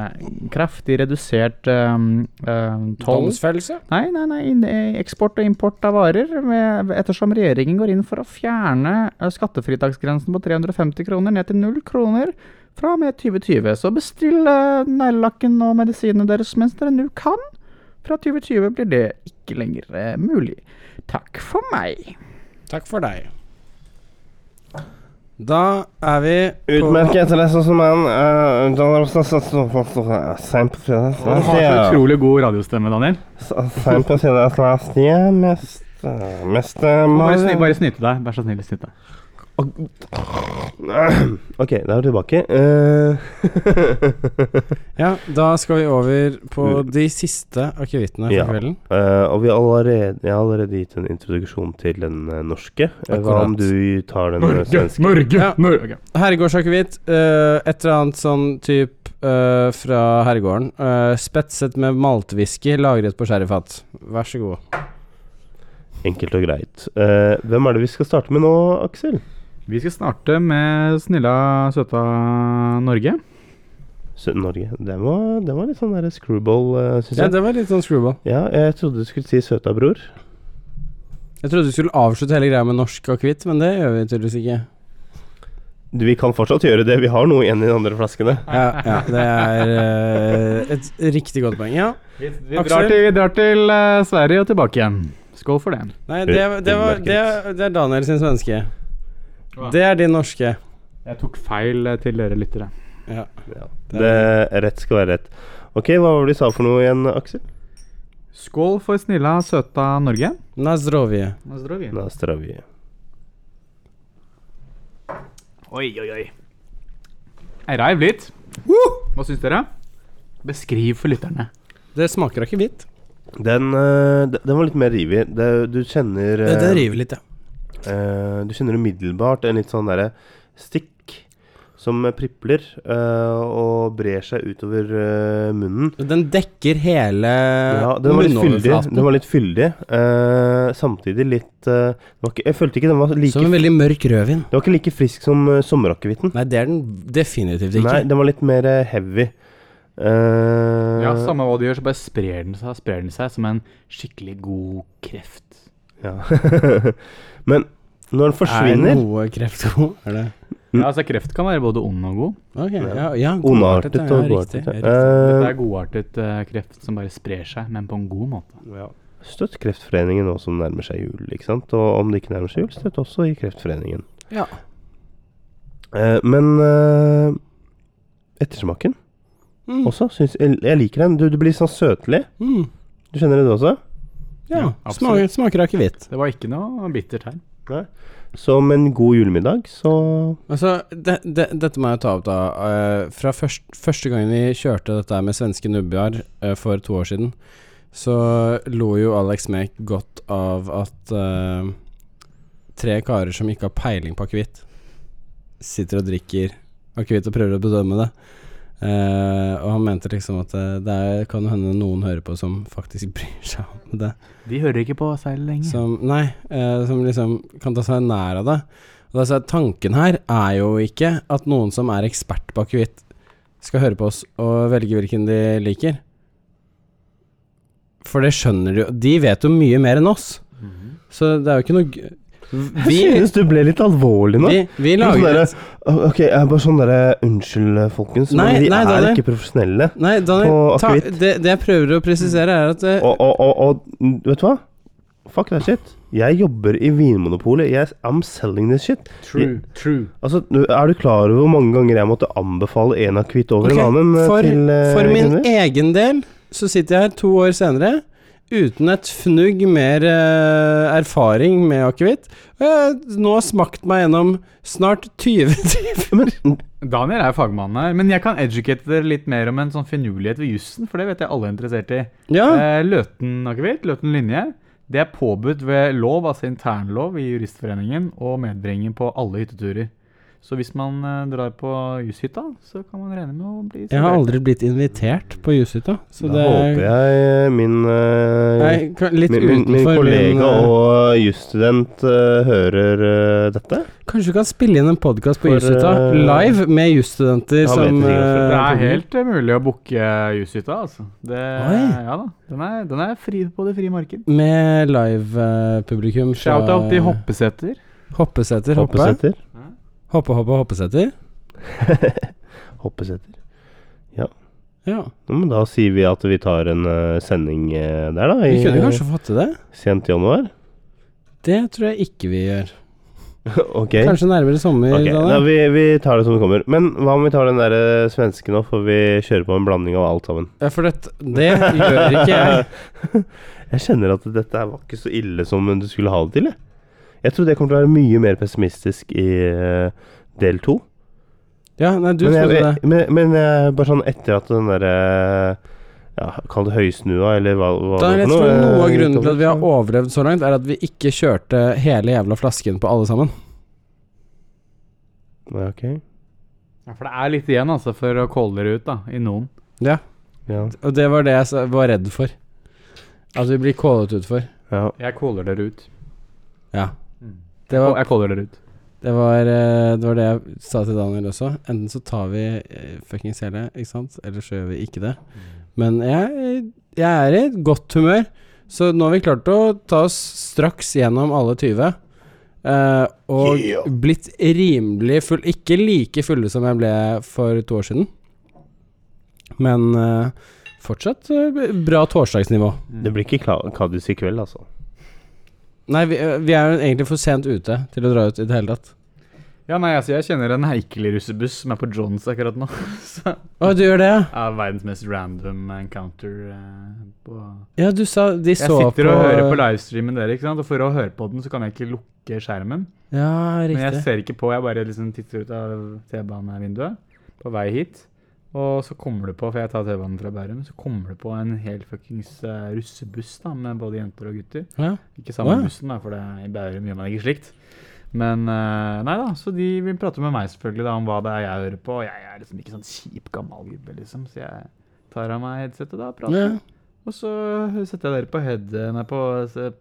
S8: kraftig redusert eh, eh, toll
S2: Domsfellelse?
S8: Nei, nei, nei. inn- eh, Eksport og import av varer, med, ettersom regjeringen går inn for å fjerne eh, skattefritaksgrensen på 350 kroner ned til null kroner fra og med 2020. Så bestill eh, neglelakken og medisinene deres mens dere nå kan. Fra 2020 blir det ikke lenger eh, mulig. Takk for meg.
S2: Takk for deg. Da er vi på-
S1: Utmerket etterlest som en eh, Donald Seint på fredag
S5: Du har så utrolig god radiostemme, Daniel.
S1: Seint på fredag last year, mest Mest
S5: Bare, sni, bare snyte deg. Vær så snill, snyte deg.
S1: OK, da er vi tilbake. Eh,
S2: Ja, da skal vi over på de siste akevittene for
S1: Ja.
S2: kvelden.
S1: eh, og vi har allerede, jeg har allerede gitt en introduksjon til den eh, norske. Eh, Hva om
S2: Akkurat.
S1: du tar den eh,
S5: Norge,
S1: svenske?
S5: Norge,
S2: Ja.
S5: Norge.
S2: Herregårdsakevitt, eh, et eller annet sånn type fra herregården. eh, spetset med maltwhisky lagret på sherryfat. Vær så god.
S1: Enkelt og greit. Eh, hvem er det vi skal starte med nå, Aksel?
S8: Vi skal starte med snilla, søta Norge.
S1: Sø- Norge. Den var, den var litt sånn der screwball, uh, syns
S2: Ja,
S1: jeg.
S2: det var litt sånn screwball.
S1: Ja, jeg trodde du skulle si søta bror.
S2: Jeg trodde du skulle avslutte hele greia med norsk akevitt, men det gjør vi tydeligvis ikke.
S1: Du, Vi kan fortsatt gjøre det, vi har noe igjen i de andre flaskene.
S2: Ja, ja det er eh, et riktig godt poeng. Ja.
S5: Vi,
S8: Vi drar til, vi drar til eh, Sverige og tilbake igjen. Skål for det.
S2: Nei, det, det, var, det, det er Daniel sin svenske. Det er din norske.
S8: Jeg tok feil eh, til dere lyttere.
S2: Ja.
S1: Det, rett skal være rett. Ok, hva var det du sa for noe igjen, Aksel?
S8: Skål for snilla, søta Norge.
S2: Nazdrovje.
S1: Da strar vi.
S8: Oi, oi, oi. Jeg reiv litt. Hva syns dere? Beskriv for lytterne.
S2: Det smaker akevitt.
S1: Den, eh, d- den var litt mer rivig. Det, du kjenner eh,
S2: river litt, ja.
S1: eh, Du kjenner umiddelbart en litt sånn derre stikk som pripler eh, og brer seg utover eh, munnen.
S2: Den dekker hele
S1: Ja, den var litt fyldig.
S2: munnoverflaten.
S1: Den var litt fyldig. eh, samtidig litt eh, den var ikke, Jeg følte ikke den var like
S2: Som en
S1: Den
S2: veldig mørk rødvin.
S1: var ikke like frisk som uh, sommerakevitten.
S2: Nei, det er den definitivt ikke.
S1: Nei, den var litt mer eh, heavy. Eh,
S5: Ja, samme hva du gjør, så bare sprer den seg, sprer den seg som en skikkelig god kreft.
S1: Ja. Men når den
S2: Er
S1: forsvinner
S2: noe kreft god? Er det
S5: Ja, altså Kreft kan være både ond og god.
S2: Ok, ja, ja
S1: Ondartet
S2: godartet, ja,
S1: og
S2: riktig,
S1: godartet.
S2: ja, riktig.
S5: Det
S1: Eh,
S5: er godartet eh, kreft som bare sprer seg, men på en god måte.
S1: Støtt Kreftforeningen nå som nærmer seg jul, ikke sant? Og om det ikke nærmer seg jul, støtt også i Kreftforeningen.
S2: Ja.
S1: Eh, men eh, ettersmaken
S2: Mm.
S1: også syns jeg, jeg liker den. Du, du blir sånn søtlig.
S2: Mm.
S1: Du kjenner det, du også?
S2: Ja, smaker,
S5: absolutt.
S2: smaker akevitt.
S5: Det var ikke noe bittert her.
S1: Som en god julemiddag, så
S2: Altså, det, det, dette må jeg ta opp, da. Eh, fra først, første gangen vi kjørte dette her med svenske nubbier eh, for to år siden, så lo jo Alex meg godt av at eh, tre karer som ikke har peiling på akevitt, sitter og drikker akevitt og prøver å bedømme det. Eh, og han mente liksom at eh, det er- kan jo hende noen hører på som faktisk bryr seg om det.
S5: De hører ikke på seilet lenger.
S2: Som, nei, eh, som liksom kan ta seg nær av det. Og da sa jeg, Tanken her er jo ikke at noen som er ekspert på akevitt, skal høre på oss og velge hvilken de liker. For det skjønner du jo De vet jo mye mer enn oss. Så det er jo ikke noe g- Vi,
S1: Jeg synes du ble litt alvorlig nå. sånn
S2: vi, vi lager et
S1: Ok, jeg er bare sånn derre Unnskyld, folkens,
S2: Nei,
S1: men vi
S2: nei, det er
S1: er
S2: det.
S1: ikke profesjonelle.
S2: Nei, Daniel,
S1: På
S2: ta,
S1: akevitt.
S2: det, det jeg prøver å presisere, er at eh,
S1: Og, og, og, og mm, vet du hva? Fuck that shit. Jeg jobber i Vinmonopolet. Jeg, I'm selling this shit. True,
S5: true.
S1: Altså, nu- Er du klar over hvor mange ganger jeg måtte anbefale en akevitt over
S2: Ok,
S1: en annen? eh,
S2: for,
S1: til, eh,
S2: for min
S1: kunder?
S2: egen del så sitter jeg her to år senere uten et fnugg mer eh, erfaring med akevitt. Og jeg har nå smakt meg gjennom snart 20 timer.
S1: Men,
S5: Daniel er fagmann her, men jeg kan educate dere litt mer om en sånn finurlighet ved jussen, for det vet jeg alle er interessert i.
S2: Ja,
S5: Eh, løten akevitt, løten linje, det er påbudt ved lov, altså internlov i Juristforeningen, og medbringing på alle hytteturer. Så hvis man eh, drar på jushytta, så kan man regne med å bli
S2: jeg har
S5: servert.
S2: aldri blitt invitert på jushytta, så
S1: da
S2: det
S1: håper
S2: er
S1: jeg eh, min eh,
S2: Nei, ka- litt
S1: Min, min, min
S2: utenfor min,
S1: kollega
S2: eh,
S1: og jusstudent eh, hører eh, dette.
S2: Kanskje du kan spille inn en podkast på
S1: For,
S2: jushytta
S1: eh,
S2: live med jusstudenter
S1: vet
S2: som
S1: ikke, for
S5: Det
S2: eh,
S5: er helt eh, mulig å booke jushytta, altså. Det,
S2: Oi.
S5: ja da. Den er, den er fri på det frie marked.
S2: Med live-publikum.
S5: Shout-out til Hoppeseter.
S2: Hoppeseter. Hoppe,
S1: Hoppesetter.
S2: hoppe, hoppe, hoppeseter.
S1: Hoppesetter.
S2: Ja.
S1: Ja, Men da sier vi at vi tar en eh, sending eh, der, da. I
S2: Vi kunne
S1: eh,
S2: kanskje fått til det.
S1: sent januar.
S2: Det tror jeg ikke vi gjør.
S1: ok.
S2: Kanskje nærmere sommer.
S1: Ok,
S2: Daniel?
S1: da, vi, vi tar det som det kommer. Men hva om vi tar den der eh, svenske nå, for vi kjører på en blanding av alt sammen?
S2: Ja, For det, det gjør ikke jeg.
S1: Jeg kjenner at dette her var ikke så ille som du skulle ha det til. Jeg, Jeg tror det kommer til å være mye mer pessimistisk i eh, del to.
S2: Ja, nei, du
S1: men,
S2: trodde
S1: jeg,
S2: det.
S1: jeg, men, men eh, bare sånn etter at den derre ja, Kall det høysnua, eller hva, hva
S2: Da
S1: det
S2: er
S1: er
S2: jeg tror
S1: eh,
S2: noe av grunnen til
S1: utover.
S2: at vi har overlevd så langt, er at vi ikke kjørte hele jævla flasken på alle sammen.
S1: Ja, ok.
S5: Ja, for det er litt igjen altså, for å calle dere ut da, i noen.
S2: Ja,
S1: Ja.
S2: og det var det jeg sa- var redd for. At vi blir kålet ut for.
S1: ja.
S5: Jeg caller dere ut.
S2: Ja.
S5: Mm.
S2: Det
S5: Og
S2: var,
S5: jeg caller dere ut.
S2: det, var, eh, det var det jeg sa til Daniel også. Enten så tar vi eh, fuckings hele, ikke sant, eller så gjør vi ikke det. Men jeg, jeg er i et godt humør, så nå har vi klart å ta oss straks gjennom alle 20. eh, og blitt rimelig full Ikke like fulle som jeg ble for to år siden, men eh, fortsatt eh, bra torsdagsnivå.
S1: Det blir ikke Kla- Cadiz i kveld, altså.
S2: Nei, vi, eh, vi er jo egentlig for sent ute til å dra ut i det hele tatt.
S5: Ja, nei, altså, jeg kjenner en heikelig russebuss som er på Johns akkurat nå. Så
S2: Å, du gjør det, ja?
S5: er verdens mest random encounter eh, på
S2: Ja, du sa de
S5: Jeg
S2: så
S5: sitter
S2: på
S5: og hører på livestreamen dere, ikke sant? og for å høre på den, så kan jeg ikke lukke skjermen.
S2: Ja,
S5: Men jeg
S2: riktig.
S5: ser ikke på, jeg bare liksom titter ut av T-banevinduet på vei hit. Og så kommer det på, for jeg tar T-banen fra Bærum, så kommer det på en hel fuckings eh, russebuss da, med både jenter og gutter.
S2: Ja.
S5: Ikke
S2: Å,
S5: samme
S2: ja.
S5: bussen, da, for det, i Bærum gjør man ikke slikt. Men eh, nei da, så de vil prate med meg selvfølgelig da, om hva det er jeg hører på. Og jeg er liksom ikke sånn kjip gammel gubbe, liksom, så jeg tar av meg headsetet da og prater.
S2: Ja.
S5: Og så setter jeg dere på, head, nei, på,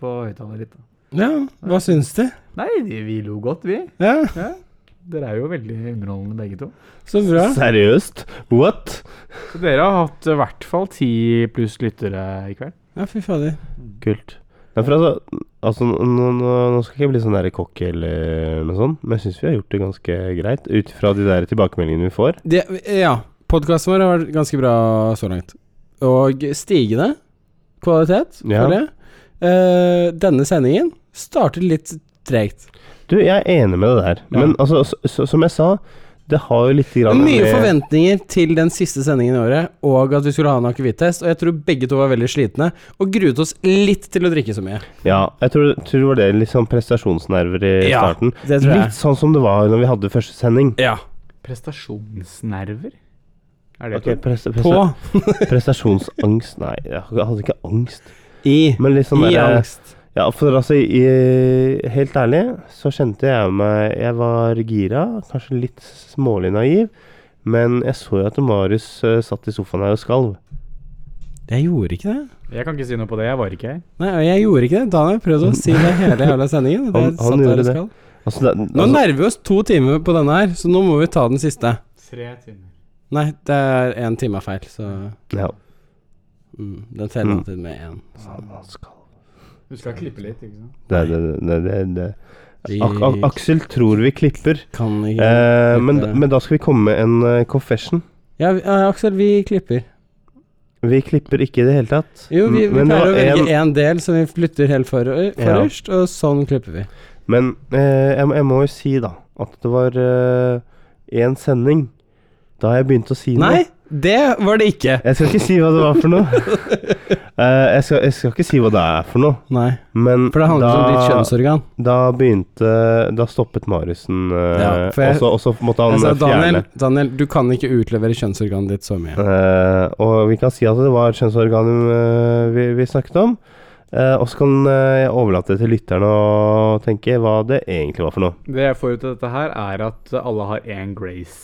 S5: på høyttaler litt. Da.
S2: ja, hva syns de?
S5: Nei, de, vi lo godt, vi.
S2: Ja,
S5: Dere er jo veldig underholdende begge to.
S2: så bra.
S1: Seriøst? What?
S5: Så dere har hatt i hvert fall ti pluss lyttere i kveld.
S2: Ja, fy fader.
S1: Kult. Nei, for altså, altså nå, nå, nå skal ikke jeg bli sånn der cocky eller noe sånt, men jeg syns vi har gjort det ganske greit, ut ifra de der tilbakemeldingene vi får.
S2: Det, ja, podkasten vår har vært ganske bra så langt. Og stigende kvalitet for
S1: Ja.
S2: det. Eh, denne sendingen startet litt tregt.
S1: Du, jeg er enig med det der,
S2: Ja.
S1: men altså, så, så, som jeg sa, det har jo litt grann
S2: Mye
S1: med-
S2: forventninger til den siste sendingen i året, og at vi skulle ha en akevitt-test. Og jeg tror begge to var veldig slitne, og gruet oss litt til å drikke så mye.
S1: Ja, jeg tror, tror det var det litt sånn prestasjonsnerver i
S2: Ja,
S1: starten.
S2: det tror jeg.
S1: Litt sånn som det var når vi hadde første sending.
S2: Ja.
S5: Prestasjonsnerver? Er det
S1: Ok, presta-
S2: På
S1: presta- prestasjonsangst Nei, jeg hadde ikke angst,
S2: i,
S1: men litt sånn
S2: i
S1: derre
S2: angst.
S1: Ja, for altså, i, helt ærlig, så kjente jeg meg Jeg var gira, kanskje litt smålig naiv, men jeg så jo at Marius eh, satt i sofaen her og skalv.
S2: Jeg gjorde ikke det.
S5: Jeg kan ikke si noe på det, jeg var ikke her.
S2: Nei, og jeg gjorde ikke det. Daniel prøvde å si det hele jævla sendingen. og Det
S1: Han- han
S2: satt der
S1: gjorde
S2: og
S1: det.
S2: skal.
S1: Altså, det,
S2: Nå
S1: altså,
S2: nærmer vi oss to timer på denne her, så nå må vi ta den siste.
S5: Tre timer.
S2: Nei, det er én time er feil, så
S1: ja,
S2: mm, Den teller alltid med én.
S5: Du skal klippe litt, ikke sant?
S1: det, det, det, det, det.
S2: Vi
S1: Ak Ak Aksel tror vi klipper,
S2: kan ikke
S1: eh, men,
S2: klippe.
S1: men da skal vi komme med en eh, confession.
S2: Ja, vi- ja, Aksel, vi klipper.
S1: Vi klipper ikke i det hele tatt.
S2: Jo, vi, vi
S1: Mm, Men det
S2: pleier å
S1: var en-
S2: velge én del som vi flytter helt for, forrest, og sånn klipper vi.
S1: Men eh, jeg, må- jeg må jo si, da, at det var én sending da jeg begynte å si noe.
S2: Nei, det var det ikke.
S1: Jeg skal ikke si hva det var for noe. Eh, jeg, skal, jeg skal ikke si hva det er for noe,
S2: Nei,
S1: men
S2: for det handler
S1: da,
S2: om ditt kjønnsorgan.
S1: da begynte Da stoppet Mariussen, eh,
S2: Ja, for
S1: og
S2: jeg-
S1: så- og så måtte han
S2: Jeg sa,
S1: eh, fjerne.
S2: Daniel, Daniel, du kan ikke utlevere kjønnsorganet ditt så mye.
S1: Eh, og vi kan si at det var kjønnsorganet eh, vi, vi snakket om. Eh, og så kan eh, jeg overlate det til lytterne å tenke hva det egentlig var for noe.
S5: Det jeg får ut av dette her, er at alle har én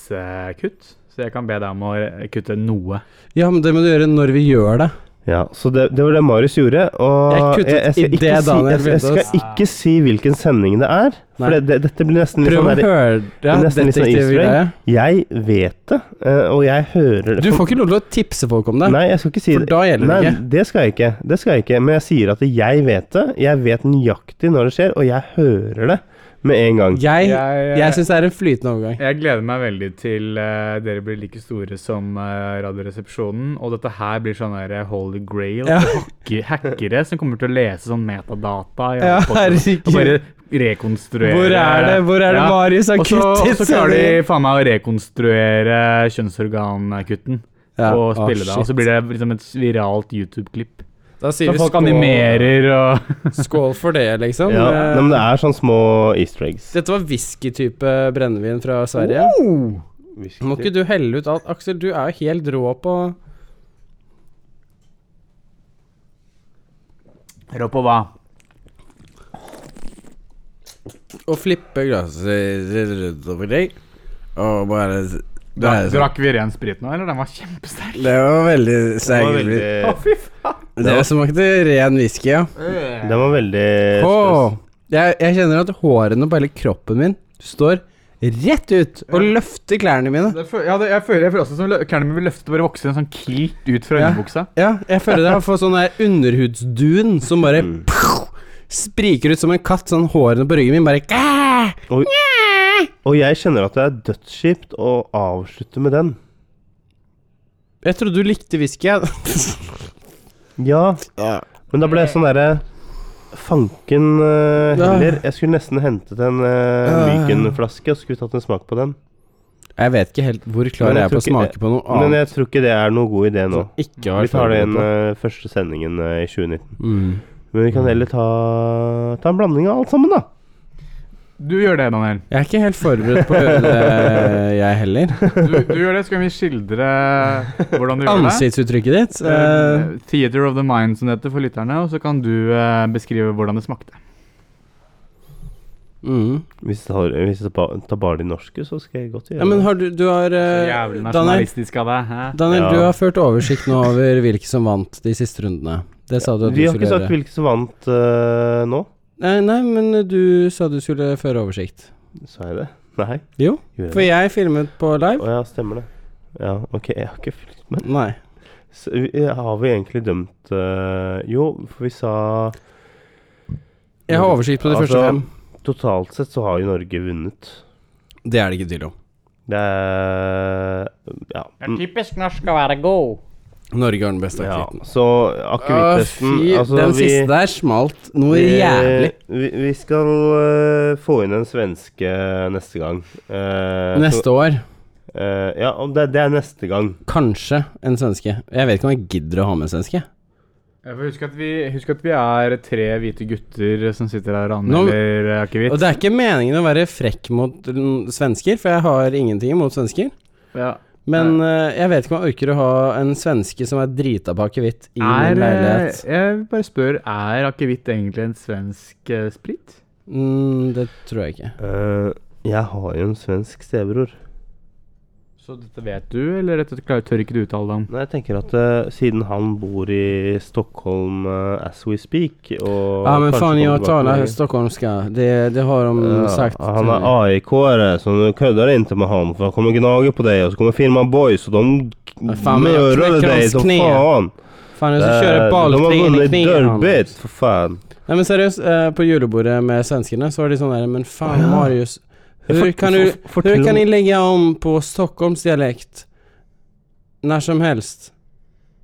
S5: Grace-kutt. Så jeg kan be deg om å eh, kutte noe.
S2: Ja, men det må du gjøre når vi gjør det.
S1: Ja, Så det, det var det Marius gjorde. Og
S2: Jeg kuttet
S1: skal
S2: i det
S1: ikke
S2: Daniel
S1: si, jeg, jeg
S2: begynte å
S1: skal ikke si hvilken sending det er, for
S2: Nei.
S1: det, det, dette blir nesten litt
S2: Prøv
S1: sånn
S2: å
S1: der-
S2: høre ja,
S1: det er nesten litt sånn
S2: detektivgreie.
S1: Jeg vet det, eh, og jeg hører det
S2: Du får ikke lov til å tipse folk om det.
S1: Nei, jeg skal ikke si
S2: For da gjelder det
S1: Nei,
S2: ikke.
S1: Det skal jeg ikke. Det skal jeg ikke. Men jeg sier at jeg vet det. Jeg vet nøyaktig når det skjer, og jeg hører det med en gang.
S2: Jeg,
S5: Jeg, eh,
S2: jeg syns det er en flytende overgang.
S5: Jeg gleder meg veldig til eh, dere blir like store som eh, Radioresepsjonen. Og dette her blir sånn der Holy Grail.
S2: Ja.
S5: Hacker, hackere som kommer til å lese sånn metadata. i
S2: Ja,
S5: alle podcaster, Og bare
S2: herregud.
S5: rekonstruere
S2: Hvor er det Hvor er det
S5: Ja.
S2: Marius har
S5: Og så og så
S2: kuttet
S5: klarer de faen meg å rekonstruere kjønnsorgankutten.
S2: Ja,
S5: Og
S2: å,
S5: spille det. Og så
S2: shit.
S5: blir det liksom et viralt YouTube-klipp.
S2: Da sier
S5: Så
S2: vi
S5: folk
S2: skål,
S5: animerer og
S2: skål for det, liksom.
S1: Ja,
S2: Eh,
S1: nei, men det er sånn små easter eggs.
S2: Dette var whiskytype brennevin fra Sverige.
S1: Oh!
S2: Må ikke du helle ut alt? Aksel, du er jo helt rå på
S5: Rå på hva?
S2: å flippe glasset rundt over deg. Og bare
S5: Drakk vi ren sprit nå, eller? Den var kjempesterk.
S2: Det var veldig
S1: Den
S2: sterk.
S1: var veldig,
S2: Det smakte ren whisky, ja.
S1: den var veldig
S2: Åh, jeg, jeg kjenner at hårene på hele kroppen min står rett ut og løfter klærne mine.
S5: Det føl- ja, det, jeg føler jeg føler også som lø- klærne mine blir løftet og bare vokser en sånn kilt ut fra
S2: Ja.
S5: underbuksa.
S2: Ja, jeg føler jeg har fått sånn der underhudsdun som bare
S1: Mm.
S2: spriker ut som en katt. Sånn hårene på ryggen min bare Gæ!
S1: Og jeg kjenner at det er dødskjipt å avslutte med den.
S2: Jeg trodde du likte whisky. jeg.
S1: Ja, men da ble jeg sånn derre Fanken eh, heller. Jeg skulle nesten hentet en uh, Myken-flaske og skulle tatt en smak på den.
S2: Jeg vet ikke helt hvor
S1: Men
S2: klar
S1: jeg
S2: jeg er på å
S1: tror ikke-
S2: smake på noe
S1: Men jeg
S2: annet.
S1: tror ikke det er noe god idé nå.
S2: som ikke har
S1: Vi tar det
S2: forberedt
S1: inn
S2: på.
S1: eh, første sendingen eh, i 2019.
S2: Mm.
S1: Men vi kan heller ta, ta en blanding av alt sammen, da.
S5: Du gjør det, Daniel.
S2: Jeg er ikke helt forberedt på å høre det, jeg heller.
S5: Du, du gjør det, så kan vi skildre hvordan du gjør det.
S2: Ansiktsuttrykket ditt eh,
S5: Eh, Theater of the Mind, som det heter for lytterne. Og så kan du eh, beskrive hvordan det smakte.
S2: mm.
S1: Hvis jeg tar, hvis jeg tar, tar bare de norske, så skal jeg godt gjøre
S2: Ja, men
S1: det.
S2: har du Du har eh, Daniel,
S5: av deg.
S2: Daniel
S1: Ja.
S2: du har ført oversikt nå over hvilke som vant de siste rundene. Det sa du at du
S1: Vi har
S2: skulle
S1: ikke
S2: gjøre.
S1: sagt hvilke som vant eh, nå.
S2: Nei, nei, men du sa du skulle føre oversikt.
S1: Sa jeg det? Nei.
S2: Jo,
S1: Gjorde
S2: for
S1: jeg det?
S2: jeg filmet på
S1: Å
S2: live.
S1: ja, stemmer det. Ja, ok, jeg har ikke fulgt med.
S2: Nei.
S1: Så, vi- eh, har vi egentlig dømt eh, Jo, for vi sa
S2: Jeg har oversikt på de
S1: Altså-
S2: første fem.
S1: Totalt sett så har jo Norge vunnet.
S2: Det er det ikke tvil om.
S1: Det er Ja. mm,
S8: Typisk norsk å være god.
S2: Norge har den beste
S1: ja.
S2: aktiviteten.
S1: Så akevittesten altså,
S2: den
S1: vi-
S2: siste der smalt noe
S1: vi-
S2: jævlig.
S1: Vi, vi skal eh, få inn en svenske neste gang. Eh, så-
S2: Neste år,
S1: eh, ja, og det, det er neste gang.
S2: kanskje en svenske. Jeg vet ikke om jeg gidder å ha med en svenske.
S5: Husk at, vi, husk at vi er tre hvite gutter som sitter her og
S2: Nå-
S5: anmelder eh, akevitt.
S2: Og det er ikke meningen å være frekk mot mm, svensker, for jeg har ingenting imot svensker.
S5: Ja.
S2: Men eh, jeg vet ikke om jeg orker å ha en svenske som er drita på akevitt i
S5: Er,
S2: min
S5: eh,
S2: leilighet.
S5: jeg bare spør, er akevitt egentlig en svensk eh, sprit?
S2: Mm, det tror jeg ikke.
S1: Eh, jeg har jo en svensk stebror.
S5: Så dette vet du, eller dette klar- tør ikke du uttale deg om?
S1: Nei, jeg tenker at eh, siden han bor i Stockholm eh, as we speak og
S2: Ja, men
S1: kanskje
S2: fan,
S1: kommer
S2: jag
S1: tilbake
S2: talar
S1: til-
S2: stockholmska. Det, det har de sagt. eh,
S1: han er AIK-are, så du kødder ikke med han. For han kommer gnage på deg, og så kommer Firma Boys, og de
S2: Fan, men jeg
S1: mører
S2: knekker
S1: deg
S2: hans
S1: som
S2: kne.
S1: faen.
S2: Fan, jeg skal
S1: Eh, de
S2: kjøre
S1: har
S2: balltre inn i
S1: vunnet
S2: kneet.
S1: derbyt, for faen.
S2: Nei, men seriøst, eh, på julebordet med svenskene så var de sånn der Men faen,
S1: Ja.
S2: Marius. Hur
S1: For-
S2: kan, du,
S1: for- fortell
S2: hur
S1: om-
S2: kan ni lägga om på Stockholms dialekt? När som helst.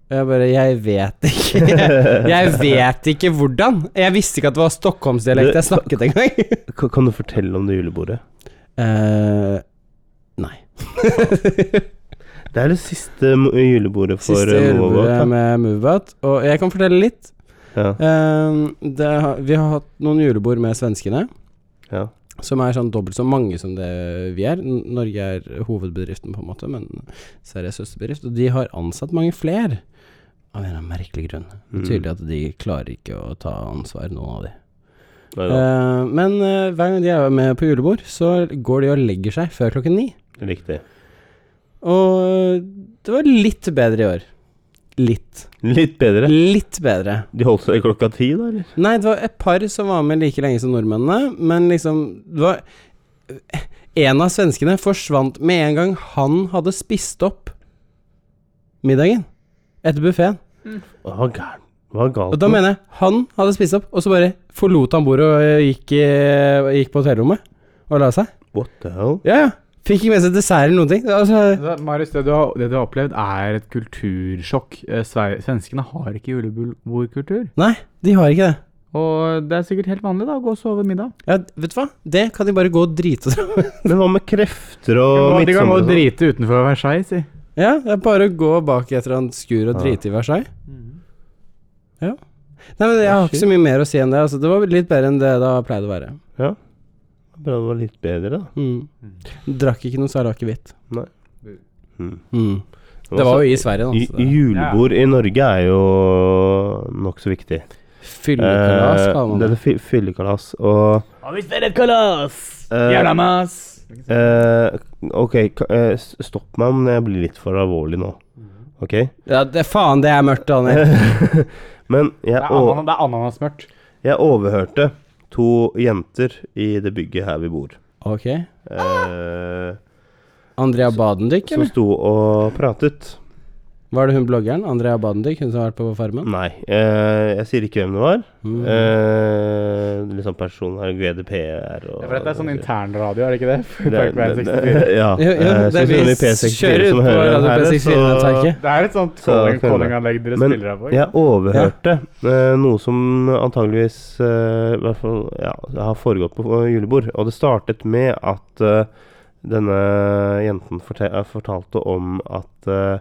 S2: Og jeg bare Jeg vet ikke. Jeg vet ikke hvordan. Jeg visste ikke at det var
S1: Du-
S2: stockholmsdialekt jeg snakket engang.
S1: Ka- Kan du fortelle om det julebordet?
S2: Eh, nei.
S1: Det er det siste m- julebordet for
S2: Siste
S1: eh,
S2: julebordet
S1: Movagot. da.
S2: med Moveout. Og jeg kan fortelle litt.
S1: Ja.
S2: Ehm, det, har- vi har hatt noen julebord med svenskene.
S1: Ja.
S2: Som er sånn dobbelt så mange som det vi er. N- Norge er hovedbedriften, på en måte, men Sverige er søsterbedrift. Og de har ansatt mange flere. Av en eller annen merkelig grunn. Det
S1: Mm.
S2: er tydelig at de klarer ikke å ta ansvar, noen av de.
S1: Nei da,
S2: Ehm, men eh, hver gang de er med på julebord, så går de og legger seg før klokken ni.
S1: Riktig.
S2: Og eh, det var litt bedre i år. Litt.
S1: Litt bedre.
S2: Litt bedre.
S1: De holdt seg klokka ti, da, eller?
S2: Nei, det var et par som var med like lenge som nordmennene, men liksom det var eh, En av svenskene forsvant med en gang han hadde spist opp middagen etter buffeen.
S1: Hva er gæren? Hva er
S2: Og
S1: galt?
S2: da
S1: med-
S2: mener jeg han hadde spist opp, og så bare forlot han bordet og eh, gikk, eh, gikk på hotellrommet og la seg.
S1: What the hell?
S2: Ja, ja. Fikk ikke med seg dessert eller noen ting. Altså,
S5: Altså, Marius, det du, har, det du har opplevd, er et kultursjokk. Eh, sve- Svenskene har ikke julebordkultur.
S2: nei, de har ikke det.
S5: Og det er sikkert helt vanlig da, å gå og sove middag.
S2: Ja, vet du hva? Det kan de bare gå og drite seg
S1: Men hva med krefter og
S5: Og de kan
S1: midtsommer?
S5: gå og
S1: og sånn?
S5: drite utenfor Versailles, si.
S2: Ja, det er bare å gå bak i et eller annet skur og drite i Versailles. Nei, men jeg har ikke så mye mer å si enn det. Altså, det var litt bedre enn det det har pleid å være.
S1: Bra det var litt bedre, da.
S2: Mm. Drakk ikke noe særlig akevitt.
S1: Nei. Mm.
S2: Mm. Det var jo i Sverige, da.
S1: Ju-
S5: Altså,
S2: så det-
S1: Julebord i Norge er jo nokså viktig.
S2: Fyllekalas,
S1: Eh,
S2: kaller man
S1: det
S2: det.
S1: er fy- fyllekalas. Og Eh, eh, ok, ka- eh, s- stopp meg om jeg blir litt for alvorlig nå.
S5: Mhm.
S1: Ok?
S2: Ja, det, faen, det er mørkt, Daniel.
S1: Men jeg,
S5: Det er
S1: o-
S5: anana- det er ananasmørt.
S1: jeg overhørte to jenter i det bygget her vi bor.
S2: Ok.
S5: Ah!
S1: Eh,
S2: Andrea Badendyk,
S1: som
S2: eller?
S1: sto og pratet.
S2: Var det hun bloggeren? Andrea Badendyk, hun som har vært på Farmen?
S1: Nei, eh, jeg sier ikke hvem det var.
S2: Mm.
S1: Eh, liksom personen her, GDPR og
S5: Ja, For dette er sånn internradio, er det ikke det?
S1: Det er-
S5: Dark Band
S1: det-
S5: 64.
S1: ja,
S2: Jo, jo,
S1: eh,
S2: det
S1: så hvis noen i
S2: vi kjører
S1: P64
S2: ut
S1: som
S2: på
S1: hører den
S2: Radio
S1: her,
S2: P64-nettverket.
S5: Det er et sånt
S1: Så kan
S5: calling-
S1: det være.
S5: callinganlegg dere
S1: Men-
S5: spiller her på. ikke?
S1: Jeg overhørte eh, noe som antageligvis eh, i hvert fall, ja, har foregått på eh, julebord. Og det startet med at eh, denne jenten forte eh, fortalte om at eh,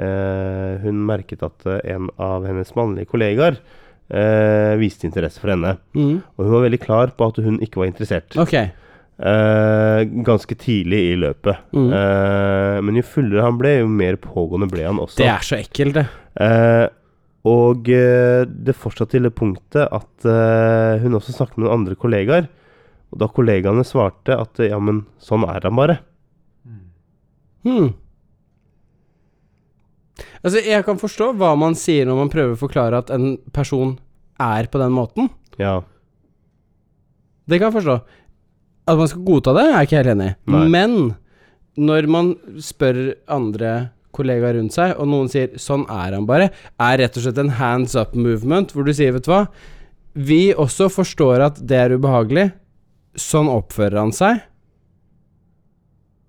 S1: eh, hun merket at eh, en av hennes mannlige kollegaer eh, viste interesse for henne.
S2: Mm.
S1: Og hun var veldig klar på at hun ikke var interessert.
S2: Ok.
S1: Eh, ganske tidlig i løpet.
S2: Mm.
S1: Eh, men jo fullere han ble, jo mer pågående ble han også.
S2: Det er så ekkelt, det.
S1: Eh, og eh, det fortsatte til det punktet at eh, hun også snakket med noen andre kollegaer. Og da kollegaene svarte at eh, ja, men sånn er han bare.
S2: Hmm. Altså, jeg kan forstå hva man sier når man prøver å forklare at en person er på den måten.
S1: Ja.
S2: Det kan jeg forstå. At man skal godta det, er jeg ikke helt enig i.
S1: Nei.
S2: Men når man spør andre kollegaer rundt seg, og noen sier 'sånn er han bare', er rett og slett en hands up movement, hvor du sier 'vet du hva', vi også forstår at det er ubehagelig, sånn oppfører han seg.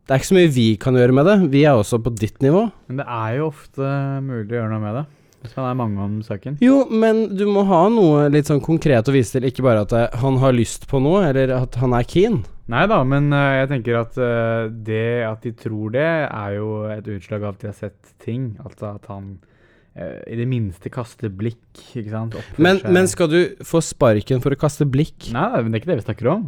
S2: Det er ikke så mye vi kan gjøre med det, vi er også på ditt nivå.
S5: Men det er jo ofte mulig å gjøre noe med det. Hvis man er mange om saken.
S2: Jo, men du må ha noe litt sånn konkret å vise til, ikke bare at eh, han har lyst på noe, eller at han er keen.
S5: Nei da, men eh, jeg tenker at eh, det at de tror det, er jo et utslag av at de har sett ting. Altså at han eh, i det minste kaster blikk, ikke sant. Oppfører
S2: Men,
S5: seg-
S2: men skal du få sparken for å kaste blikk?
S5: Nei, nei, men det er ikke det vi snakker om.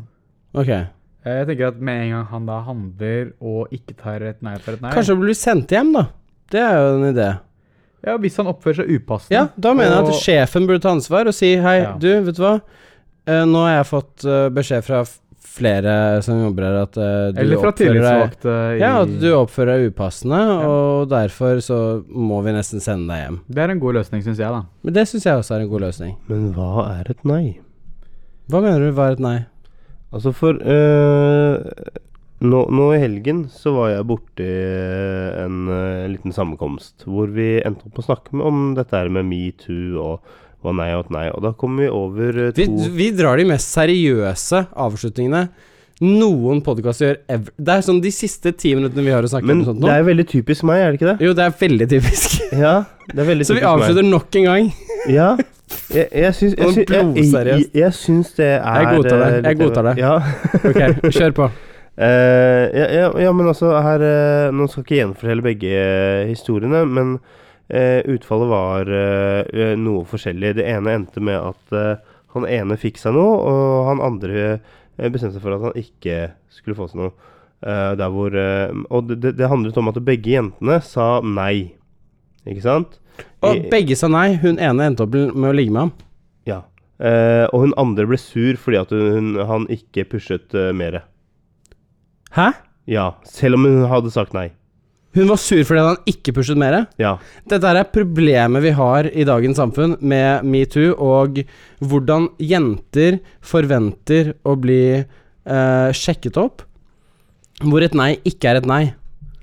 S2: Ok.
S5: Eh, Jeg tenker at med en gang han da handler og ikke tar et nei for et nei
S2: Kanskje blir sendt hjem, da. Det er jo en idé.
S5: Ja, Hvis han oppfører seg upassende
S2: Ja, da mener jeg
S5: og-
S2: at sjefen burde ta ansvar og si hei,
S5: Ja.
S2: du, vet du hva, Eh, nå har jeg fått eh, beskjed fra f- flere som jobber her at eh, du
S5: Eller fra
S2: oppfører deg
S5: tillitsvalgte i
S2: ja, at du oppfører deg upassende, og derfor så må vi nesten sende deg hjem.
S5: Det er en god løsning, syns jeg, da.
S2: Men det syns jeg også er en god løsning.
S1: Men hva er et nei?
S2: Hva mener du var et nei?
S1: Altså, for eh, nå, nå i helgen så var jeg borti en eh, liten sammenkomst hvor vi endte opp å snakke med, om dette her med metoo og hva nei og et nei. Og da kom vi over eh,
S2: Vi,
S1: to
S2: vi drar de mest seriøse avslutningene noen podkaster gjør ever. Det er sånn de siste ti minuttene vi har å snakke
S1: Men
S2: om sånt
S1: det
S2: nå.
S1: er veldig typisk meg, er det ikke det?
S2: Jo, det er veldig typisk.
S1: Ja, det er veldig
S2: Så vi
S1: typisk meg.
S2: avslutter nok en gang.
S1: Ja. Jeg, jeg, syns, jeg,
S2: Og
S1: syns, jeg, jeg,
S2: blodseriøst.
S1: jeg syns det er
S2: Jeg godtar det, jeg
S1: eh, litt-
S2: godtar det.
S1: Ja.
S2: Ok, kjør på.
S1: Eh, ja, ja, ja, men altså her eh, Nå skal jeg ikke gjenfortelle begge eh, historiene, men eh, utfallet var eh, eh, noe forskjellig. Det ene endte med at eh, han ene fikk seg noe, og han andre eh, bestemte seg for at han ikke skulle få seg noe. Eh, der hvor eh, Og det, det- det handlet om at begge jentene sa nei, ikke sant?
S2: Og begge sa nei. Hun ene endte opp med å ligge med ham.
S1: Ja. Eh, og hun andre ble sur fordi at hun, han ikke pushet uh, mer.
S2: Hæ?
S1: Ja. Selv om hun hadde sagt nei.
S2: Hun var sur fordi han ikke pushet mer?
S1: Ja.
S2: Dette er problemet vi har i dagens samfunn med metoo og hvordan jenter forventer å bli eh, sjekket opp, hvor et nei ikke er et nei.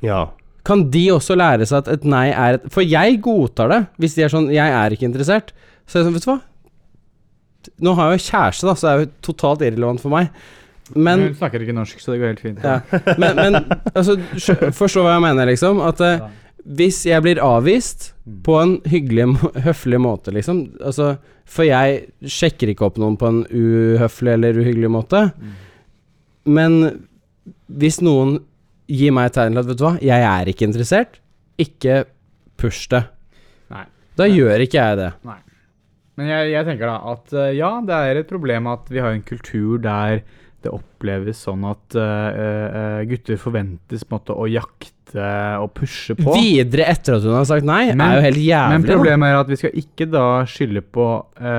S1: Ja.
S2: Kan de også lære seg at et nei er et For jeg godtar det hvis de er sånn 'jeg er ikke interessert'. Så er jeg sånn, vet du hva Nå har jeg jo kjæreste, da, så det er jo totalt irrelevant for meg. Men
S5: Hun snakker ikke norsk, så det går helt fint.
S2: Ja. Men, men altså, skjø- forstå hva jeg mener, liksom. At eh, hvis jeg blir avvist
S5: Mm.
S2: på en hyggelig, må- høflig måte, liksom altså, For jeg sjekker ikke opp noen på en uhøflig eller uhyggelig måte.
S5: Mm.
S2: Men hvis noen gir meg et tegn til at Vet du hva, jeg er ikke interessert, ikke push det.
S5: Nei.
S2: Da gjør ikke jeg det.
S5: Nei. Men jeg, jeg tenker da at eh, ja, det er et problem at vi har en kultur der det oppleves sånn at eh, eh, gutter forventes på en måte å jakte og pushe på.
S2: Videre etter at hun har sagt nei,
S5: Men-
S2: er jo helt jævlig.
S5: Men
S2: da.
S5: problemet er at vi skal ikke da skylde på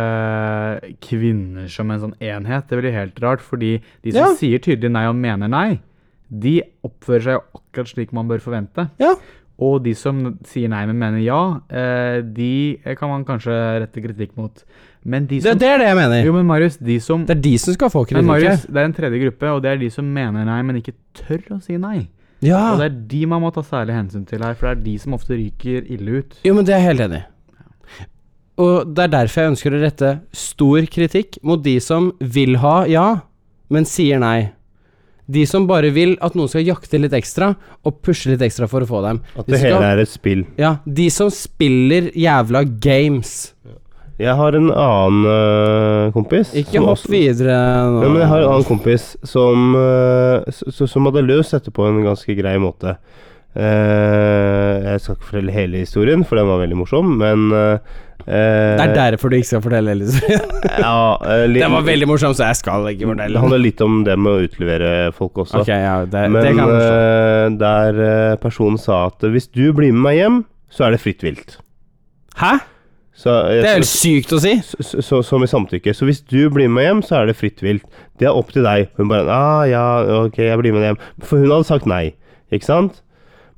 S5: eh, kvinner som en sånn enhet. Det blir helt rart, fordi de som
S2: Ja.
S5: sier tydelig nei og mener nei, de oppfører seg jo akkurat slik man bør forvente.
S2: Ja.
S5: Og de som sier nei, men mener ja, eh, de kan man kanskje rette kritikk mot. Men de
S2: det,
S5: som
S2: det er det jeg mener.
S5: Jo, men Marius, de som
S2: Det er de som skal få
S5: men
S2: kritikk.
S5: Marius, det er en tredje gruppe, og det er de som mener nei, men ikke tør å si nei.
S2: Ja.
S5: Og det er de man må ta særlig hensyn til her, for det er de som ofte ryker ille ut.
S2: Jo, men det er jeg helt enig i. Og det er derfor jeg ønsker å rette stor kritikk mot de som vil ha ja, men sier nei. De som bare vil at noen skal jakte litt ekstra, og pushe litt ekstra for å få dem.
S1: At
S2: De
S1: det
S2: skal-
S1: hele er et spill.
S2: Ja, de som spiller jævla games.
S1: Jeg har en annen øh, kompis
S2: Ikke
S1: som
S2: hopp
S1: også-
S2: videre nå.
S1: Ja, men jeg har en annen kompis som, eh, s- s- som hadde løst dette på en ganske grei måte. Eh, jeg skal ikke fortelle hele historien, for den var veldig morsom, men eh, eh,
S2: Det er derfor du ikke skal fortelle, Elisabeth.
S1: ja, eh, li-
S2: Det var veldig morsomt, så jeg skal ikke fortelle.
S1: Det handler litt om det med å utlevere folk også.
S2: Ok, ja, det,
S1: men
S2: det kan jeg forstå.
S1: eh, der eh, personen sa at hvis du blir med meg hjem, så er det fritt vilt.
S2: Hæ?
S1: Så, eh,
S2: Det er helt sykt å si.
S1: så, så- så, som i samtykke. Så hvis du blir med hjem, så er det fritt vilt. Det er opp til deg. Hun bare ah, ja, ok, jeg blir med hjem. For hun hadde sagt nei, ikke sant?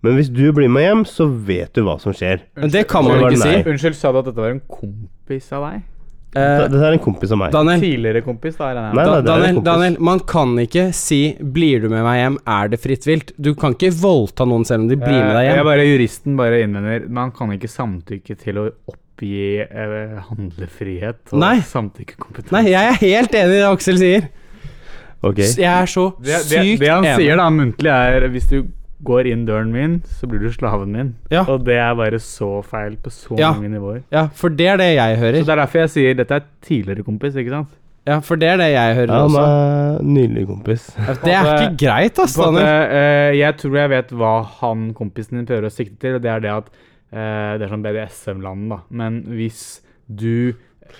S1: Men hvis du blir med hjem, så vet du hva som skjer.
S2: Men det kan man jo ikke si.
S1: Nei.
S5: Unnskyld, sa du at dette var en kompis av deg?
S2: Eh,
S1: Dette er en kompis av meg.
S2: Daniel,
S5: Tidligere kompis, da? regner jeg
S1: Nei,
S5: med.
S1: nei,
S2: Da,
S1: det er en
S2: Daniel,
S1: kompis.
S2: Daniel, man kan ikke si 'blir du med meg hjem', er det fritt vilt. Du kan ikke voldta noen selv om de blir med deg
S5: Eh, Jeg
S2: hjem.
S5: bare, juristen bare innvender man kan ikke samtykke til å oppgi eh, handlefrihet og
S2: Nei.
S5: samtykkekompetanse.
S2: Nei, jeg er helt enig i det Aksel sier.
S1: Ok.
S2: S- Jeg er så
S5: det, det,
S2: sykt
S5: det han
S2: enig.
S5: sier da muntlig, er hvis du går inn døren min, så blir du slaven min.
S2: Ja.
S5: Og det er bare så feil på så
S2: Ja.
S5: mange nivåer.
S2: Ja, for det er det jeg
S5: Så
S2: hører.
S5: Det er derfor jeg sier dette er tidligere kompis, ikke sant?
S2: Ja, for det er det jeg hører
S1: Ja, han
S2: også.
S1: er en nydelig kompis.
S2: Ja, Det er ikke greit, ass,
S5: eh, På at,
S2: Daniel.
S5: eh, jeg tror jeg vet hva han kompisen din prøver å sikte til, og det er det at eh, Det er sånn BDSM-land, da. Men hvis du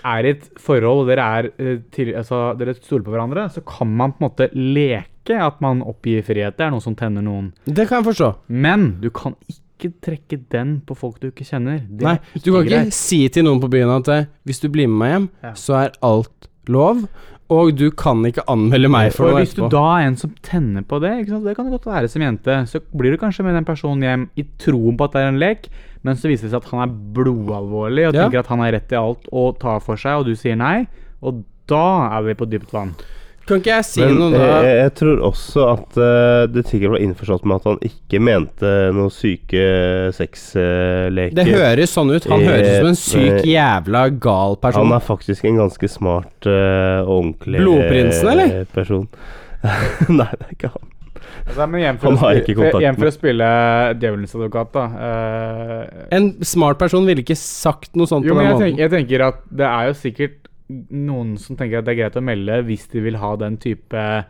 S5: er i et forhold og dere, er, eh, til, altså, dere stoler på hverandre, så kan man på en måte leke at man oppgir frihet. Det er noe som tenner noen.
S2: Det kan jeg forstå.
S5: Men du kan ikke trekke den på folk du ikke kjenner. Det
S2: Nei,
S5: er ikke
S2: du kan ikke
S5: greit.
S2: si til noen på byen at eh, 'hvis du blir med meg hjem,
S5: Ja.
S2: så er alt lov', og du kan ikke anmelde meg for
S5: og
S2: noe
S5: hvis du
S2: etterpå.
S5: da er en som tenner på det, ikke sant? det kan det godt være som jente, så blir du kanskje med den personen hjem i troen på at det er en lek, men så viser det seg at han er blodalvorlig og
S2: Ja.
S5: tenker at han har rett i alt og tar for seg, og du sier nei, og da er vi på dypt vann.
S2: Kan ikke jeg si noe
S1: Men eh, jeg,
S2: da?
S1: jeg tror også at eh, det sikkert var innforstått med at han ikke mente noe syke sexleker.
S2: Det høres sånn ut. Han
S1: Eh,
S2: høres ut som en syk
S1: eh,
S2: jævla gal person.
S1: Han er faktisk en ganske smart eh, og ordentlig
S2: Blodprinsen, eller?
S1: eh, person. Nei, det er ikke han. Han
S5: Han
S1: å har spille- ikke kontakt igjen
S5: Igjen
S1: for
S5: for å spille djevelens advokat, da. eh,
S2: En smart person ville ikke sagt noe sånt
S5: Jo,
S2: på den
S5: men jeg,
S2: måten.
S5: tenk, jeg tenker at det er jo sikkert noen som tenker at det er greit å melde hvis de vil ha den type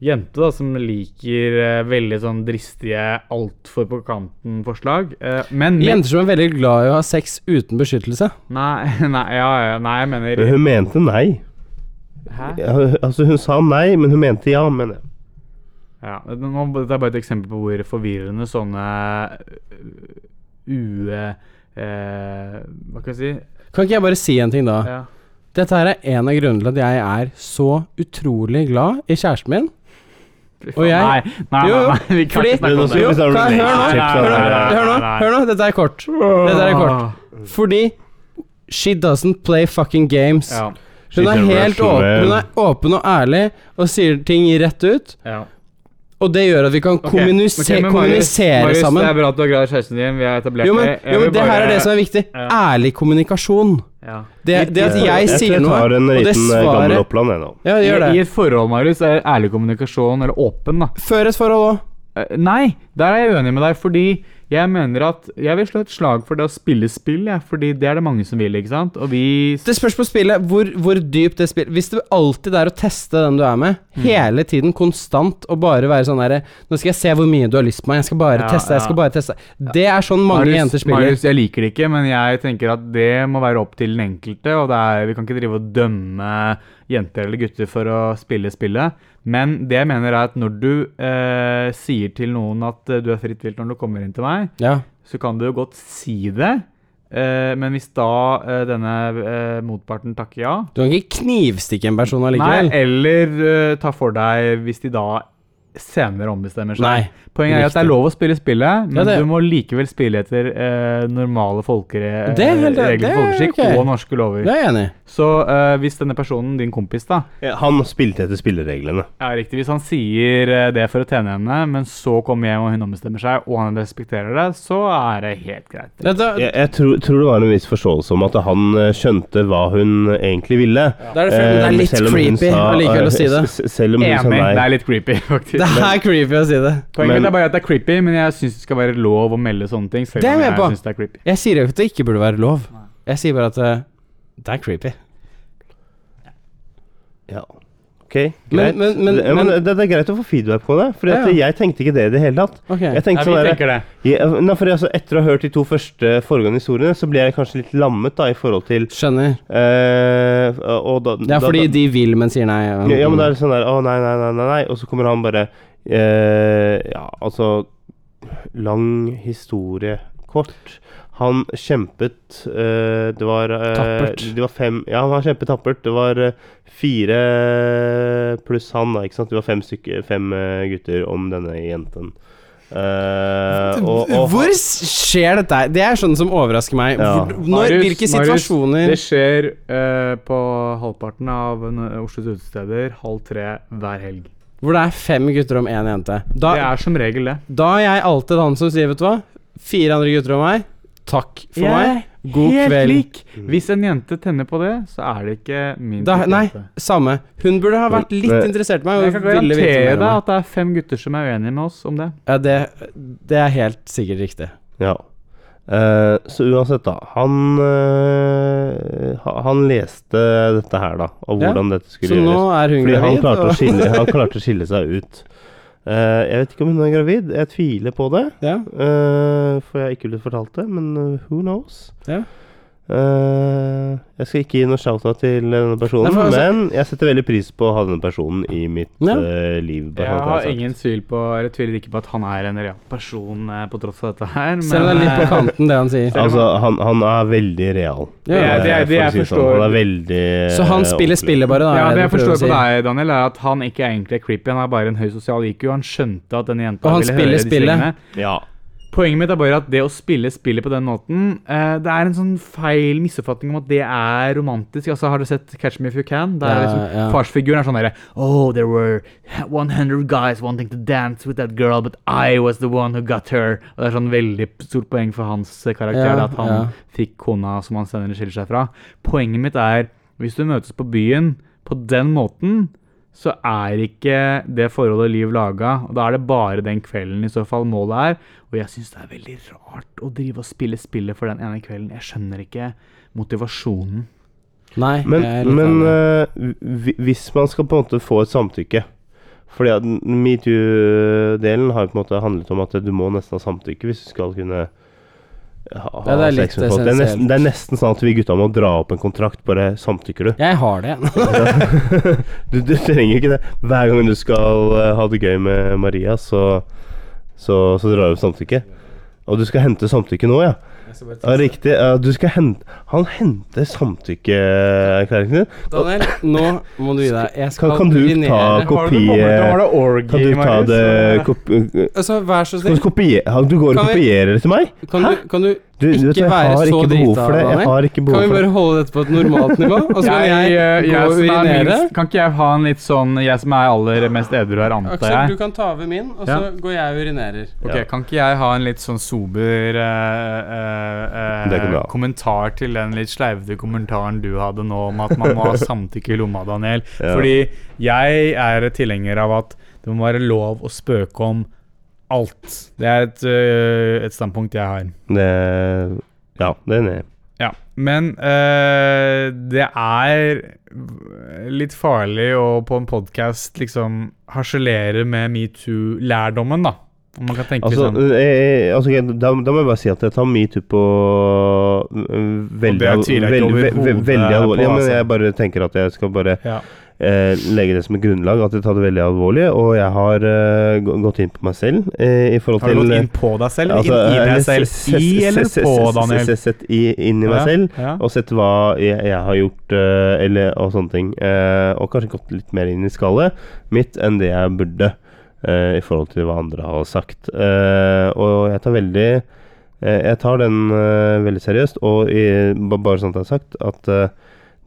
S5: jente da, som liker eh, veldig sånn dristige, altfor på kanten-forslag. Eh, men men-
S2: Jenter som er veldig glad i å ha sex uten beskyttelse.
S5: nei, nei, ja, ja, nei, jeg mener
S1: Men hun mente nei.
S5: Hæ?
S1: Ja, hun- Altså, hun sa nei, men hun mente ja, mener jeg.
S5: Ja, nå, det er bare et eksempel på hvor forvirrende sånne øh, ue... Eh, hva kan jeg si?
S2: Kan ikke jeg bare si en ting, da?
S5: Ja.
S2: Dette her er en av grunnene til at jeg er så utrolig glad i kjæresten min. Og jeg-
S5: Nei, nei, nei,
S2: Jo, jo,
S5: nei, vi kan
S2: fordi-
S5: ikke snakke om det.
S2: Jo,
S1: hvis det er
S2: kan jeg- hør nå,
S1: relationship, så er
S2: Hør
S1: det-
S2: nå, hør nå, hør nå, dette er kort. Dette er kort. Fordi she doesn't play fucking games.
S5: Ja,
S2: Hun er
S1: She's a
S2: helt
S1: Russian
S2: åpen,
S1: man.
S2: hun er åpen og ærlig og sier ting rett ut.
S5: ja.
S2: Og det gjør at vi kan
S5: Ok,
S2: kommunise-
S5: ok, men Marius-
S2: kommunisere
S5: Marius,
S2: sammen.
S5: Det er bra at du har greid kjæresten din. Vi har etablert
S2: Jo, men,
S5: det. Jeg
S2: jo, men
S5: vil
S2: det her
S5: bare-
S2: er det som er viktig.
S5: Ja.
S2: Ærlig kommunikasjon.
S5: ja.
S2: Det, det at
S1: tror-
S2: jeg sier noe,
S1: Jeg tror jeg tar en
S2: og det
S1: liten eh, gammel
S2: svaret
S1: Oppland, jeg nå.
S2: Ja, gjør
S5: I, I
S2: det.
S5: et forhold, Marius, er ærlig kommunikasjon, eller åpen, da.
S2: Før et forhold òg.
S5: Eh, Nei, der er jeg uenig med deg, fordi Jeg mener at Jeg vil slå et slag for det å spille spill, jeg, fordi det er det mange som vil, ikke sant? Og vi
S2: Det spørs på spillet hvor, hvor dypt det spillet Hvis det alltid er å teste den du er med,
S5: Mm.
S2: hele tiden, konstant, og bare være sånn derre Nå skal jeg se hvor mye du har lyst på meg, jeg skal bare
S5: Ja,
S2: teste, jeg skal
S5: ja.
S2: bare teste. Det er sånn mange
S5: Marius-
S2: jenter spiller.
S5: Marius, jeg liker det ikke, men jeg tenker at det må være opp til den enkelte. Og det er, vi kan ikke drive og dømme jenter eller gutter for å spille spillet. Men det jeg mener er at når du eh, sier til noen at eh, du er fritt vilt når du kommer inn til meg,
S2: Ja.
S5: så kan du jo godt si det. Eh, men hvis da eh, denne eh, motparten takker ja
S2: Du kan ikke knivstikke en person
S5: Nei,
S2: allikevel.
S5: eller eh, ta for deg hvis de da senere ombestemmer seg.
S2: Nei,
S5: Poenget er at det
S2: riktig.
S5: er lov å spille spillet, men
S2: Ja, det-
S5: du må likevel spille etter eh, normale folkere, eh,
S2: Det er helt-
S5: regler
S2: det er
S5: for folkeskikk
S2: ok.
S5: og norske lover.
S2: Det er jeg enig i.
S5: Så eh, hvis denne personen, din kompis, da,
S1: Ja, Han spilte etter spillereglene.
S5: er riktig, hvis han sier eh, det for å tjene henne, men så kommer hjem og hun ombestemmer seg, og han respekterer det, så er det helt greit.
S2: Ja, da,
S1: Jeg, jeg tror, tror det var en viss forståelse om at han eh, skjønte hva hun eh, egentlig ville.
S2: da er det, følt- det
S1: Eh,
S2: er litt
S1: selv om hun
S2: creepy
S1: sa-
S2: allikevel å si det.
S1: s- s- Selv om hun sa
S5: Enig. Det
S1: nei.
S5: er litt creepy, faktisk.
S2: sånn Det er creepy å si det.
S1: Men-
S5: Poenget mitt er bare at det er creepy, men jeg syns det skal være lov å melde sånne ting. Selv
S2: Det er
S5: om
S2: jeg med på.
S5: jeg synes det er creepy.
S2: Jeg sier jo ikke at det ikke burde være lov. Jeg sier bare at eh, det er creepy.
S1: Ja. Ok,
S2: Men-
S1: greit.
S2: men- men-
S1: Ja, men
S2: men-
S1: det, det er greit å få feedback på det, for
S2: Ja, ja.
S1: jeg tenkte ikke det i det hele tatt.
S2: Ok.
S1: Jeg tenkte
S5: Nei,
S1: sånn
S5: vi
S1: der-
S5: tenker det.
S1: Ja, nei, for altså, etter å ha hørt de to første foregående historiene, så blir jeg kanskje litt lammet da, i forhold til
S2: Skjønner.
S1: eh, og da,
S2: Det er
S1: da-
S2: fordi
S1: da,
S2: de vil, men sier nei.
S1: ja, ja, men da er det sånn der Å, nei, nei, nei, nei, nei. Og så kommer han bare eh, Ja, altså Lang historie kort. Han kjempet eh, Det var eh,
S2: Tappert.
S1: Det var fem Ja, han kjempet tappert. Det var eh, fire pluss han, da, ikke sant. Det var fem, stykker, fem eh, gutter om denne jenten. Eh, og, og,
S2: Hvor s- skjer dette her? Det er sånn som overrasker meg.
S1: Ja.
S2: Hvor, når,
S5: Marius,
S2: hvilke
S5: Marius,
S2: situasjoner
S5: Det skjer eh, på halvparten av eh, Oslos utesteder halv tre hver helg.
S2: hvor det er fem gutter om én jente? Da,
S5: det er som regel det.
S2: da er jeg alltid han som sier, vet du hva Fire andre gutter om meg. Takk for meg. God
S5: Helt
S2: kveld.
S5: lik. Mm. Hvis en jente tenner på det, så er det ikke min
S2: Da,
S5: type
S2: nei,
S5: jente.
S2: samme. Hun burde ha vært litt
S1: Men-
S2: interessert i meg.
S5: Men
S2: og
S5: Jeg kan
S2: ville vite
S5: garantere
S2: mer om
S5: deg
S2: meg.
S5: at det er fem gutter som er uenige med oss om det.
S2: Ja, det, det er helt sikkert riktig.
S1: Ja. Eh, så uansett, da. Han, eh, ha- han leste dette her, da, og
S2: Ja.
S1: hvordan dette skulle
S2: Så nå
S1: gjøres.
S2: er hun
S1: Fordi han
S2: gravid.
S1: klarte, å
S2: og-
S1: skille, han klarte å skille seg ut. Eh, jeg vet ikke om hun er gravid, jeg tviler på det.
S2: Ja.
S1: eh, for jeg har ikke blitt fortalt det, men eh, who knows?
S2: Ja.
S1: Eh, jeg skal ikke gi noe shout-out til denne personen,
S2: Nei, for altså-
S1: men jeg setter veldig pris på å ha denne personen i mitt
S2: Ja.
S1: eh, liv. bare
S5: Jeg
S1: sånn at
S5: har
S1: det er sagt.
S5: ingen tvil på Eller tviler ikke på at han er en real person eh, på tross av dette her. Men eh,
S2: Selv om det er litt på kanten, det han sier.
S1: Altså, han, han er veldig real.
S2: Ja, ja,
S1: Eh,
S5: det er- det
S1: for å
S5: jeg
S1: si det sånn.
S5: forstår.
S1: Han er veldig eh,
S2: Så han spiller spillet bare, da?
S5: Ja,
S2: er
S5: det jeg
S2: du prøver å
S5: forstår på
S2: si.
S5: deg, Daniel, er at han ikke egentlig er creepy. Han er bare en høy sosial IQ. Han skjønte at denne jenta
S2: Og han
S5: ville
S2: spiller
S5: høre disse
S2: spillet.
S5: tingene.
S1: Ja.
S5: Poenget mitt er bare at det å spille spillet på den måten eh, Det er en sånn feil misforfatning om at det er romantisk. Altså, Har du sett Catch Me If You Can? Der
S2: Ja,
S5: er liksom,
S2: ja.
S5: Farsfiguren er sånn derre Oh, there were 100 guys wanting to dance with that girl, but I was the one who got her. Og Det er sånn veldig stort poeng for hans eh, karakter
S2: Ja,
S5: da, at han
S2: ja.
S5: fikk kona som han senere skiller seg fra. Poenget mitt er hvis du møtes på byen på den måten, så er ikke det forholdet liv laga. Og da er det bare den kvelden i så fall målet er. Og jeg syns det er veldig rart å drive og spille spillet for den ene kvelden. Jeg skjønner ikke motivasjonen.
S2: Nei,
S1: Men,
S2: jeg er litt
S1: men
S2: enig.
S1: eh, hvi- hvis man skal på en måte få et samtykke Fordi at metoo-delen har jo på en måte handlet om at du må nesten ha samtykke hvis du skal kunne ha, ha
S2: Ja, det er litt
S1: sex med folk. Det er,
S2: essensielt.
S1: nesten, det er nesten sånn at vi gutta må dra opp en kontrakt. Bare samtykker du.
S2: Jeg har det.
S1: Du, du trenger ikke det. Hver gang du skal eh, ha det gøy med Maria, så, så, så drar du opp samtykke. Og du skal hente samtykke nå, ja. Ja, riktig. Ja, du skal hente Han henter samtykkeerklæringen din.
S2: Daniel, nå må du gi deg. Jeg skal
S1: Kan, kan du ta
S2: urinere.
S1: kopi...
S5: det orgi,
S1: Kan du ta det kopi...
S2: Altså, vær så
S1: Skal
S2: snill.
S1: du kopiere Du går og
S2: Kan vi-
S1: kopierer det til meg?
S2: Kan du, kan du
S1: Du, du vet, jeg
S2: Ikke være
S1: har
S2: så
S1: ikke behov
S2: drita,
S1: for det. Jeg
S2: Daniel.
S1: har ikke
S2: Kan
S1: behov
S2: vi
S1: for det.
S2: bare holde dette på et normalt nivå? Og så kan
S5: Jeg,
S2: jeg,
S5: eh,
S2: gå
S5: jeg
S2: og
S5: som er
S2: urinere.
S5: minst, kan ikke jeg ha en litt sånn Jeg som er aller mest edru her, antar
S2: Aksel,
S5: jeg.
S2: du kan ta over min, og så går jeg og urinerer.
S5: Ok, Kan ikke jeg ha en litt sånn sober eh, eh, eh,
S1: Det kan du ha.
S5: kommentar til den litt sleivete kommentaren du hadde nå om at man må ha samtykke i lomma, Daniel?
S1: Ja.
S5: Fordi jeg er tilhenger av at det må være lov å spøke om alt. Det er et, øh, et standpunkt jeg har.
S1: Det Ja, det er enig.
S5: Ja, men eh, det er litt farlig å på en podkast liksom harselere med metoo-lærdommen, da. Om man kan tenke
S1: Altså,
S5: litt sånn.
S1: eh, eh, altså ok, da, da må jeg bare si at jeg tar metoo på eh, veldig,
S5: Og
S1: al-
S5: det tviler jeg ikke
S1: veldig, ve- ve-
S5: overhodet
S1: veldig alvorlig. Ja,
S5: på,
S1: men
S5: altså.
S1: jeg bare tenker at jeg skal bare
S5: Ja.
S1: eh, legge det som et grunnlag, at jeg tar det veldig alvorlig. Og jeg har eh, gå- gått inn på meg selv eh, i forhold
S5: Har
S1: til altså,
S5: du gått inn på deg selv? inn i deg selv? I eller på, Daniel?
S1: Sett inn i meg
S5: Ja,
S1: selv.
S5: Ja.
S1: og sett hva jeg, jeg har gjort eh, eller, og sånne ting. eh, og kanskje gått litt mer inn i skallet mitt enn det jeg burde eh, i forhold til hva andre har sagt. Eh, og jeg tar veldig eh, Jeg tar den eh, veldig seriøst, og i, ba- bare sånn at jeg har sagt, at eh,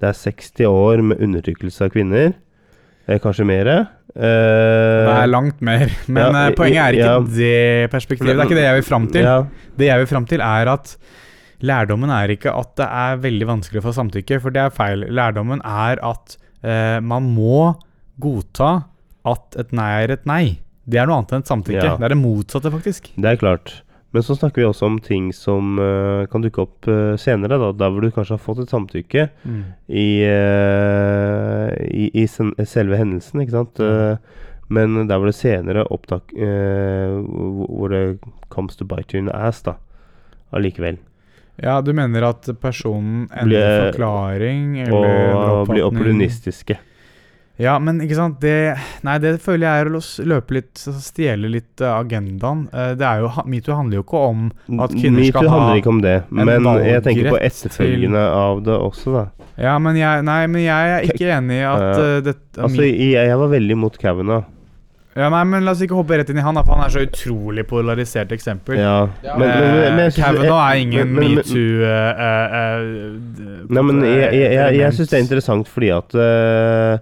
S1: det er 60 år med undertrykkelse av kvinner. eh, kanskje Eh, mer.
S5: Det er langt mer. Men
S1: Ja,
S5: eh, poenget er ikke
S1: ja.
S5: det perspektivet. Det er ikke det jeg vil fram til.
S1: Ja,
S5: Det jeg vil fram til, er at lærdommen er ikke at det er veldig vanskelig å få samtykke, for det er feil. Lærdommen er at eh, man må godta at et nei er et nei. Det er noe annet enn et samtykke.
S1: Ja.
S5: Det er det motsatte, faktisk.
S1: Det er klart. Men så snakker vi også om ting som eh, kan dukke opp eh, senere, da, der hvor du kanskje har fått et samtykke
S5: Mm.
S1: i, eh, i, i sen selve hendelsen, ikke sant.
S5: Mm.
S1: Eh, men der hvor det senere opptak eh, hvor hvor det comes to bite you in the ass, da. Allikevel.
S5: Ja, du mener at personen endrer
S1: Blir- eh,
S5: forklaring eller endrer
S1: Og bli
S5: oppfatning?
S1: opportunistiske.
S5: Ja, men ikke sant det, Nei, det føler jeg er å løs- løpe litt altså, Stjele litt eh, agendaen. Eh, det er jo, ha- Metoo handler jo ikke om At kvinner
S1: Metoo
S5: skal ha
S1: handler ikke om det,
S5: en
S1: men jeg tenker på
S5: valgrett
S1: etterfølgene av det også, da.
S5: Ja, men jeg, nei, men jeg er ikke enig i at
S1: Ja.
S5: eh, dette
S1: Altså, jeg, jeg var veldig imot Kavanaugh.
S5: Ja, nei, men La oss ikke hoppe rett inn i han, da, for han er så utrolig polarisert eksempel.
S1: Ja.
S6: Ja.
S1: Men- men- men- men jeg synes-
S5: eh, Kavanaugh er ingen eh,
S1: men- men- men-
S5: metoo
S1: Nei, men jeg, jeg, jeg, jeg syns det er interessant fordi at øh,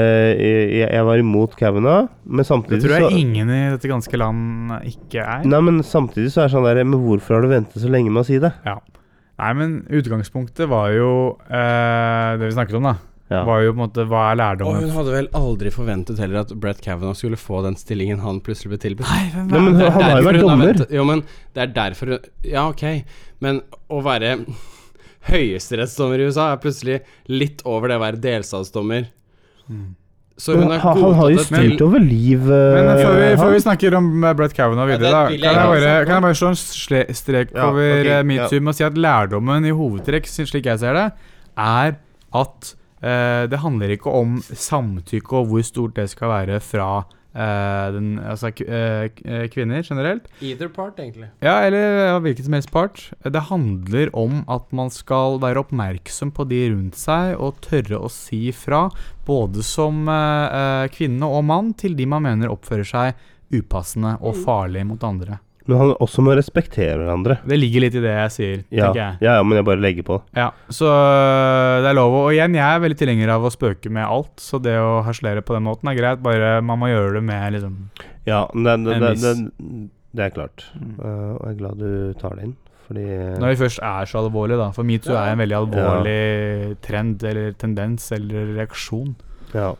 S1: øh, jeg, jeg var imot Kavanaugh, men
S5: Det
S1: samtidig
S5: tror
S1: så
S5: jeg ingen i dette ganske land ikke er.
S1: Nei, men samtidig så er det sånn der Men hvorfor har du ventet så lenge med å si det?
S5: Nei, men utgangspunktet var jo eh, Det vi snakket om, da.
S1: Ja.
S5: Var jo på en måte Hva er
S2: Og
S5: lærdommen?
S2: hun hadde vel aldri forventet heller at Brett Kavanaugh skulle få den stillingen han plutselig ble tilbudt.
S1: Nei, men
S2: Det er
S1: han har jo
S2: derfor
S1: vært
S2: hun
S1: dommer.
S2: ventet- Jo, men det er derfor hun- Ja, ok, men å være høyesterettsdommer i USA er plutselig litt over det å være delstatsdommer. Mm. Så hun
S1: Men
S2: har
S1: han, han har jo
S2: godtatt det
S1: styrt over liv
S5: Men eh,
S1: øh,
S5: før vi, før vi
S1: han.
S5: snakker om eh, Brett Kavanaugh
S6: Ja, det
S5: videre, da,
S6: vil
S5: kan jeg,
S6: jeg ikke
S5: bare,
S6: snakke om.
S5: kan jeg bare slå en sle- strek
S1: Ja,
S5: over
S1: ok,
S5: eh,
S1: ja.
S5: metoo med å si at lærdommen i hovedtrekk, slik slik jeg ser det, er at eh, det handler ikke om samtykke og hvor stort det skal være fra eh, den, altså, k- eh, k- eh, kvinner generelt.
S2: Either part, egentlig.
S5: Ja, eller av hvilken som helst part. Det handler om at man skal være oppmerksom på de rundt seg, og tørre å si fra, både som eh, eh, kvinne og mann, til de man mener oppfører seg upassende og farlig mot andre.
S1: Men han også må respektere hverandre.
S5: Det ligger litt i det jeg sier,
S1: Ja.
S5: tenker
S1: ja,
S5: jeg.
S1: ja, men jeg bare legger på.
S5: Ja, Så øh, det er lov å Og igjen, jeg er veldig tilhenger av å spøke med alt, så det å harselere på den måten er greit, bare man må gjøre det med liksom
S1: Ja, men det,
S5: En
S1: det,
S5: viss-
S1: det, det, det er klart. Eh, og jeg er glad du tar det inn, fordi
S5: Når vi først er så alvorlige, da. For metoo er en veldig alvorlig trend eller tendens eller reaksjon.
S1: Ja.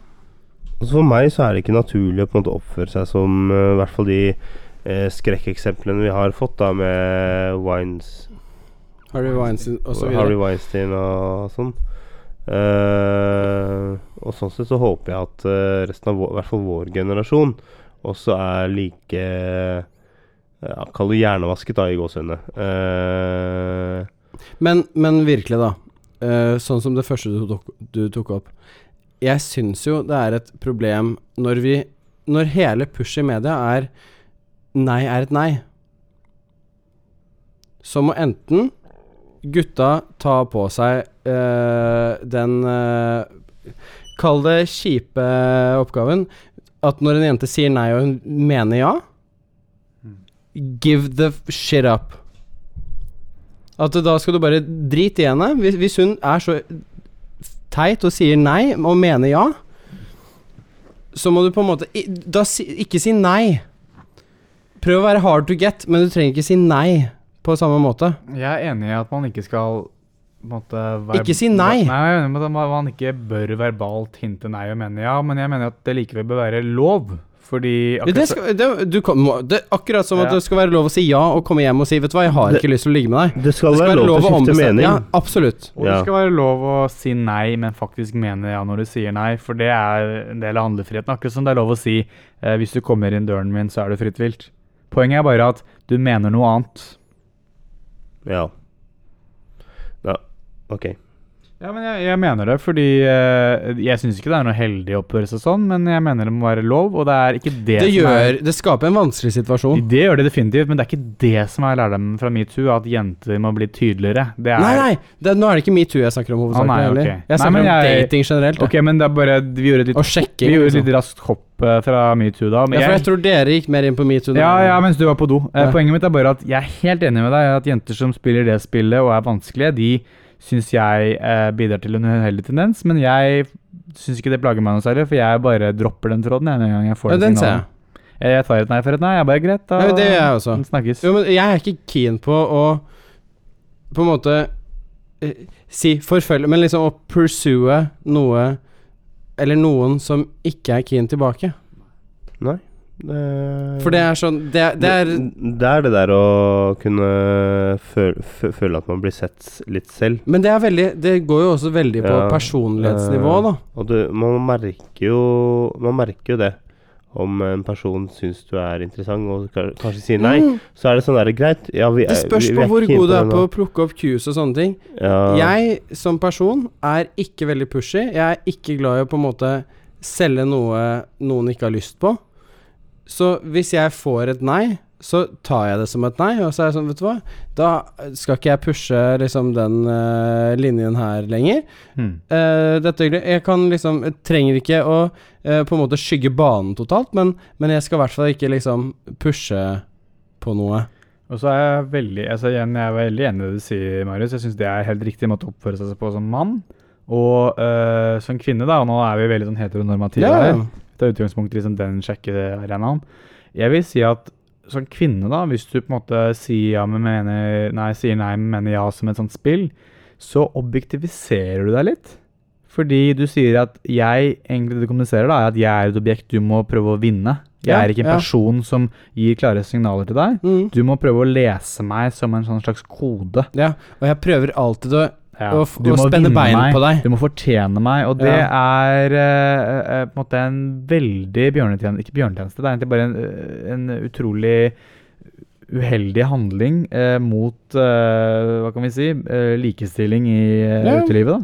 S1: Altså for meg så er det ikke naturlig å på en måte oppføre seg som eh, i hvert fall de eh, skrekkeksemplene vi har fått, da, med Wines,
S2: Harry Weinstein og så
S1: Harry
S2: videre.
S1: Weinstein og sånn. Eh, og sånn sett så håper jeg at eh, resten av vår, i hvert fall vår generasjon også er like ja, Kall det hjernevasket, da, i gåsehudene. Eh,
S2: Men, men virkelig, da. eh, sånn som det første du tok, du tok opp. Jeg syns jo det er et problem når vi Når hele pushet i media er nei er et nei, så må enten gutta ta på seg eh, den eh, Kall det kjipe oppgaven at når en jente sier nei, og hun mener ja Give the f- shit up. At da skal du bare drite i henne. Hvis, hvis hun er så teit og sier nei, og mener ja, så må du på en måte i- Da si, ikke si nei. Prøv å være hard to get, men du trenger ikke si nei på samme måte.
S5: Jeg er enig i at man ikke skal på en måte, verb-
S2: Ikke si nei.
S5: Nei, jeg er enig med at man- man ikke bør verbalt hinte nei og mene ja, men jeg mener at det likevel bør være lov Fordi
S2: Ja, det skal, det, du kan, må, det, er akkurat som at
S5: Ja.
S2: det skal være lov å si ja og komme hjem og si 'vet du hva, jeg har
S1: Det-
S2: ikke lyst til å ligge med deg'.
S1: Det skal, være lov til å skifte
S2: ombestemme-
S1: mening.
S2: Ja, absolutt.
S5: Og det
S1: Ja.
S5: skal være lov å si nei, men faktisk mene ja når du sier nei, for det er en del av handlefriheten. Akkurat som det er lov å si eh, hvis du kommer inn døren min, så er du fritt vilt. Poenget er bare at du mener noe annet.
S1: Ja. Ja, ok.
S5: Ja, men jeg, jeg mener det, fordi eh, jeg syns ikke det er noe heldig å oppføre seg sånn, men jeg mener det må være lov, og det er ikke det,
S2: Det
S5: som er
S2: gjør Det skaper en vanskelig situasjon.
S5: Det gjør det definitivt, men det er ikke det som er lærdommen fra metoo, at jenter må bli tydeligere. Det er
S2: Nei, nei! Det, nå er det ikke metoo jeg snakker om
S5: Ah,
S2: hovedsakelig.
S5: nei,
S2: heller.
S5: ok. Nei,
S2: Jeg snakker
S5: men
S2: om
S5: jeg-
S2: dating generelt.
S5: Ok, men det er bare Vi gjorde et litt,
S2: Og sjekking.
S5: vi gjorde et
S2: liksom.
S5: litt raskt hopp eh, fra metoo da.
S2: Ja,
S5: Men
S2: for jeg
S5: jeg,
S2: tror dere gikk mer inn på metoo.
S5: ja, ja, mens du var på do. Eh,
S2: Ja.
S5: Poenget mitt er bare at jeg er helt enig med deg i at jenter som spiller det spillet og er vanskelige, de syns jeg eh, bidrar til en uheldig tendens, men jeg syns ikke det plager meg noe særlig, for jeg bare dropper den tråden jeg, med en gang jeg får
S2: ja,
S5: det
S2: den ser jeg.
S5: signalet. Eh, Jeg, jeg tar et nei for et nei. Jeg er bare greit, da.
S2: Ja, men det gjør jeg også.
S5: Snakkes.
S2: Jo, men jeg er ikke keen på å på en måte eh, si forfølge, men liksom å pursue noe eller noen som ikke er keen tilbake.
S1: Det-
S2: For det er sånn Det, er- det er
S1: det er det der å kunne føle, føle at man blir sett litt selv.
S2: Men det er veldig Det går jo også veldig på
S1: Ja,
S2: personlighetsnivå, da.
S1: Og du, man, merker jo, man merker jo det. Om en person syns du er interessant og ka- kanskje sier nei,
S2: Mm.
S1: så er det sånn der greit. Ja, vi, er-
S2: Det spørs
S1: vi- vi
S2: på
S1: er
S2: hvor
S1: ikke keen
S2: god du er
S1: det
S2: på
S1: nå.
S2: å plukke opp cues og sånne ting.
S1: ja,
S2: Jeg som person er ikke veldig pushy. Jeg er ikke glad i å på en måte selge noe noen ikke har lyst på. Så hvis jeg får et nei, så tar jeg det som et nei, og så er jeg sånn, vet du hva Da skal ikke jeg pushe liksom den eh, linjen her lenger.
S5: Hmm.
S2: Eh, dette er hyggelig. Jeg kan liksom jeg trenger ikke å eh, på en måte skygge banen totalt, men, men jeg skal i hvert fall ikke liksom pushe på noe.
S5: Og så er jeg veldig altså igjen, jeg er veldig enig i det du sier, Marius. Jeg syns det er helt riktig måte å oppføre seg på som mann. Og øh, som kvinne, da, og nå er vi veldig sånn heteronormative
S2: Ja,
S5: her. Ta utgangspunkt i liksom, den sjekkearenaen. Jeg vil si at som kvinne, da, hvis du på en måte sier ja, men mener nei, sier nei, men mener ja som et sånt spill, så objektiviserer du deg litt. Fordi du sier at jeg egentlig det du kommuniserer da, er at jeg er et objekt du må prøve å vinne. Jeg
S2: Ja,
S5: er ikke en
S2: ja.
S5: person som gir klare signaler til deg.
S2: Mm.
S5: Du må prøve å lese meg som en sånn slags kode.
S2: ja. Og jeg prøver alltid å Og f-
S5: Du
S2: og
S5: må
S2: spenne
S5: vinne
S2: bein
S5: meg.
S2: på deg.
S5: Du må fortjene meg, og det er eh, eh, på en måte en veldig bjørnetjeneste Ikke bjørnetjeneste, det er egentlig bare en, eh, en utrolig uheldig handling eh, mot eh, Hva kan vi si? eh, likestilling i eh,
S2: Ja.
S5: utelivet, da.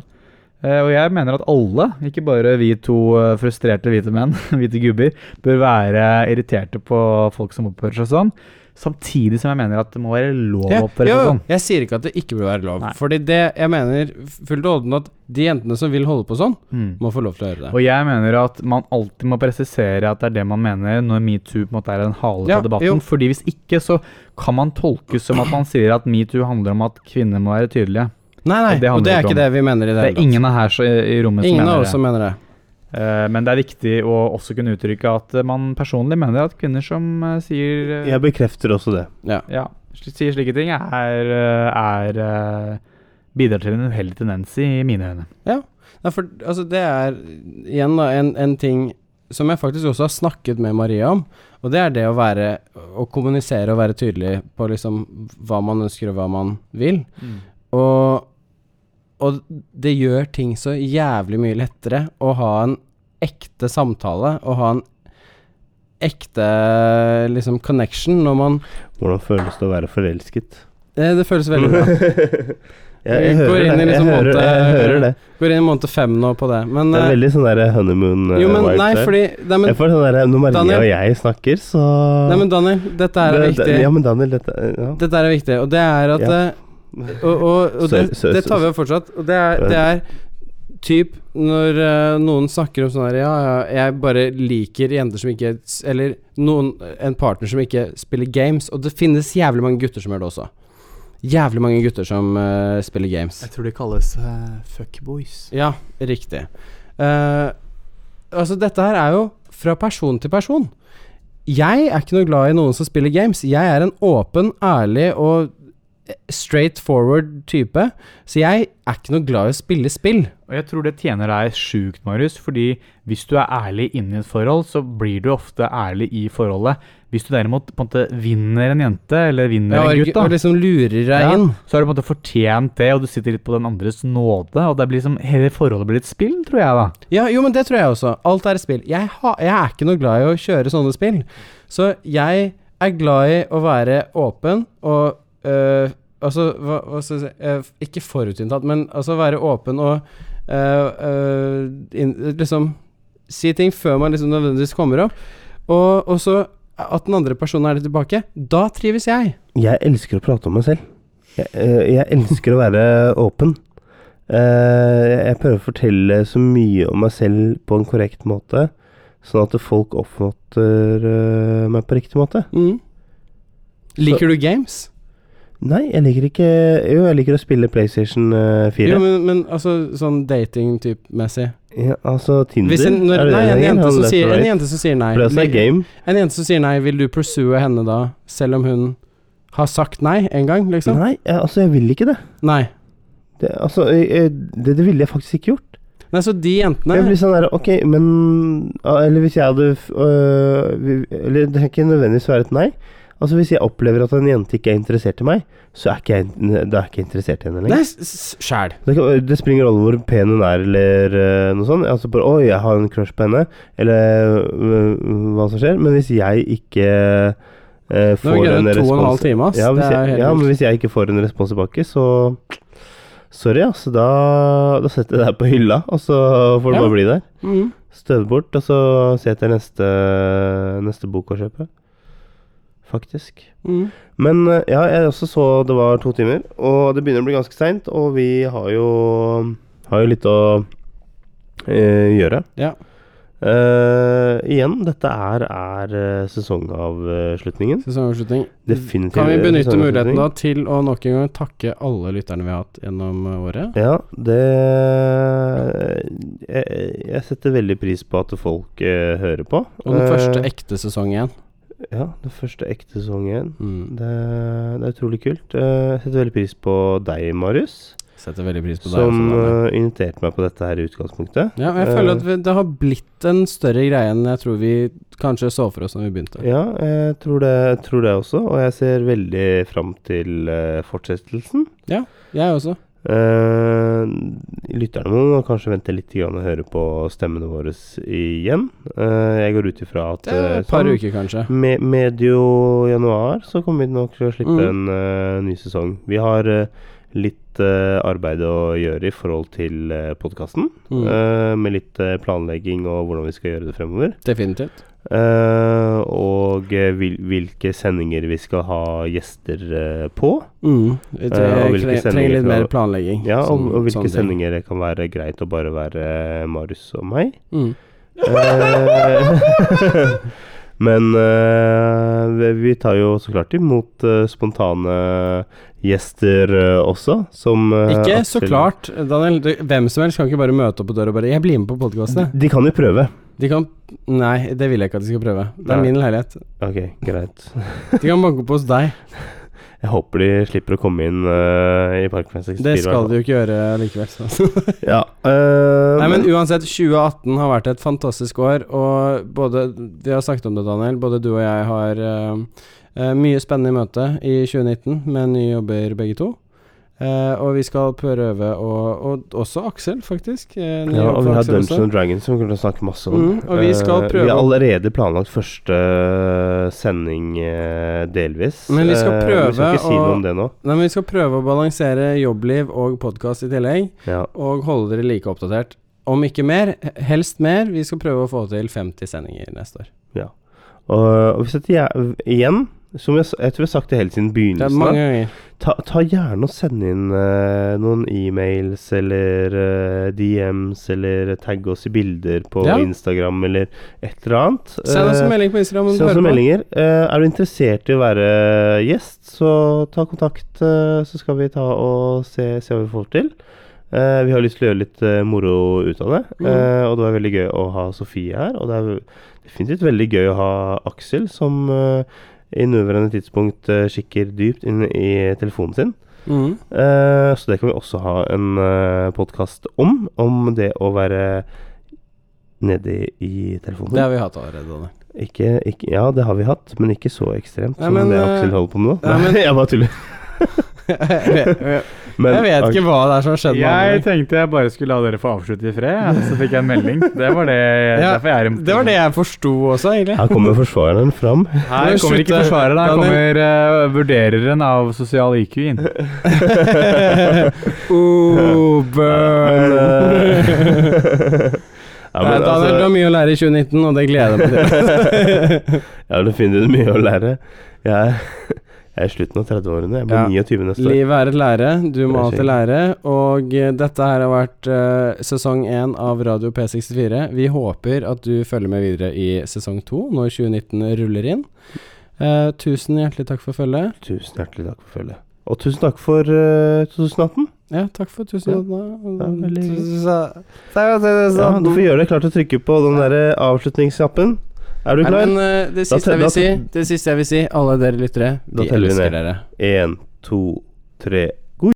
S5: Eh, og jeg mener at alle, ikke bare vi to eh, frustrerte hvite menn, hvite gubber, bør være irriterte på folk som oppfører seg sånn. Samtidig som jeg mener at det må være lov å
S2: Ja,
S5: oppføre
S2: jo,
S5: seg
S2: jo,
S5: sånn.
S2: Jeg sier ikke at det ikke burde være lov.
S5: Nei.
S2: Fordi det jeg mener fullt og holdent at de jentene som vil holde på sånn,
S5: Mm.
S2: må få lov til å gjøre det.
S5: Og jeg mener at man alltid må presisere at det er det man mener når metoo på en måte er en hale
S2: Ja,
S5: på debatten.
S2: jo.
S5: Fordi hvis ikke så kan man tolkes som at man sier at metoo handler om at kvinner må være tydelige.
S2: Nei, nei,
S5: og det
S2: og det
S5: handler
S2: er
S5: ikke
S2: ikke
S5: om-
S2: det vi mener i det
S5: Det er
S2: hele tatt.
S5: ingen av her så, i rommet som
S2: Ingen av
S5: mener
S2: oss
S5: det.
S2: som mener det.
S5: Eh, men det er viktig å også kunne uttrykke at eh, man personlig mener at kvinner som eh, sier eh,
S1: jeg bekrefter også det.
S5: ja, sli- sier slike ting, er, eh, er eh, bidrar til en uheldig tendens i mine øyne.
S2: Nei, for altså, det er igjen da en, en ting som jeg faktisk også har snakket med Maria om, og det er det å være Å kommunisere og være tydelig på liksom hva man ønsker og hva man vil. Og, og det gjør ting så jævlig mye lettere å ha en ekte samtale og ha en ekte liksom connection når man
S1: Hvordan føles det å være forelsket?
S2: eh, Det føles veldig bra.
S1: Jeg,
S2: Vi
S1: jeg,
S2: går
S1: hører,
S2: inn i
S1: det.
S2: liksom
S1: jeg, hører,
S2: måte-
S1: jeg hører det.
S2: Går inn i måned fem nå på det, men
S1: Det er
S2: eh,
S1: veldig sånn der honeymoon eh,
S2: Jo, men
S1: vibes
S2: nei,
S1: her.
S2: fordi Nei, men,
S1: jeg får sånn der, Når Maria
S2: Daniel-
S1: og jeg snakker, så
S2: nei, men Daniel, dette her er
S1: Det- det-
S2: viktig.
S1: Ja, men Daniel, dette eh, ja.
S2: Dette er viktig, og det er at
S1: Ja.
S2: eh, Og, og, og det,
S1: Sorry, sorry,
S2: det tar vi jo fortsatt. Og det er, det er typ når eh, noen snakker om sånn her Ja, ja, jeg bare liker jenter som ikke s- Eller noen, en partner som ikke spiller games. Og det finnes jævlig mange gutter som gjør det også. Jævlig mange gutter som eh, spiller games.
S6: Jeg tror de kalles eh, fuckboys.
S2: Ja, riktig. Eh, altså, dette her er jo fra person til person. Jeg er ikke noe glad i noen som spiller games. Jeg er en åpen, ærlig og straight forward type, så jeg er ikke noe glad i å spille spill.
S5: Og jeg tror det tjener deg sjukt, Marius, fordi hvis du er ærlig inni et forhold, så blir du ofte ærlig i forholdet. Hvis du derimot på en måte vinner en jente, eller vinner en
S2: Jeg
S5: gutt, da,
S2: og liksom lurer deg
S5: ja,
S2: inn.
S5: så har du på en måte fortjent det, og du sitter litt på den andres nåde, og det blir liksom, hele forholdet blir et spill, tror jeg, da.
S2: Ja, jo, men det tror jeg også. Alt er et spill. Jeg, ha, jeg er ikke noe glad i å kjøre sånne spill. Så jeg er glad i å være åpen og øh, Altså, hva, hva skal jeg si øh, Ikke forutinntatt, men altså være åpen og øh, øh, inn, liksom Si ting før man liksom nødvendigvis kommer opp. Og, og så at den andre personen er litt tilbake. Da trives jeg.
S1: Jeg elsker å prate om meg selv. Jeg, eh, jeg elsker å være åpen. Eh, jeg prøver å fortelle så mye om meg selv på en korrekt måte, sånn at folk oppfatter eh, meg på riktig måte.
S2: Mm. Liker du games?
S1: Nei, jeg liker ikke Jo, jeg liker å spille PlayStation eh, 4.
S2: Jo, men, men altså sånn dating-type-messig.
S1: ja, altså Tinder.
S2: Hvis en, når,
S1: er det
S2: nei,
S1: det
S2: en,
S1: heter?
S2: jente
S1: Han
S2: som
S1: left
S2: sier,
S1: and
S2: en
S1: right.
S2: jente som sier nei
S1: For det også er game.
S2: En jente som sier nei, vil du pursue henne da, selv om hun har sagt nei en gang, liksom?
S1: Nei, jeg, altså, jeg vil ikke det.
S2: Nei.
S1: Det, altså, jeg- jeg- det, det ville jeg faktisk ikke gjort.
S2: Nei, så de
S1: Jeg
S2: jentene
S1: blir sånn der, ok, men ja, Eller hvis jeg hadde f- øh, vi- Eller det kan ikke nødvendigvis være et nei. Altså Hvis jeg opplever at en jente ikke er interessert i meg, så er ikke jeg, da er jeg ikke interessert i henne
S2: Nei,
S1: lenger.
S2: s- s- sjæl.
S1: Det, kan, det springer rollen hvor pen hun er, eller øh, noe sånt. Altså bare, Oi, jeg har en crush på henne, eller øh, hva som skjer. Men hvis jeg ikke øh,
S2: Nå har vi
S1: får en
S2: gledet to og en halv
S1: respons
S2: time, ass.
S1: ja, hvis
S2: det er
S1: jeg, ja,
S2: jo helt
S1: men
S2: vilt.
S1: hvis jeg ikke får en respons tilbake, så Sorry, altså. Da, da setter jeg det her på hylla, og så får det
S2: Ja.
S1: bare bli der.
S2: mm.
S1: Støv bort, og så se etter neste, neste bok å kjøpe. Faktisk.
S2: Mm.
S1: Men eh, ja, jeg også så det var to timer, og det begynner å bli ganske seint, og vi har jo, har jo litt å eh, gjøre.
S2: Ja.
S1: Eh, igjen, dette er, er eh, sesongavslutningen.
S2: Sesongavslutning.
S1: Definitivt.
S2: sånn Kan vi benytte
S1: sesongavslutning.
S2: muligheten da til å nok en gang takke alle lytterne vi har hatt gjennom eh, året?
S1: Ja, det eh, jeg, jeg setter veldig pris på at folk eh, hører på.
S2: Og den
S1: Eh,
S2: første ekte sesongen igjen.
S1: Ja, den første ekte sesongen.
S2: Mm.
S1: Det, det er utrolig kult. Eh, Jeg setter veldig pris på deg, Marius,
S2: Setter veldig pris på deg.
S1: som
S2: også, Daniel.
S1: eh, inviterte meg på dette her i utgangspunktet.
S2: Ja, og jeg føler at vi, det har blitt en større greie enn jeg tror vi kanskje så for oss da vi begynte.
S1: Ja, jeg tror det, jeg tror det også, og jeg ser veldig fram til eh, fortsettelsen.
S2: Jeg også.
S1: Eh, lytterne må kanskje vente litt grann og høre på stemmene våre igjen. Eh, jeg går ut ifra at
S2: Det er
S1: eh,
S2: Et par
S1: sånn
S2: uker, kanskje.
S1: Me medio januar så kommer vi nok til å slippe
S2: Mm.
S1: en eh, ny sesong. Vi har eh, litt eh, arbeid å gjøre i forhold til uh, podkasten.
S2: Mm.
S1: med litt eh, planlegging og hvordan vi skal gjøre det fremover.
S2: Definitivt.
S1: Eh, og eh, hvil hvilke sendinger vi skal ha gjester eh, på.
S2: Mm. Vi trenger,
S1: og hvilke
S2: tre- trenger
S1: sendinger
S2: litt mer
S1: fra-
S2: planlegging.
S1: Ja, og,
S2: Sånn-
S1: og hvilke
S2: sånne ting.
S1: sendinger det kan være greit å bare være eh, Marius og meg.
S2: Mm.
S1: Eh, Men eh, vi- vi tar jo så klart imot eh, spontane gjester eh, også, som eh,
S2: Ikke så
S1: Aksel-
S2: klart, Daniel. Du, hvem som helst kan ikke bare møte opp på døra og bare 'Jeg blir med på podkastet'.
S1: De kan jo prøve.
S2: De kan Nei, det vil jeg ikke at de skal prøve. Det er
S1: Nei.
S2: min leilighet.
S1: Ok, greit.
S2: De kan banke på hos deg.
S1: Jeg håper de slipper å komme inn eh, i Parkveien 64.
S2: Det skal de jo ikke gjøre likevel. Så.
S1: Ja, eh,
S2: Nei, men uansett, 2018 har vært et fantastisk år, og både Vi har snakket om det, Daniel. Både du og jeg har eh, eh, mye spennende i møte i 2019, med nye jobber begge to. Eh, og vi skal prøve å Og også Aksel, faktisk. eh, ny
S1: ja,
S2: jobb
S1: og vi
S2: for
S1: har
S2: Aksel
S1: Dungeons
S2: også.
S1: and Dragons som vi kommer til å snakke masse om.
S2: Mm, og vi skal
S1: Eh,
S2: prøve
S1: vi har
S2: å-
S1: allerede planlagt første sending eh, delvis.
S2: Men vi skal
S1: Eh, Vi
S2: prøve
S1: skal ikke si
S2: å-
S1: noe om det nå.
S2: Nei, men Vi skal prøve å balansere jobbliv og podkast i tillegg,
S1: Ja.
S2: og holde dere like oppdatert. Om ikke mer, helst mer. Vi skal prøve å få til 50 sendinger neste år.
S1: Og, og hvis at jeg, igjen, som jeg, s- jeg tror jeg har sagt det helt siden
S2: Det er
S1: begynnelsen,
S2: mange
S1: av,
S2: ganger.
S1: ta, ta gjerne og send inn eh, noen e-mails eller eh, DMs eller tagg oss i bilder på
S2: Ja.
S1: Instagram eller et eller annet.
S2: Send oss
S1: Eh,
S2: en melding på Instagram. om du
S1: send oss
S2: hører på.
S1: meldinger. Eh, er du interessert i å være eh, gjest, så ta kontakt, eh, så skal vi ta og se, se hva vi får til. Eh, vi har lyst til å gjøre litt eh, moro ut av det,
S2: Mm.
S1: eh, og det var veldig gøy å ha Sofie her. Og det er definitivt veldig gøy å ha Aksel, som eh, i nåværende tidspunkt eh, kikker dypt inn i telefonen sin.
S2: Mm.
S1: Eh, så det kan vi også ha en eh, podkast om, om det å være nedi i telefonen.
S2: Det har vi hatt allerede. Anne.
S1: Ikke, ikke, ja, det har vi hatt, men ikke så ekstremt
S2: Nei,
S1: som
S2: men,
S1: det
S2: eh,
S1: Aksel holder på med nå.
S2: nei, men-
S1: jeg bare tuller.
S2: jeg vet-
S1: Men
S2: jeg vet ikke hva det er som har skjedd. med
S5: Jeg
S2: Anne.
S5: tenkte jeg bare skulle la dere få avslutte i fred, ja, så fikk jeg en melding. Det var det,
S2: Ja,
S5: derfor jeg er
S2: Det var det jeg forsto også, egentlig.
S1: Her kommer forsvareren fram.
S5: Her kommer ikke
S2: Slutt,
S5: forsvareren, her
S2: Daniel.
S5: kommer eh, vurdereren av sosial IQ inn.
S2: oh, burn.
S1: Ja, men,
S2: Nei, Daniel, du
S1: altså,
S2: har mye å lære i 2019, og det gleder jeg meg til.
S1: jeg har definitivt mye å lære. Jeg er, jeg er i slutten av 30-årene. Jeg blir
S2: Ja.
S1: 29 neste år.
S2: Livet er et lære, du må
S1: Det
S2: alltid
S1: er
S2: lære. Og eh, dette her har vært eh, sesong én av Radio P64. Vi håper at du følger med videre i sesong to når 2019 ruller inn. Eh, tusen hjertelig takk for følget.
S1: Tusen hjertelig takk for følget. Og tusen takk for eh, 2018.
S2: Ja, takk for tusen
S1: Ja,
S2: Mm,
S1: veldig hyggelig. Ja,
S2: Ja,
S1: du får gjøre deg klar til å trykke på den der eh, avslutningsknappen. Er du
S2: Nei,
S1: klar?
S2: men, eh,
S1: Da
S2: det, siste
S1: te- da
S2: jeg vil si, det siste jeg vil si, alle dere lyttere,
S1: Da
S2: vi
S1: teller vi
S2: elsker
S1: ned.
S2: dere.
S1: Én, to, tre